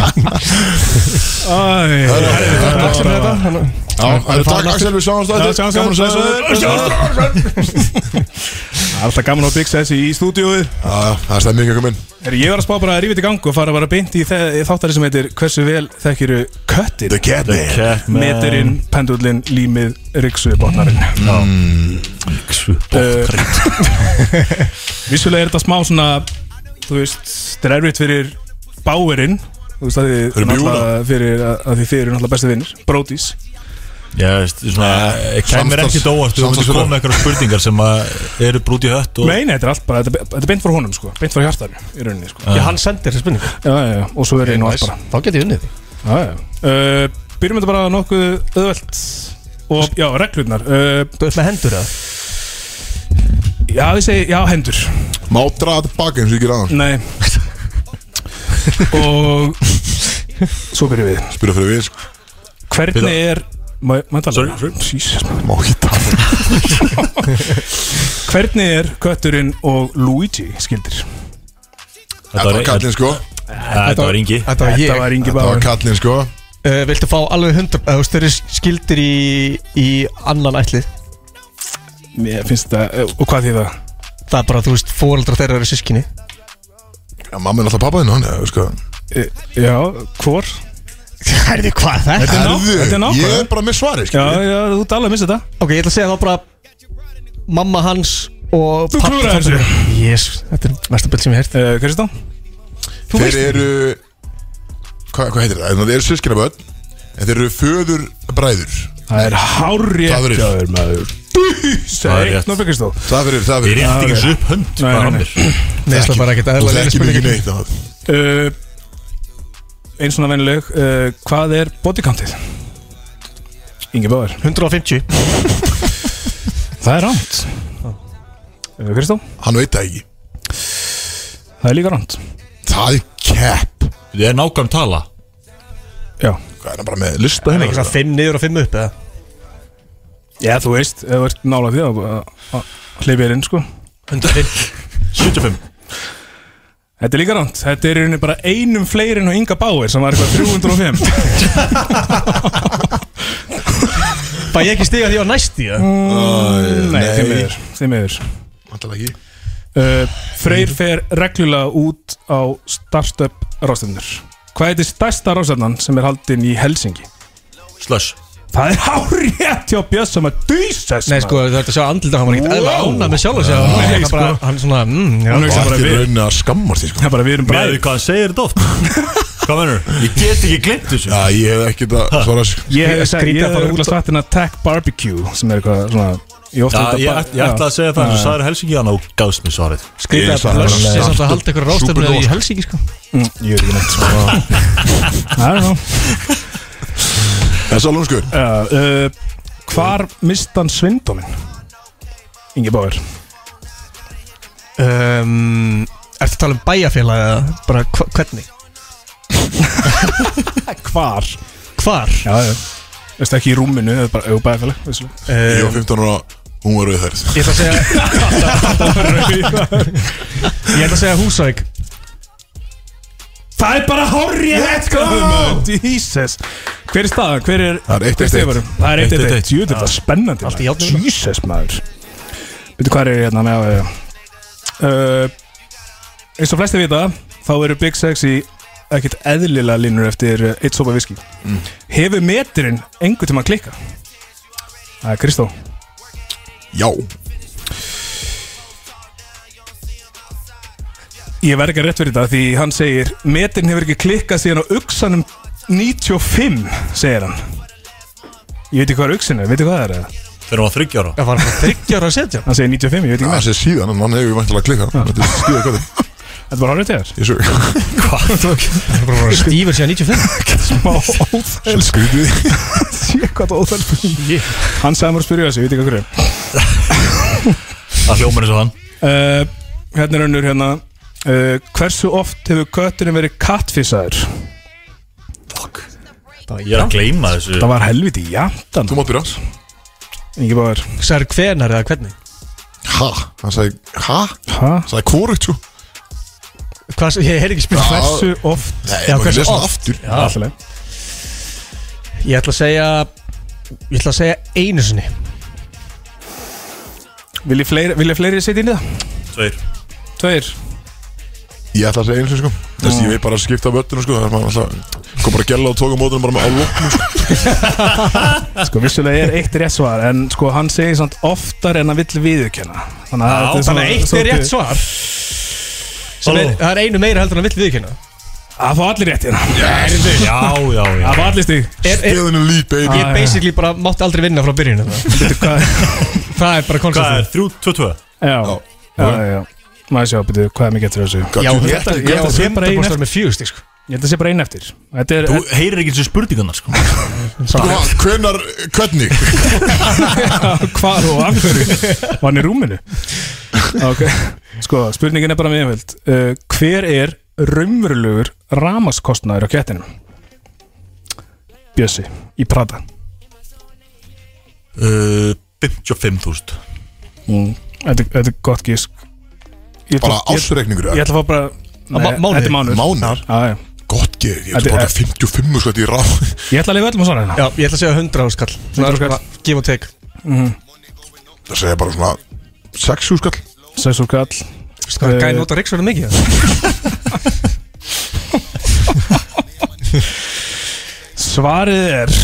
D: Æ,
B: Það er- það er-
E: Axel með þetta hann-
B: Já, það er takk Axel við sjáumst á
D: Já,
B: þetta
D: sjáumst á
B: Gaman að
D: þetta.
B: sjá þér.
D: Sjáumst Það er alltaf gaman að byggsa þessi í stúdíóið
B: Já, já, Það er stemming ekki minn
D: Herri, Ég var að spá bara að rífið í gang og fara bara beint í, þe- í þáttari sem heitir Hversu vel þekkiru köttir
B: The cat man
C: Catman.
D: Meterinn, pendullin, límið, ryksuðbotnarinn Já
B: Mm,
D: Ryksuðbotnarinn Vissulega er þetta smá svona Þú veist, þetta er erfitt fyrir báirinn Þú veist að
B: Fyrir
D: þið náttúrulega fyrir að að því þið eru náttúrulega besti vinnir Brodís
C: Já, veist, svona,
B: Eh,
C: kæmir
B: samstarfs-
C: ekki dóast Þú myndir
B: samstarfsfélag.
C: koma með eitthvað spurningar sem að eru brúti hött
B: Oh.
C: og
D: Nei, nei, þetta er allt bara, þetta er- þetta er beint frá honum sko Beint frá hjartanu í rauninni sko
E: Já, hann sendir þessi spurning
D: Já, já, já, og svo er einu allt bara
E: Þá get ég unnið
D: Já, já. Uh, byrjum þetta bara nokkuð öðvöld og já, reglurnar uh,
E: Þú ert með hendur eða?
D: já, ég segi, já, hendur
B: Má draða tilbaka eins og ég ger aðan
D: nei og svo byrjum við
B: Spyrja fyrir við sko
D: hvernig er má, má ég tala?
C: Sorry, sorry.
D: Jesus, man.
B: Má ekki tala
D: hvernig er kötturinn og Luigi skildir
B: Þetta var
C: Þetta
B: kallinn sko
C: var yngi
E: Þetta var
D: þetta
E: ég
D: var Ingi
B: Þetta var
D: Báður
B: kallinn sko
E: uh, Viltu fá alveg hundra Þú veist, þeir eru skildir í, í annan ætli
D: mér finnst þetta, eh, og hvað því það?
E: Það er bara, þú veist, fóreldra þeirra eru sískinni
B: Já, mamma er alltaf pappaðinn hann eða, sko
D: E, já, hvor?
E: Herði, hvað er þetta?
D: þetta er ná-
B: Herðu,
D: þetta er nákvæmt.
B: Ég er bara með svarið
D: já,
B: sko
D: já, þú talaði missa þetta
E: Ok, ég ætla að segja þá bara Mamma hans og
D: Þú klúðraði þessu.
E: Jés, þetta er mesta bild sem ég heirt
D: uh, Kristó?
E: Þú
B: Þeir
E: veist
B: eru Hvað hvað heitir það? Þeir eru sískinaböld En þeir eru föður bræður
D: það er hárið
B: Það er-
D: maður
C: Það er
D: Segi,
C: rétt.
D: eitt náttúrulega Kristó
B: Það fyrir, það
C: Ég
B: fyrir
C: rétti ekki eins upp hönd
D: Nei,
C: bara á
D: nei,
C: mér.
E: Nei, það var ekkert
B: Þú
E: eðlilega
B: þekkir
E: spurning.
B: mig ekki neitt annað.
D: uh, Einn svona vennileg uh, Hvað er bodycountið? Ingi Báður
E: 150
D: Það er rámt uh, Kristó?
B: Hann veit það ekki
D: Það er líka rámt
B: Það er kepp
C: Þetta er nákvæm tala
D: Já
B: Hvað er hann bara með lista
E: Ekki
B: hérna?
E: svona 5 niður og 5 upp eða
D: Já, þú veist, ef þú ert nála því að- að að hleypa þér inn, sko
C: 75
D: Þetta er líka rámt Þetta er í rauninni bara einum fleiri en á Inga Báður sem var eitthvað 305
E: Bæ ég ekki stiga því á næsti eða?
D: Nei,
B: nei.
D: þeim yfir Þeim yfir
B: Vantalega ekki
D: Uh, Freyr fer reglulega út á startup rástefnur Hvað heitir stærsta rástefnan sem er haldin í Helsingi?
C: Slush
D: Það er hárétt hjá Björs sem að dýsa
E: Nei, sko, þú ert að sjá andlita Hann var ekkert eðla
D: Wow.
E: ána með sjálf sig Hann
D: Nei,
E: var
D: sko.
E: bara, hann svona mm, já.
D: Hann
B: Og
D: hugsa
B: það
D: bara
B: er
D: við
B: raunin að skammast því sko
D: Það er bara við erum
C: Með því
D: bræður
C: hvað hann segir þetta oft Hvað mennur? Ég get ekki glimt þessu
B: Já, ég hef ekkert að svara sko
D: Ég hef skrítið
E: Skrítið að
D: að
E: fara
D: fara
E: út
D: út á startina Tech Barbecue sem er eitthvað svona Ég ofta
C: Já, ég, ætla- ég ætla að segja það eins og Sæður Helsingi hann og gafst mér svarið
D: Skrítið
B: Ég-
D: að blöss
E: Það er
B: Aftur-
E: samt að halda ykkur rástefnu í Helsingi sko
D: Mm, Ég er ekki neitt sko I don't know
B: Það er salónskur
D: Já, uh, Hvar mist hann svindóminn? Ingi Báir
E: um, Ertu að tala um bæjarfélag eða bara hva, hvernig?
D: Hvar?
E: Hvar?
D: Já, já Veistu ekki í rúminu, það er bara auðbæðafélag Veistu
B: Ég var 15 ára, hún var auðherð
E: Eh, Ég ætla að segja Ég ætla að segja Húsavík
D: Það er bara horrið Let's
E: sko.
D: go Jesus Eh, Hver er staðan? Hver er
B: Það er eitt,
D: hver
B: eitt,
D: stigurinn? Það er eitt eitt eitt Jú, þetta er spennandi
E: Allt í
D: maður.
E: járnum.
D: Jesus maður Veitu hvað er ég hérna með að uh, Eins og flesti vita Þá eru Big Sex í ekkert eðlilega línur eftir eh, eitt sopa viski Hefur metirinn engu tíma að klikka? Það er Kristó
B: Já,
D: Ég verð ekki að rétt fyrir þetta því hann segir Metin hefur ekki klikkað síðan á uksanum 95, segir hann Ég veit ekki hvað er uksin er, veit ekki hvað það er eða?
C: Þegar hann var 30 ára
E: Það var bara þryggjar að setja
D: Hann segir 95, ég veit ekki
B: það
D: hvað
B: sé síðan, en hann hefur vantilega klikkað Þetta er skýða hvað þið,
D: Þetta var horrið til
B: ég sög
E: Stífur síðan 95
D: þér Smá óþæl
B: Skrítið
D: Sé hvað það óþæl spurning. Hann sagði mér að spyrja þessu, ég veit ekki hvað hverju
C: Það hljómar eins og hann
D: uh, Hérna er önnur hérna uh, Hversu oft hefur kötturinn verið kattfissaður?
C: Ég er að gleyma þessu
D: Það var helviti, já
B: Þú mátt byrja
D: Ingi Báður
E: Sær hvenar eða hvernig?
B: Ha, hann sagði, ha,
D: Hæ?
B: hann sagði hvorugt sko." svo
E: Hvað, ég heyr ekki spil
D: Hversu oft?
B: Nei,
E: Já,
B: maður
E: hversu
B: lesi það
E: oft?
B: aftur
D: Allt í lagi.
E: Ég ætla að segja Ég ætla að segja einu sinni
D: Vilja fleiri, vilja fleiri setja inn í það?
C: Tveir
D: Tveir
B: Ég ætla að segja einu sinni sko Þess ég veit bara að skipta völdinu sko Það er maður alltaf Kom bara að gella og tóka mótunum bara með á lóknum sko
D: Sko vissulega er eitt rétt svar En sko hann segir samt oftar en hann vill viðurkenna Þannig að þetta
E: Já,
D: er svona-
E: Þannig að eitt er
D: svolítið-
E: rétt svar Sem er,
C: Halló.
E: það er einu meira heldur en að vill viðkynna
D: Það fá allir rétt hérna
C: Já, já, já
D: Það fá allir stig
E: er, er,
B: Geðinu lít baby
E: Ég basically bara mátti aldrei vinna frá byrjun hérna.
D: Veitu hvað
E: Það er bara
C: Hvað
E: konceptið
C: er? 3-2-2
D: Já Já, já, já Maður sjá, betur, hvað er mikið eftir þessu
B: Hvað,
E: Já,
B: djú-
E: þetta
D: ég-
E: ég
D: ég-
E: held að
D: ég-
E: sé bara
D: ég-
E: einu eftir með fjögustík sko.
D: Ég held að sé bara einn eftir Þetta er
C: Þú heyrir ekki þessu spurningarnar sko
B: Sko, Hvenar, hvernig
D: hvað og af hverju Var hann í rúminu Ok Sko, spurningin er bara mjög einföld uh, Hver er raunverulegur ramaskostnaður á kettinum? Bjössi, í Prata
C: Uh, 55.000
D: mm. þetta, þetta er gott gísk Ég ætla-
B: Bara
D: ég-
B: ásreikningur
D: Ég ætla að fá bara Nei,
E: má- mánuði?
D: Þetta er mánuður
B: Mánar
D: Já, já.
B: Gott geð Ég
D: Þetta
B: ætla
D: er-
B: bara að 55 sko Þetta er ráð
D: Ég ætla að lifa öllum að svara hérna
E: Já, ég ætla að segja 100 áskall
D: 100 skall.
E: Give and take
B: Það segja bara svona 6 húskall
D: Sex og kall
E: Það
D: Eh,
E: er gæði nota ríksverðin mikið
D: Svarið er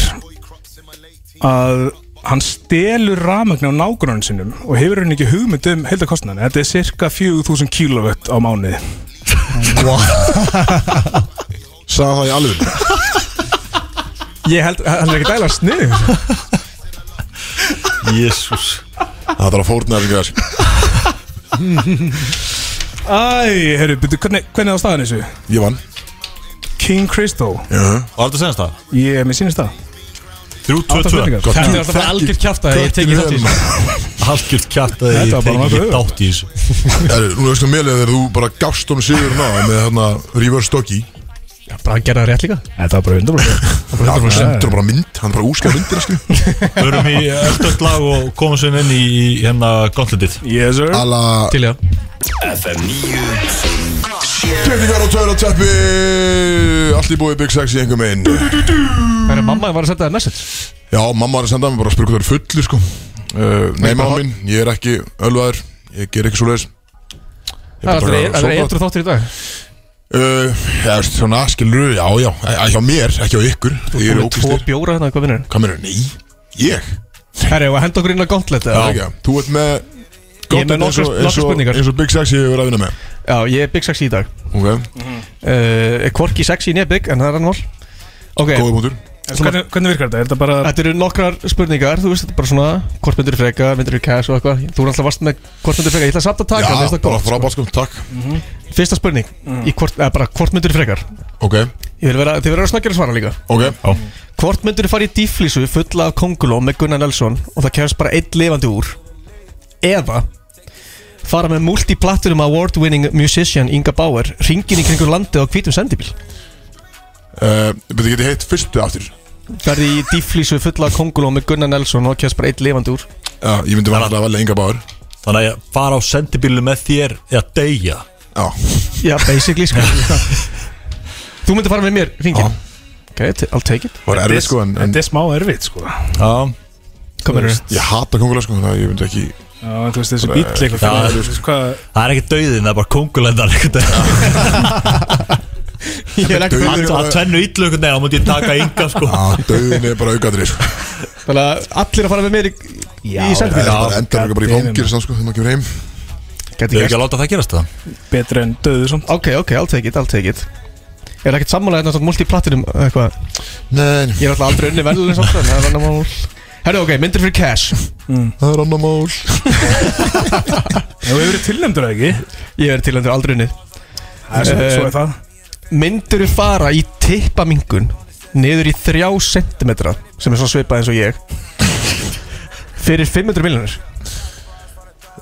D: að hann stelur rafmagn á nágrunum sinum og hefur hann ekki hugmynd um heldakostnæðan Þetta er cirka 4000 kílóvött á mánuði
B: Sagði það í alveg
E: Ég held, hann er ekki dæla snið
C: Jésús
B: Það þarf að fórna þessum gæðar
D: Æ, herru, byrju, hvernig, hvernig er á staðan þessu?
B: Ég vann
D: King Crystal,
B: Já.
C: Var þetta að segja það?
D: ég er með sínist það
C: 3-2-2
D: Gott.
E: Þetta er alltaf bara algjör kjátt að ég teki þátt í þessu
C: Halkjöld kjátt að ég
D: Þetta var bara
C: teki ekki
D: nokkuð
C: dátt í þessu
B: Herru, Nú veistu mér Þegar þú bara gafst honum sigur ná Með hérna reverse doggy
E: Já, bara hann gerði það rétt líka
D: Þetta var bara hundarblóð
B: Það var sendur bara mynd Hann bara úskar myndir sko
C: Förum í öllt lag og komum svo inn í í hérna gondlitið
D: Yes sir
B: Alla
E: Til já
B: Kefningar og törateppi Allt í búið Big Sex í einhver megin
E: Það er mamma var að senda það message
B: Já, mamma var að senda mér bara að spyrja hvað það er fullir sko uh, Nei, mamma mín, ég er ekki ölvaður Ég ger ekki svo leiðis
E: Það er aldrei- það er eitthvað þáttur í dag
B: uh, Já, veist, svona skilur, já, já eh, Hjá mér, ekki á ykkur Ég er
E: Komið tvo
B: ókvistir
E: bjóra hérna, hvað vinnur
B: Hvað mér er, nei, ég
E: Herri, og henda okkur inn á gauntlet eða?
B: Já, Þú ert með
E: Ég er með
B: Gott, eins og-
E: nokkrar-
B: eins og-
E: nokkrar spurningar.
B: Eins og Big Sex ég hefur að vinna með
E: Já, ég er Big Sexy í dag Eh,
B: Ok,
E: uh, Kvorki sexy nýja Big, en það er annar mál Ok,
B: góða punktur
D: Hvernig, hvernig virkar þetta? Er þetta bara
E: Þetta eru nokkrar spurningar, þú veist, þetta er bara svona Hvort myndir þú freka, myndir þú cash og eitthvað Þú er alltaf vast með hvort myndir þú freka, ég ætla samt að taka
B: Já,
E: mér finnst það
B: bara
E: gott, sko.
B: frábært sko, takk
E: Fyrsta spurning, í hvort, eða bara hvort myndir þú frekar
B: Ok,
E: Ég vil vera, þið verður að snakkja að svara líka
B: ok
E: Hvort myndir þú fara í dýflísu fulla af konguló með Gunnar Nelson og það kemst bara einn lifandi úr Eða fara með multi-platinum award-winning musician Inga Bauer ringin í kringur landið á hvítum sendibíl
B: Uh, Við getum heitt fyrstu aftur
E: Verði í dýflísu fulla af konguló með Gunnar Nelson og það kemst bara einn lifandi úr
B: Já, ég myndi vera alltaf að velja Inga Báður
C: Þannig að ég fara á sendibílu með þér eða deyja
B: Já,
E: Já, basically sko Þú myndir fara með mér ringin Ok, t- I'll take it
B: það var erfið sko en, en
D: Þetta er smá erfitt sko Já,
C: Já,
E: Hvað meður
B: ég hata kongulega sko þannig að ég myndi ekki
D: en þú veist þessi bíll eitthvað
C: Já,
D: fyrir
C: þú
D: þú veist hvað
C: það er ekki dauðin, það er bara kongulendar Það
E: Ég er ekki
B: dauður
E: Alla-
B: er bara-
C: er tvennu illu einhvern veginn, þá múti ég taka ynga sko
B: Já, döðin er bara aukaðri sko
E: Þannig að allir að fara með mér í, í
B: Það
E: sendibíl
B: er bara endar ekki
D: God
B: bara í
D: damn it,
B: fangir samt sko þegar maður kemur heim
C: Þau eru ekki að láta það gerast það
D: betra en döðu samt
E: Ok, ok, I'll take it, I'll take it Ég er ekkert sammálaðið náttúrulega multiplatinum eitthvað
B: Nei,
E: Ég er alltaf aldrei unni velun eins og það er annar mál Herru, ok, myndir fyrir cash
B: það er annar mál
D: Þú hefur verið tilnæmdur eða ekki
E: Ég er til endur aldrei unni
D: Það er svo-
E: Eh,
D: Svo er það
E: Myndir við fara í tippamingun Niður í þrjá sentimetra Sem er svona svipað eins og ég Fyrir 500 miljonir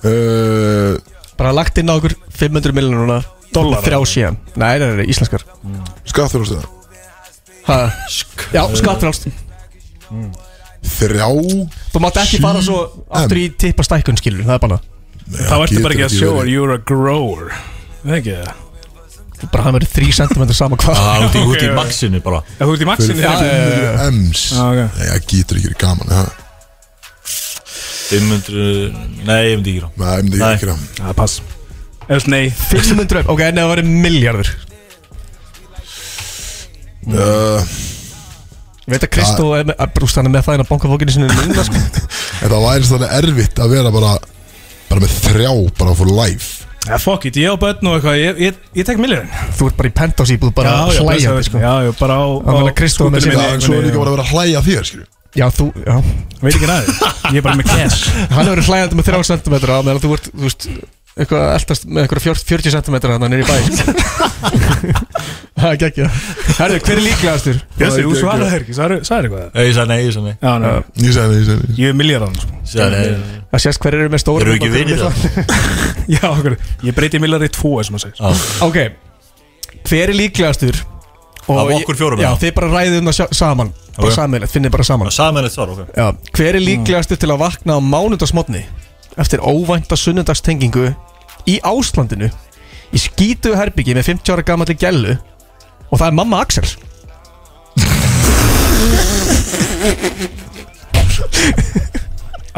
B: Uh,
E: Bara lagt inn á okkur 500 miljonuna Dólar Þrjá síðan Nei, nei, nei, íslenskar
B: Skattur og stöða
E: ha. Já, skattfrálst
B: Þrjá
E: Þú mátt ekki fara svo aftur í tippastækkun skilur Það er bara
D: Það ertu bara ekki að
B: getur
D: sjóa
B: verið.
D: You're a grower Það er ekki það
E: Bara hann verið 3 cm sama hvað
C: Það er út í, út í
D: Ok,
C: maxinu bara
D: Ef Þú ert í maxinu
E: Já, já, já, já.
B: Ems
D: Ah, ok.
B: Nei, það getur ekki verið gaman ha.
C: 500, nei, ég myndi ekki rá
B: Nei, ég myndi
C: Nei.
B: ekki gera það.
D: Já, Ah, pass Ef þú- nei
E: 500 upp, ok, en það var miljardur
C: Mm.
B: Uh,
E: Veit að Kristó er með, brúst hann er með það inn á bankafókinu sinni núna, sko.
B: en Það væri þannig erfitt að vera bara bara með þrjá bara for life
D: Já, fuck it, ég á börn og eitthvað Ég, ég, ég tek millirinn
E: Þú ert bara í penthouse íbúð, bara hlæjandi sko.
D: Já, já, bara á
E: Hann vil að Kristó
D: skútunni
E: með sér-
B: Það
D: minni,
B: er svo
D: minni,
B: líka bara að vera að hlæja að þér skilju
E: Já, þú, já
D: Veit ekki næði Ég er bara með cash
E: Hann hefur verið hlæjandi með 3 cm á meðan þú ert, þú veist eitthvað eldast með eitthvað 40 cm hann er í bæ Það er gekkja Herðu, hver er líklegastur?
D: Jössi,
B: ekki,
D: þú
B: ekki.
D: svaraði þér ekki, svaraði svaraði eitthvað
C: Nei, ég sagði nei, ég sagði nei
D: Já, nei,
B: Ég segi það, ég segi það
D: ég er milljarðan sko.
C: Sagði nei.
E: Það sést hver eru með stóra
C: Eru ekki vinir það?
D: Já, okkur, ég breyti milljarði í tvo, sem maður segir
E: Ok, hver er líklegastur? Og
C: Af
E: ég-
C: okkur fjórum,
E: Já,
C: eða?
E: þið bara ræðið um það sjá- saman Bara
C: Ok.
E: sammeilegt, finnið bara saman
C: Samanlegt svar, ok
E: Já, hver er líklegastu til að vakna á mánundasmotni eftir óvænta sunnundagstengingu í Áslandinu í skítu herbyggi með 50 ára gamalli gælu og það er mamma Axel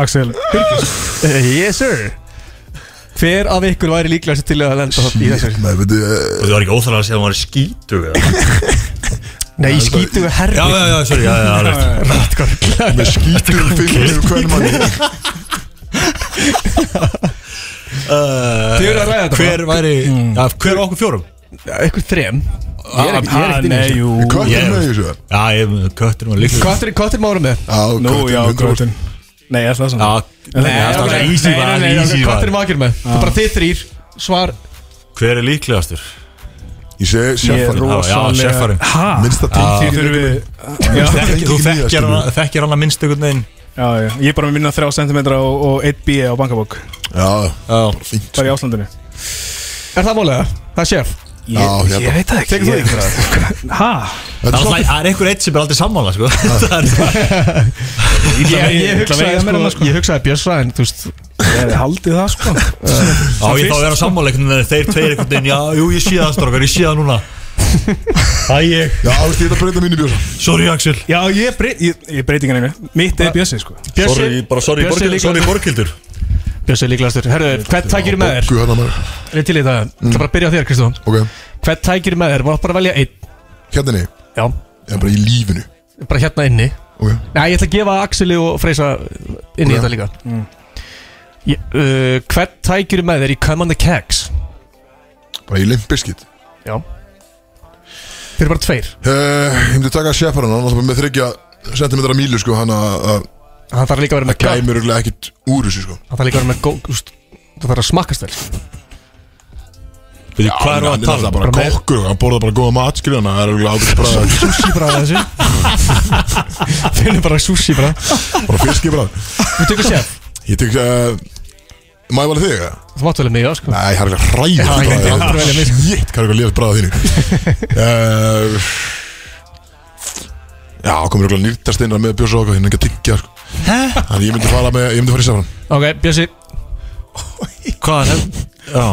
D: Axel,
E: uh, Yes sir Hver af ykkur væri líklegastu til að lenda það í þessari?
B: Nei, veitu, eh,
C: Og þú var ekki óþarlega að segja að hún var skítu
E: Nei, í skítu
C: Já,
E: herbyggi
C: já, já, sorry, já, já, já, já.
B: með skítur fyrir hvernig manni
C: Uh,
E: Þið eru að ræða þetta,
C: Hver væri, ja, hver af okkur fjórum?
E: Ykkur þrem Ég er ekki, ég
D: ah,
E: er ekki inn í
D: nei,
E: þessu.
D: jú
B: Köttur
C: Ég-
B: með þessu Já,
C: Já, ég, kötturinn var líklega
E: Hvað er- Hvað er mára með?
D: Nú, já,
B: köttur
D: grótin Nei, er það svona
E: Ah,
C: Já, nei, það er easy var, easy Ah.
E: Hvað er
C: var
E: mára með? Það er bara þið þrýr Svar
C: Hver er líklegastur?
B: Ég segi
D: Ég er
B: sérfæri
C: Já, já,
D: rosalega
C: cheffarinn.
D: Ha?
B: Minnsta
D: Ah, Því
E: ah.
B: tengið
D: þurfum við Já,
B: Tengið
C: Þú
B: í það,
C: þekkir
B: skilju.
C: hana, þekkir hana minnst einhvern veginn
D: já, já, ég er bara með minna þrjá sentimetra og, og 1 BE á bankabók
B: Já,
C: Já,
B: fínt
D: Bara í Áslandinu
E: Er það málega? Það er sjef
D: Ég,
B: Já, hérna.
D: ég veit það ekki
E: Tekur þú
D: ég- Ha?
B: Þetta er
C: Það er alltaf-
B: svolítið-
C: það er einhver eitt sem er aldrei sammála sko. Það er bara-
E: Ég, ég, hugsaði,
D: vega meira en
E: sko,
D: það, sko.
E: ég hugsaði Björsa en þú veist
D: Ég hefði haldið það sko
C: Á ég þá að vera sammála einhvern veginn Þeir tveir einhvern veginn, já, jú, ég sé það strókar Ég sé það núna Það er ég,
B: Já, veistu, ég ætla að breyta mínu bjósa
C: sorry Axel
D: Já, ég breyti, ég, ég breyti ekki neina Mitt er Bjössi sko
C: Sorry, bara sorry,
E: Bjössi
C: Borghildur, sorry
E: líklegastur.
C: Borghildur
E: Bjössi er líklegastur Herru, hvern tækir með þér?
B: Guð, hérna maður
E: Er til í þetta? Það er bara að byrja á þér, Kristofan
B: Ok,
E: Hvern tækir með þér? Mátt bara velja einn
B: hérna niður
E: Já
B: Ég er bara í lífinu
E: Bara hérna inni
B: Ok,
E: Nei, ég ætla að gefa Axeli og Freysa inn í
B: Ok.
E: þetta líka ég, uh, Hvern tækir með þér í Come on the Kegs?
B: bara í limp biscuit
E: Já Þeir eru bara tveir
B: Eh, Ég myndi taka Shepard hann Þannig með þryggja sentimetra mílu sko Hann að að
E: Hann þarf líka að vera með kraft
B: kæmur örugglega ekkit úr þessu sko
E: Hann þarf líka að vera með gó- þú veist, Þú þarf að smakkast vel sko.
C: Veitu, hvað
B: hann
C: er
B: hann er
C: að tala
B: alltaf
C: um?
B: bara kokkur Hann borða bara góða mat skilja Hann er örugglega ágætt bara
E: Sushi bara þessi Finnur bara sushi bara
B: Bara fiski bara
E: Þú tekur séf
B: Ég tek uh, Má ég valið þig eða?
E: Þú mátt vel með já sko
B: Nei, það er eitthvað
E: Já, ég reyndi aldrei að velja mig,
B: hræður
E: sko.
B: Shit, hvað er eitthvað liðast bræða þínu uh, Já, komur eitthvað nýrtasteinar með bjósa og okkur Hinn er ekki að tyggja sko. Þannig ég myndi fara með, ég myndi fara í safran
E: Ok, Bjössi
C: Hvað er það? Já,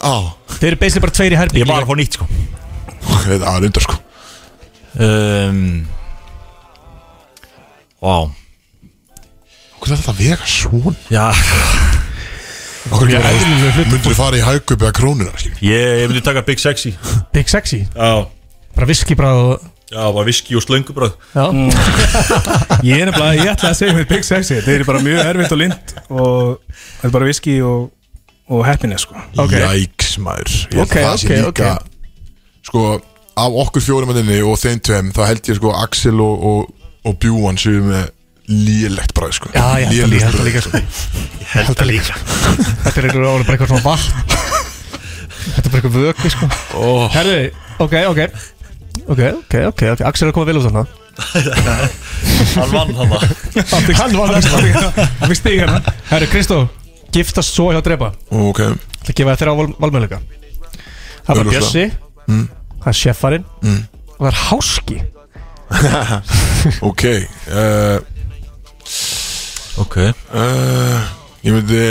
B: Á,
E: Þeir eru beislega bara tveir í herbi
C: ég var að fá nýtt sko
B: það er undar sko
C: um, Vá
B: Hvað er þetta að vega svona?
C: Já,
B: Okkur ekki bara, myndir þú fara í hægkaup eða krónuna skilur?
C: ég, ég myndi taka Big Sexy
E: Big sexy
C: Já,
E: Bara viski bara og
C: já, bara viski og slöngu bröð
E: Já
D: Ég er nefnilega, ég ætla að segja með Big Sexy Þetta er bara mjög erfitt og lind og þetta er bara viski og, og happiness sko.
E: Ok.
B: Jæks maður Ég held
E: Ok,
B: að það sé
E: ok,
B: líka Sko, af okkur fjórum að þinni og þeim tveim Þá held ég sko Axel og, og, og Bjúan Sér með lélegt bræð sko
E: Já, ég held að líka,
B: Lélegt bragð.
E: ég held að líka sko Ég held að líka Þetta er eitthvað orðið bara eitthvað svona vatn Þetta er bara eitthvað vöku sko oh. Herðu, ok, ok Ok, ok, ok, ok, Axel er að koma vel út þarna
C: Hann vann hann það
E: Hann var það Við stíg hérna Herru, Kristó, giftast svo hjá drepa
B: Ok,
E: Það gefa þér á val, valmöðleika Það er bara
B: Augljóslega.
E: Bjössi Það er Sjeffarinn Og það er Háski
B: ok uh,
C: Ok
B: uh, Ég myndi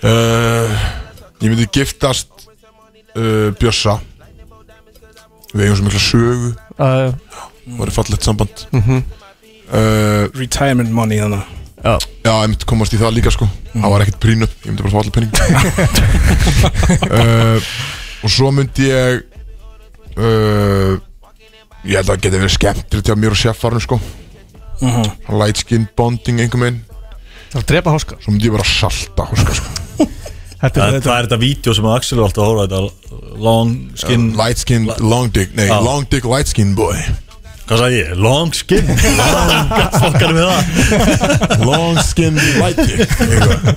B: uh, Ég myndi giftast uh, Bjössa Við eigum svo mikla sögu
E: uh,
B: Það var fallegt samband mm
E: Mhm.
B: -hmm. uh,
D: Retirement money þannig
B: Já, ég myndi komast í það líka sko Það var ekkert prínup, ég myndi bara fá allir penning uh, Og svo myndi ég uh, Ég held að það geti verið skemmtilegt hjá mér og seffarnu sko Mhm. Light skin bonding einhver meginn
E: Það er að drepa Háska
B: Svo myndi ég bara salta háska sko
E: Þetta
C: Það
E: er
C: er
E: þetta
C: þetta vídeo sem Axel var alltaf að horfa á, þetta Long skin
B: Light skin, long dick, nei,
C: Já.
B: long dick, light skin boy
C: Hvað sagði ég? Long skin Long fokkar með það
B: Long skin, light dick eitthvað.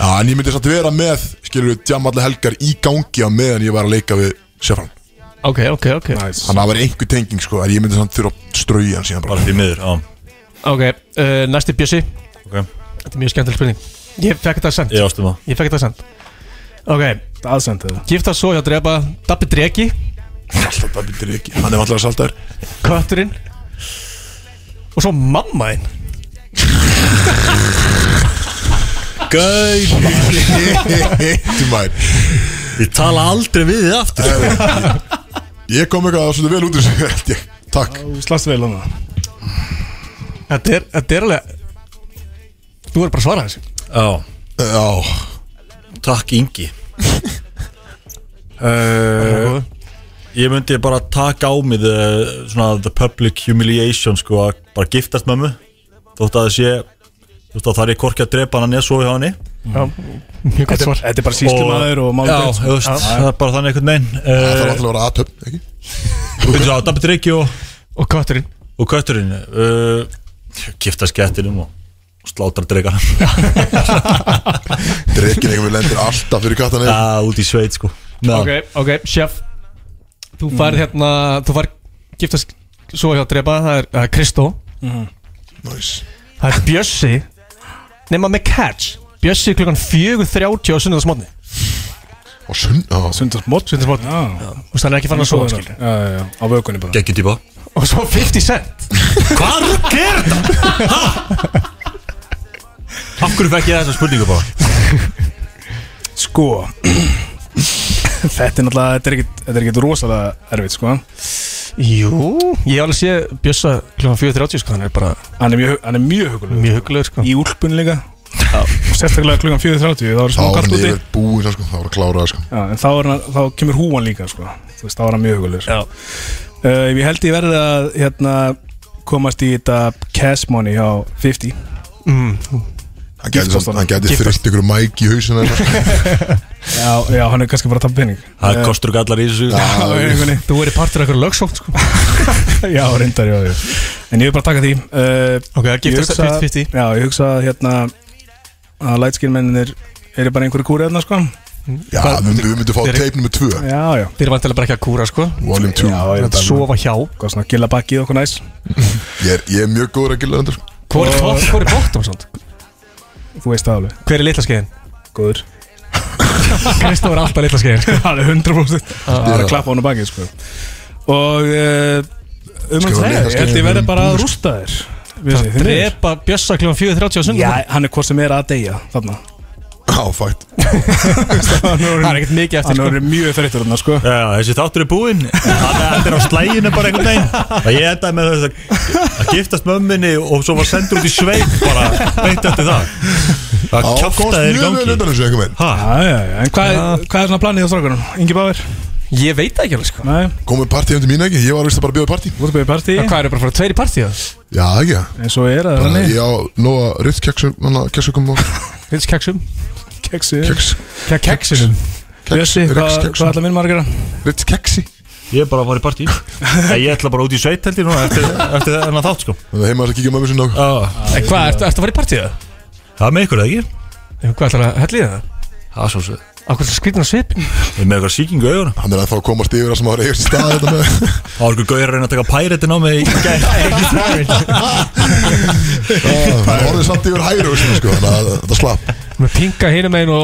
B: Já, en ég myndi satt vera með Skilur við djamalli helgar í gangi á meðan ég var að leika við seffarnu
E: Ok, ok, ok
D: nice.
B: Þannig að það var einhver tenging sko En ég myndi samt þurfa að strauja hann síðan bara
C: Bara því miður, já
E: Ok, uh, næsti Bjössi
C: Ok,
E: Þetta er mjög skemmtileg spurning Ég fekk þetta send
C: ég ástum það
E: Ég fekk þetta send Ok,
D: Þetta aðsendu það
E: gifta svo hjá drepa Dabbi Dreki,
B: Alltaf Dabbi Dreki Hann er alltaf saltar
E: kötturinn Og svo mamma þinn
C: Gauð
B: Þú mær
C: Ég tala aldrei við þið aftur
B: Ég kom eitthvað svolítið vel út úr þessu held ég. Takk
D: Slast vel hann
E: Þetta er, þetta er alveg Þú verður bara að svara þessu
C: Já,
B: Já
C: takk Ingi Eh,
E: uh,
C: Ég myndi bara taka á mig the, svona, the public humiliation sko, að bara giftast mömmu þótt að það sé þótt að það er hvorki að drepa hann eða sofi á henni
E: Mjög gott svar
D: Þetta er bara síslimaður
C: sko.
D: og
C: Já,
D: málgöld
C: þú veist, það er bara þannig einhvern veginn
B: Það þarf
C: Eh,
B: alltaf að vera aðtöfn Ekki?
C: Þú veist, Dabbi Dryggi og,
E: Og kötturinn
C: og kötturinn uh, giftast skettinum og slátar dregar
B: Drekin einhver lendir alltaf fyrir kattan eða
C: Já, út í sveit sko Ná,
E: Ok, ok, chef Þú farið hérna, þú farið giftast svo hjá drepa Það er uh, Kristó
B: Næs
E: Það er Bjössi Nefna með catch Bjössi klukkan 4.30 á sunnudagsmótni
B: Og sunn Já
D: Sundarsmót
E: Sunnudagsmótni
D: Já,
E: Þú veist, hann er ekki fann að sofa skil
D: já, já, á vökunni bara
C: Gekki típa
E: Og svo 50 cent
C: Hvað rugg er þetta? Ha? Af hverju fekk ég þessa spurningu bara?
D: Sko Þetta er náttúrulega, þetta er ekkit, þetta er ekkit rosalega erfitt sko
E: Jú Ég hef alveg sé Bjössa klukkan 4.30 sko Hann er bara
D: Hann er mjög, hann er mjög hugulegur
E: mjög hugulegur sko
D: Í úlpun líka Og sérstaklega klukkan 4.30 þá er smá
B: Þá var
D: kallt
B: hann
D: úti
B: yfir búin sko Það var að klára það sko
D: Já, en þá, er hann, þá kemur húan líka sko. Þú veist, þá er hann mjög hugulegur sko. uh, Ég held ég verði að hérna, komast í þetta cash money á 50
E: mm.
B: Hann gæti
D: Giftast
B: samt-
D: honum.
B: Hann gæti
D: Giftast.
B: þrist ykkur mæk í hausinu
D: Já, já, hann er kannski bara að tapa pening
C: Það kostur gallar í þessu
D: Já, einhvern veginn.
E: Þú verið partur af eitthvað lögsótt sko
D: Já, reyndar, já, já En ég vil bara taka því uh,
E: Ok, það
D: Ég
E: giftast
D: hugsa-
E: 50-50
D: Já, ég hugsa að hérna að lightskinmennir eru bara einhverju kúri hérna, sko
B: Já, við myndum- við myndum fá
E: Þeir-
B: teipnum með tvö
D: Já, já,
E: Þeir eru vantilega bara ekki að kúra sko
B: Volume 2
D: já, ég
E: Þetta
D: veit alveg.
E: sofa hjá
D: Góð svona gilla bakið okkur næs
B: Ég er- ég er mjög góður að gilla þetta sko.
E: Hvor er topp, hvor er bóttum svont?
D: Þú veist það alveg,
E: Hver er litla skeiðin?
D: góður
E: Kristó er alltaf litla skeiðin sko
D: Það er 100% Það er að klappa honum bakið, sko Og uh, um að
B: Skrifa
D: segja,
B: litla
D: ég held
B: skeiðin
D: ég verði
B: um
D: bara að
B: búr.
D: rústa þér við
E: Það
D: því, því miður.
E: drepa Bjössa kl. 4.30 á
D: Já,
E: sundum
D: hann er hvort sem er að deyja þarna
B: Já, fætt
E: Það er ekkert mikið eftir
D: Hann
E: sko
D: er mjög þreyttur þarna, sko
C: Já, þessi þáttur er búinn Þannig að þetta er á slæginu bara einhvern veginn Og ég endaði með þess að að giftast mömminni og svo var sendur út í sveip bara beint eftir það Það
B: Já, komst
C: kjáftaði er í
B: mjög vel
C: gangi
B: utan þessu einhvern veginn
C: Ha,
D: Já, já, já, en hvað, hvað er svona planið á strákunum? Ingi Báir?
E: Ég veit það ekki alveg sko
D: Nei,
B: Komið partí undir mín ekki, ég var vist að bara bjóða partí
D: þú ert að byrja partí
E: Hvað eru bara frá tveir í partíða?
B: Já, ekki það
D: En svo er það
B: Bara
D: þannig
B: Ég á nóga riftkeksum og
E: Vils keksum
D: Keksi
B: keks
E: Keksinum
D: Bjössi, hvað
B: Riftkeksum
D: hva ætla minn margir að?
B: Riftkeksi
C: ég er bara að fara í partí Nei, Ég ætla bara út í sveit held ég núna eftir, eftir þennan þátt sko
B: Það er heima að kíkja mömmu sinna á
C: Það
E: En hvað, ertu ertu að fara í partíða?
C: er með ykkur eða ekki?
E: Hvað ætlar að hella í það?
C: Það er svo sveit
E: Akkur skrýtna svipin
C: Ég er með eitthvað sýkingu auðuna
B: Hann er ennþá að komast yfir að sem ára yfir stað þetta með
C: Það var ykkur gauður að reyna að taka pæretin á mig í gær.
B: Það er orðið samt yfir hæru sko, Þannig að þetta slapp
E: Með pinga hinum einn og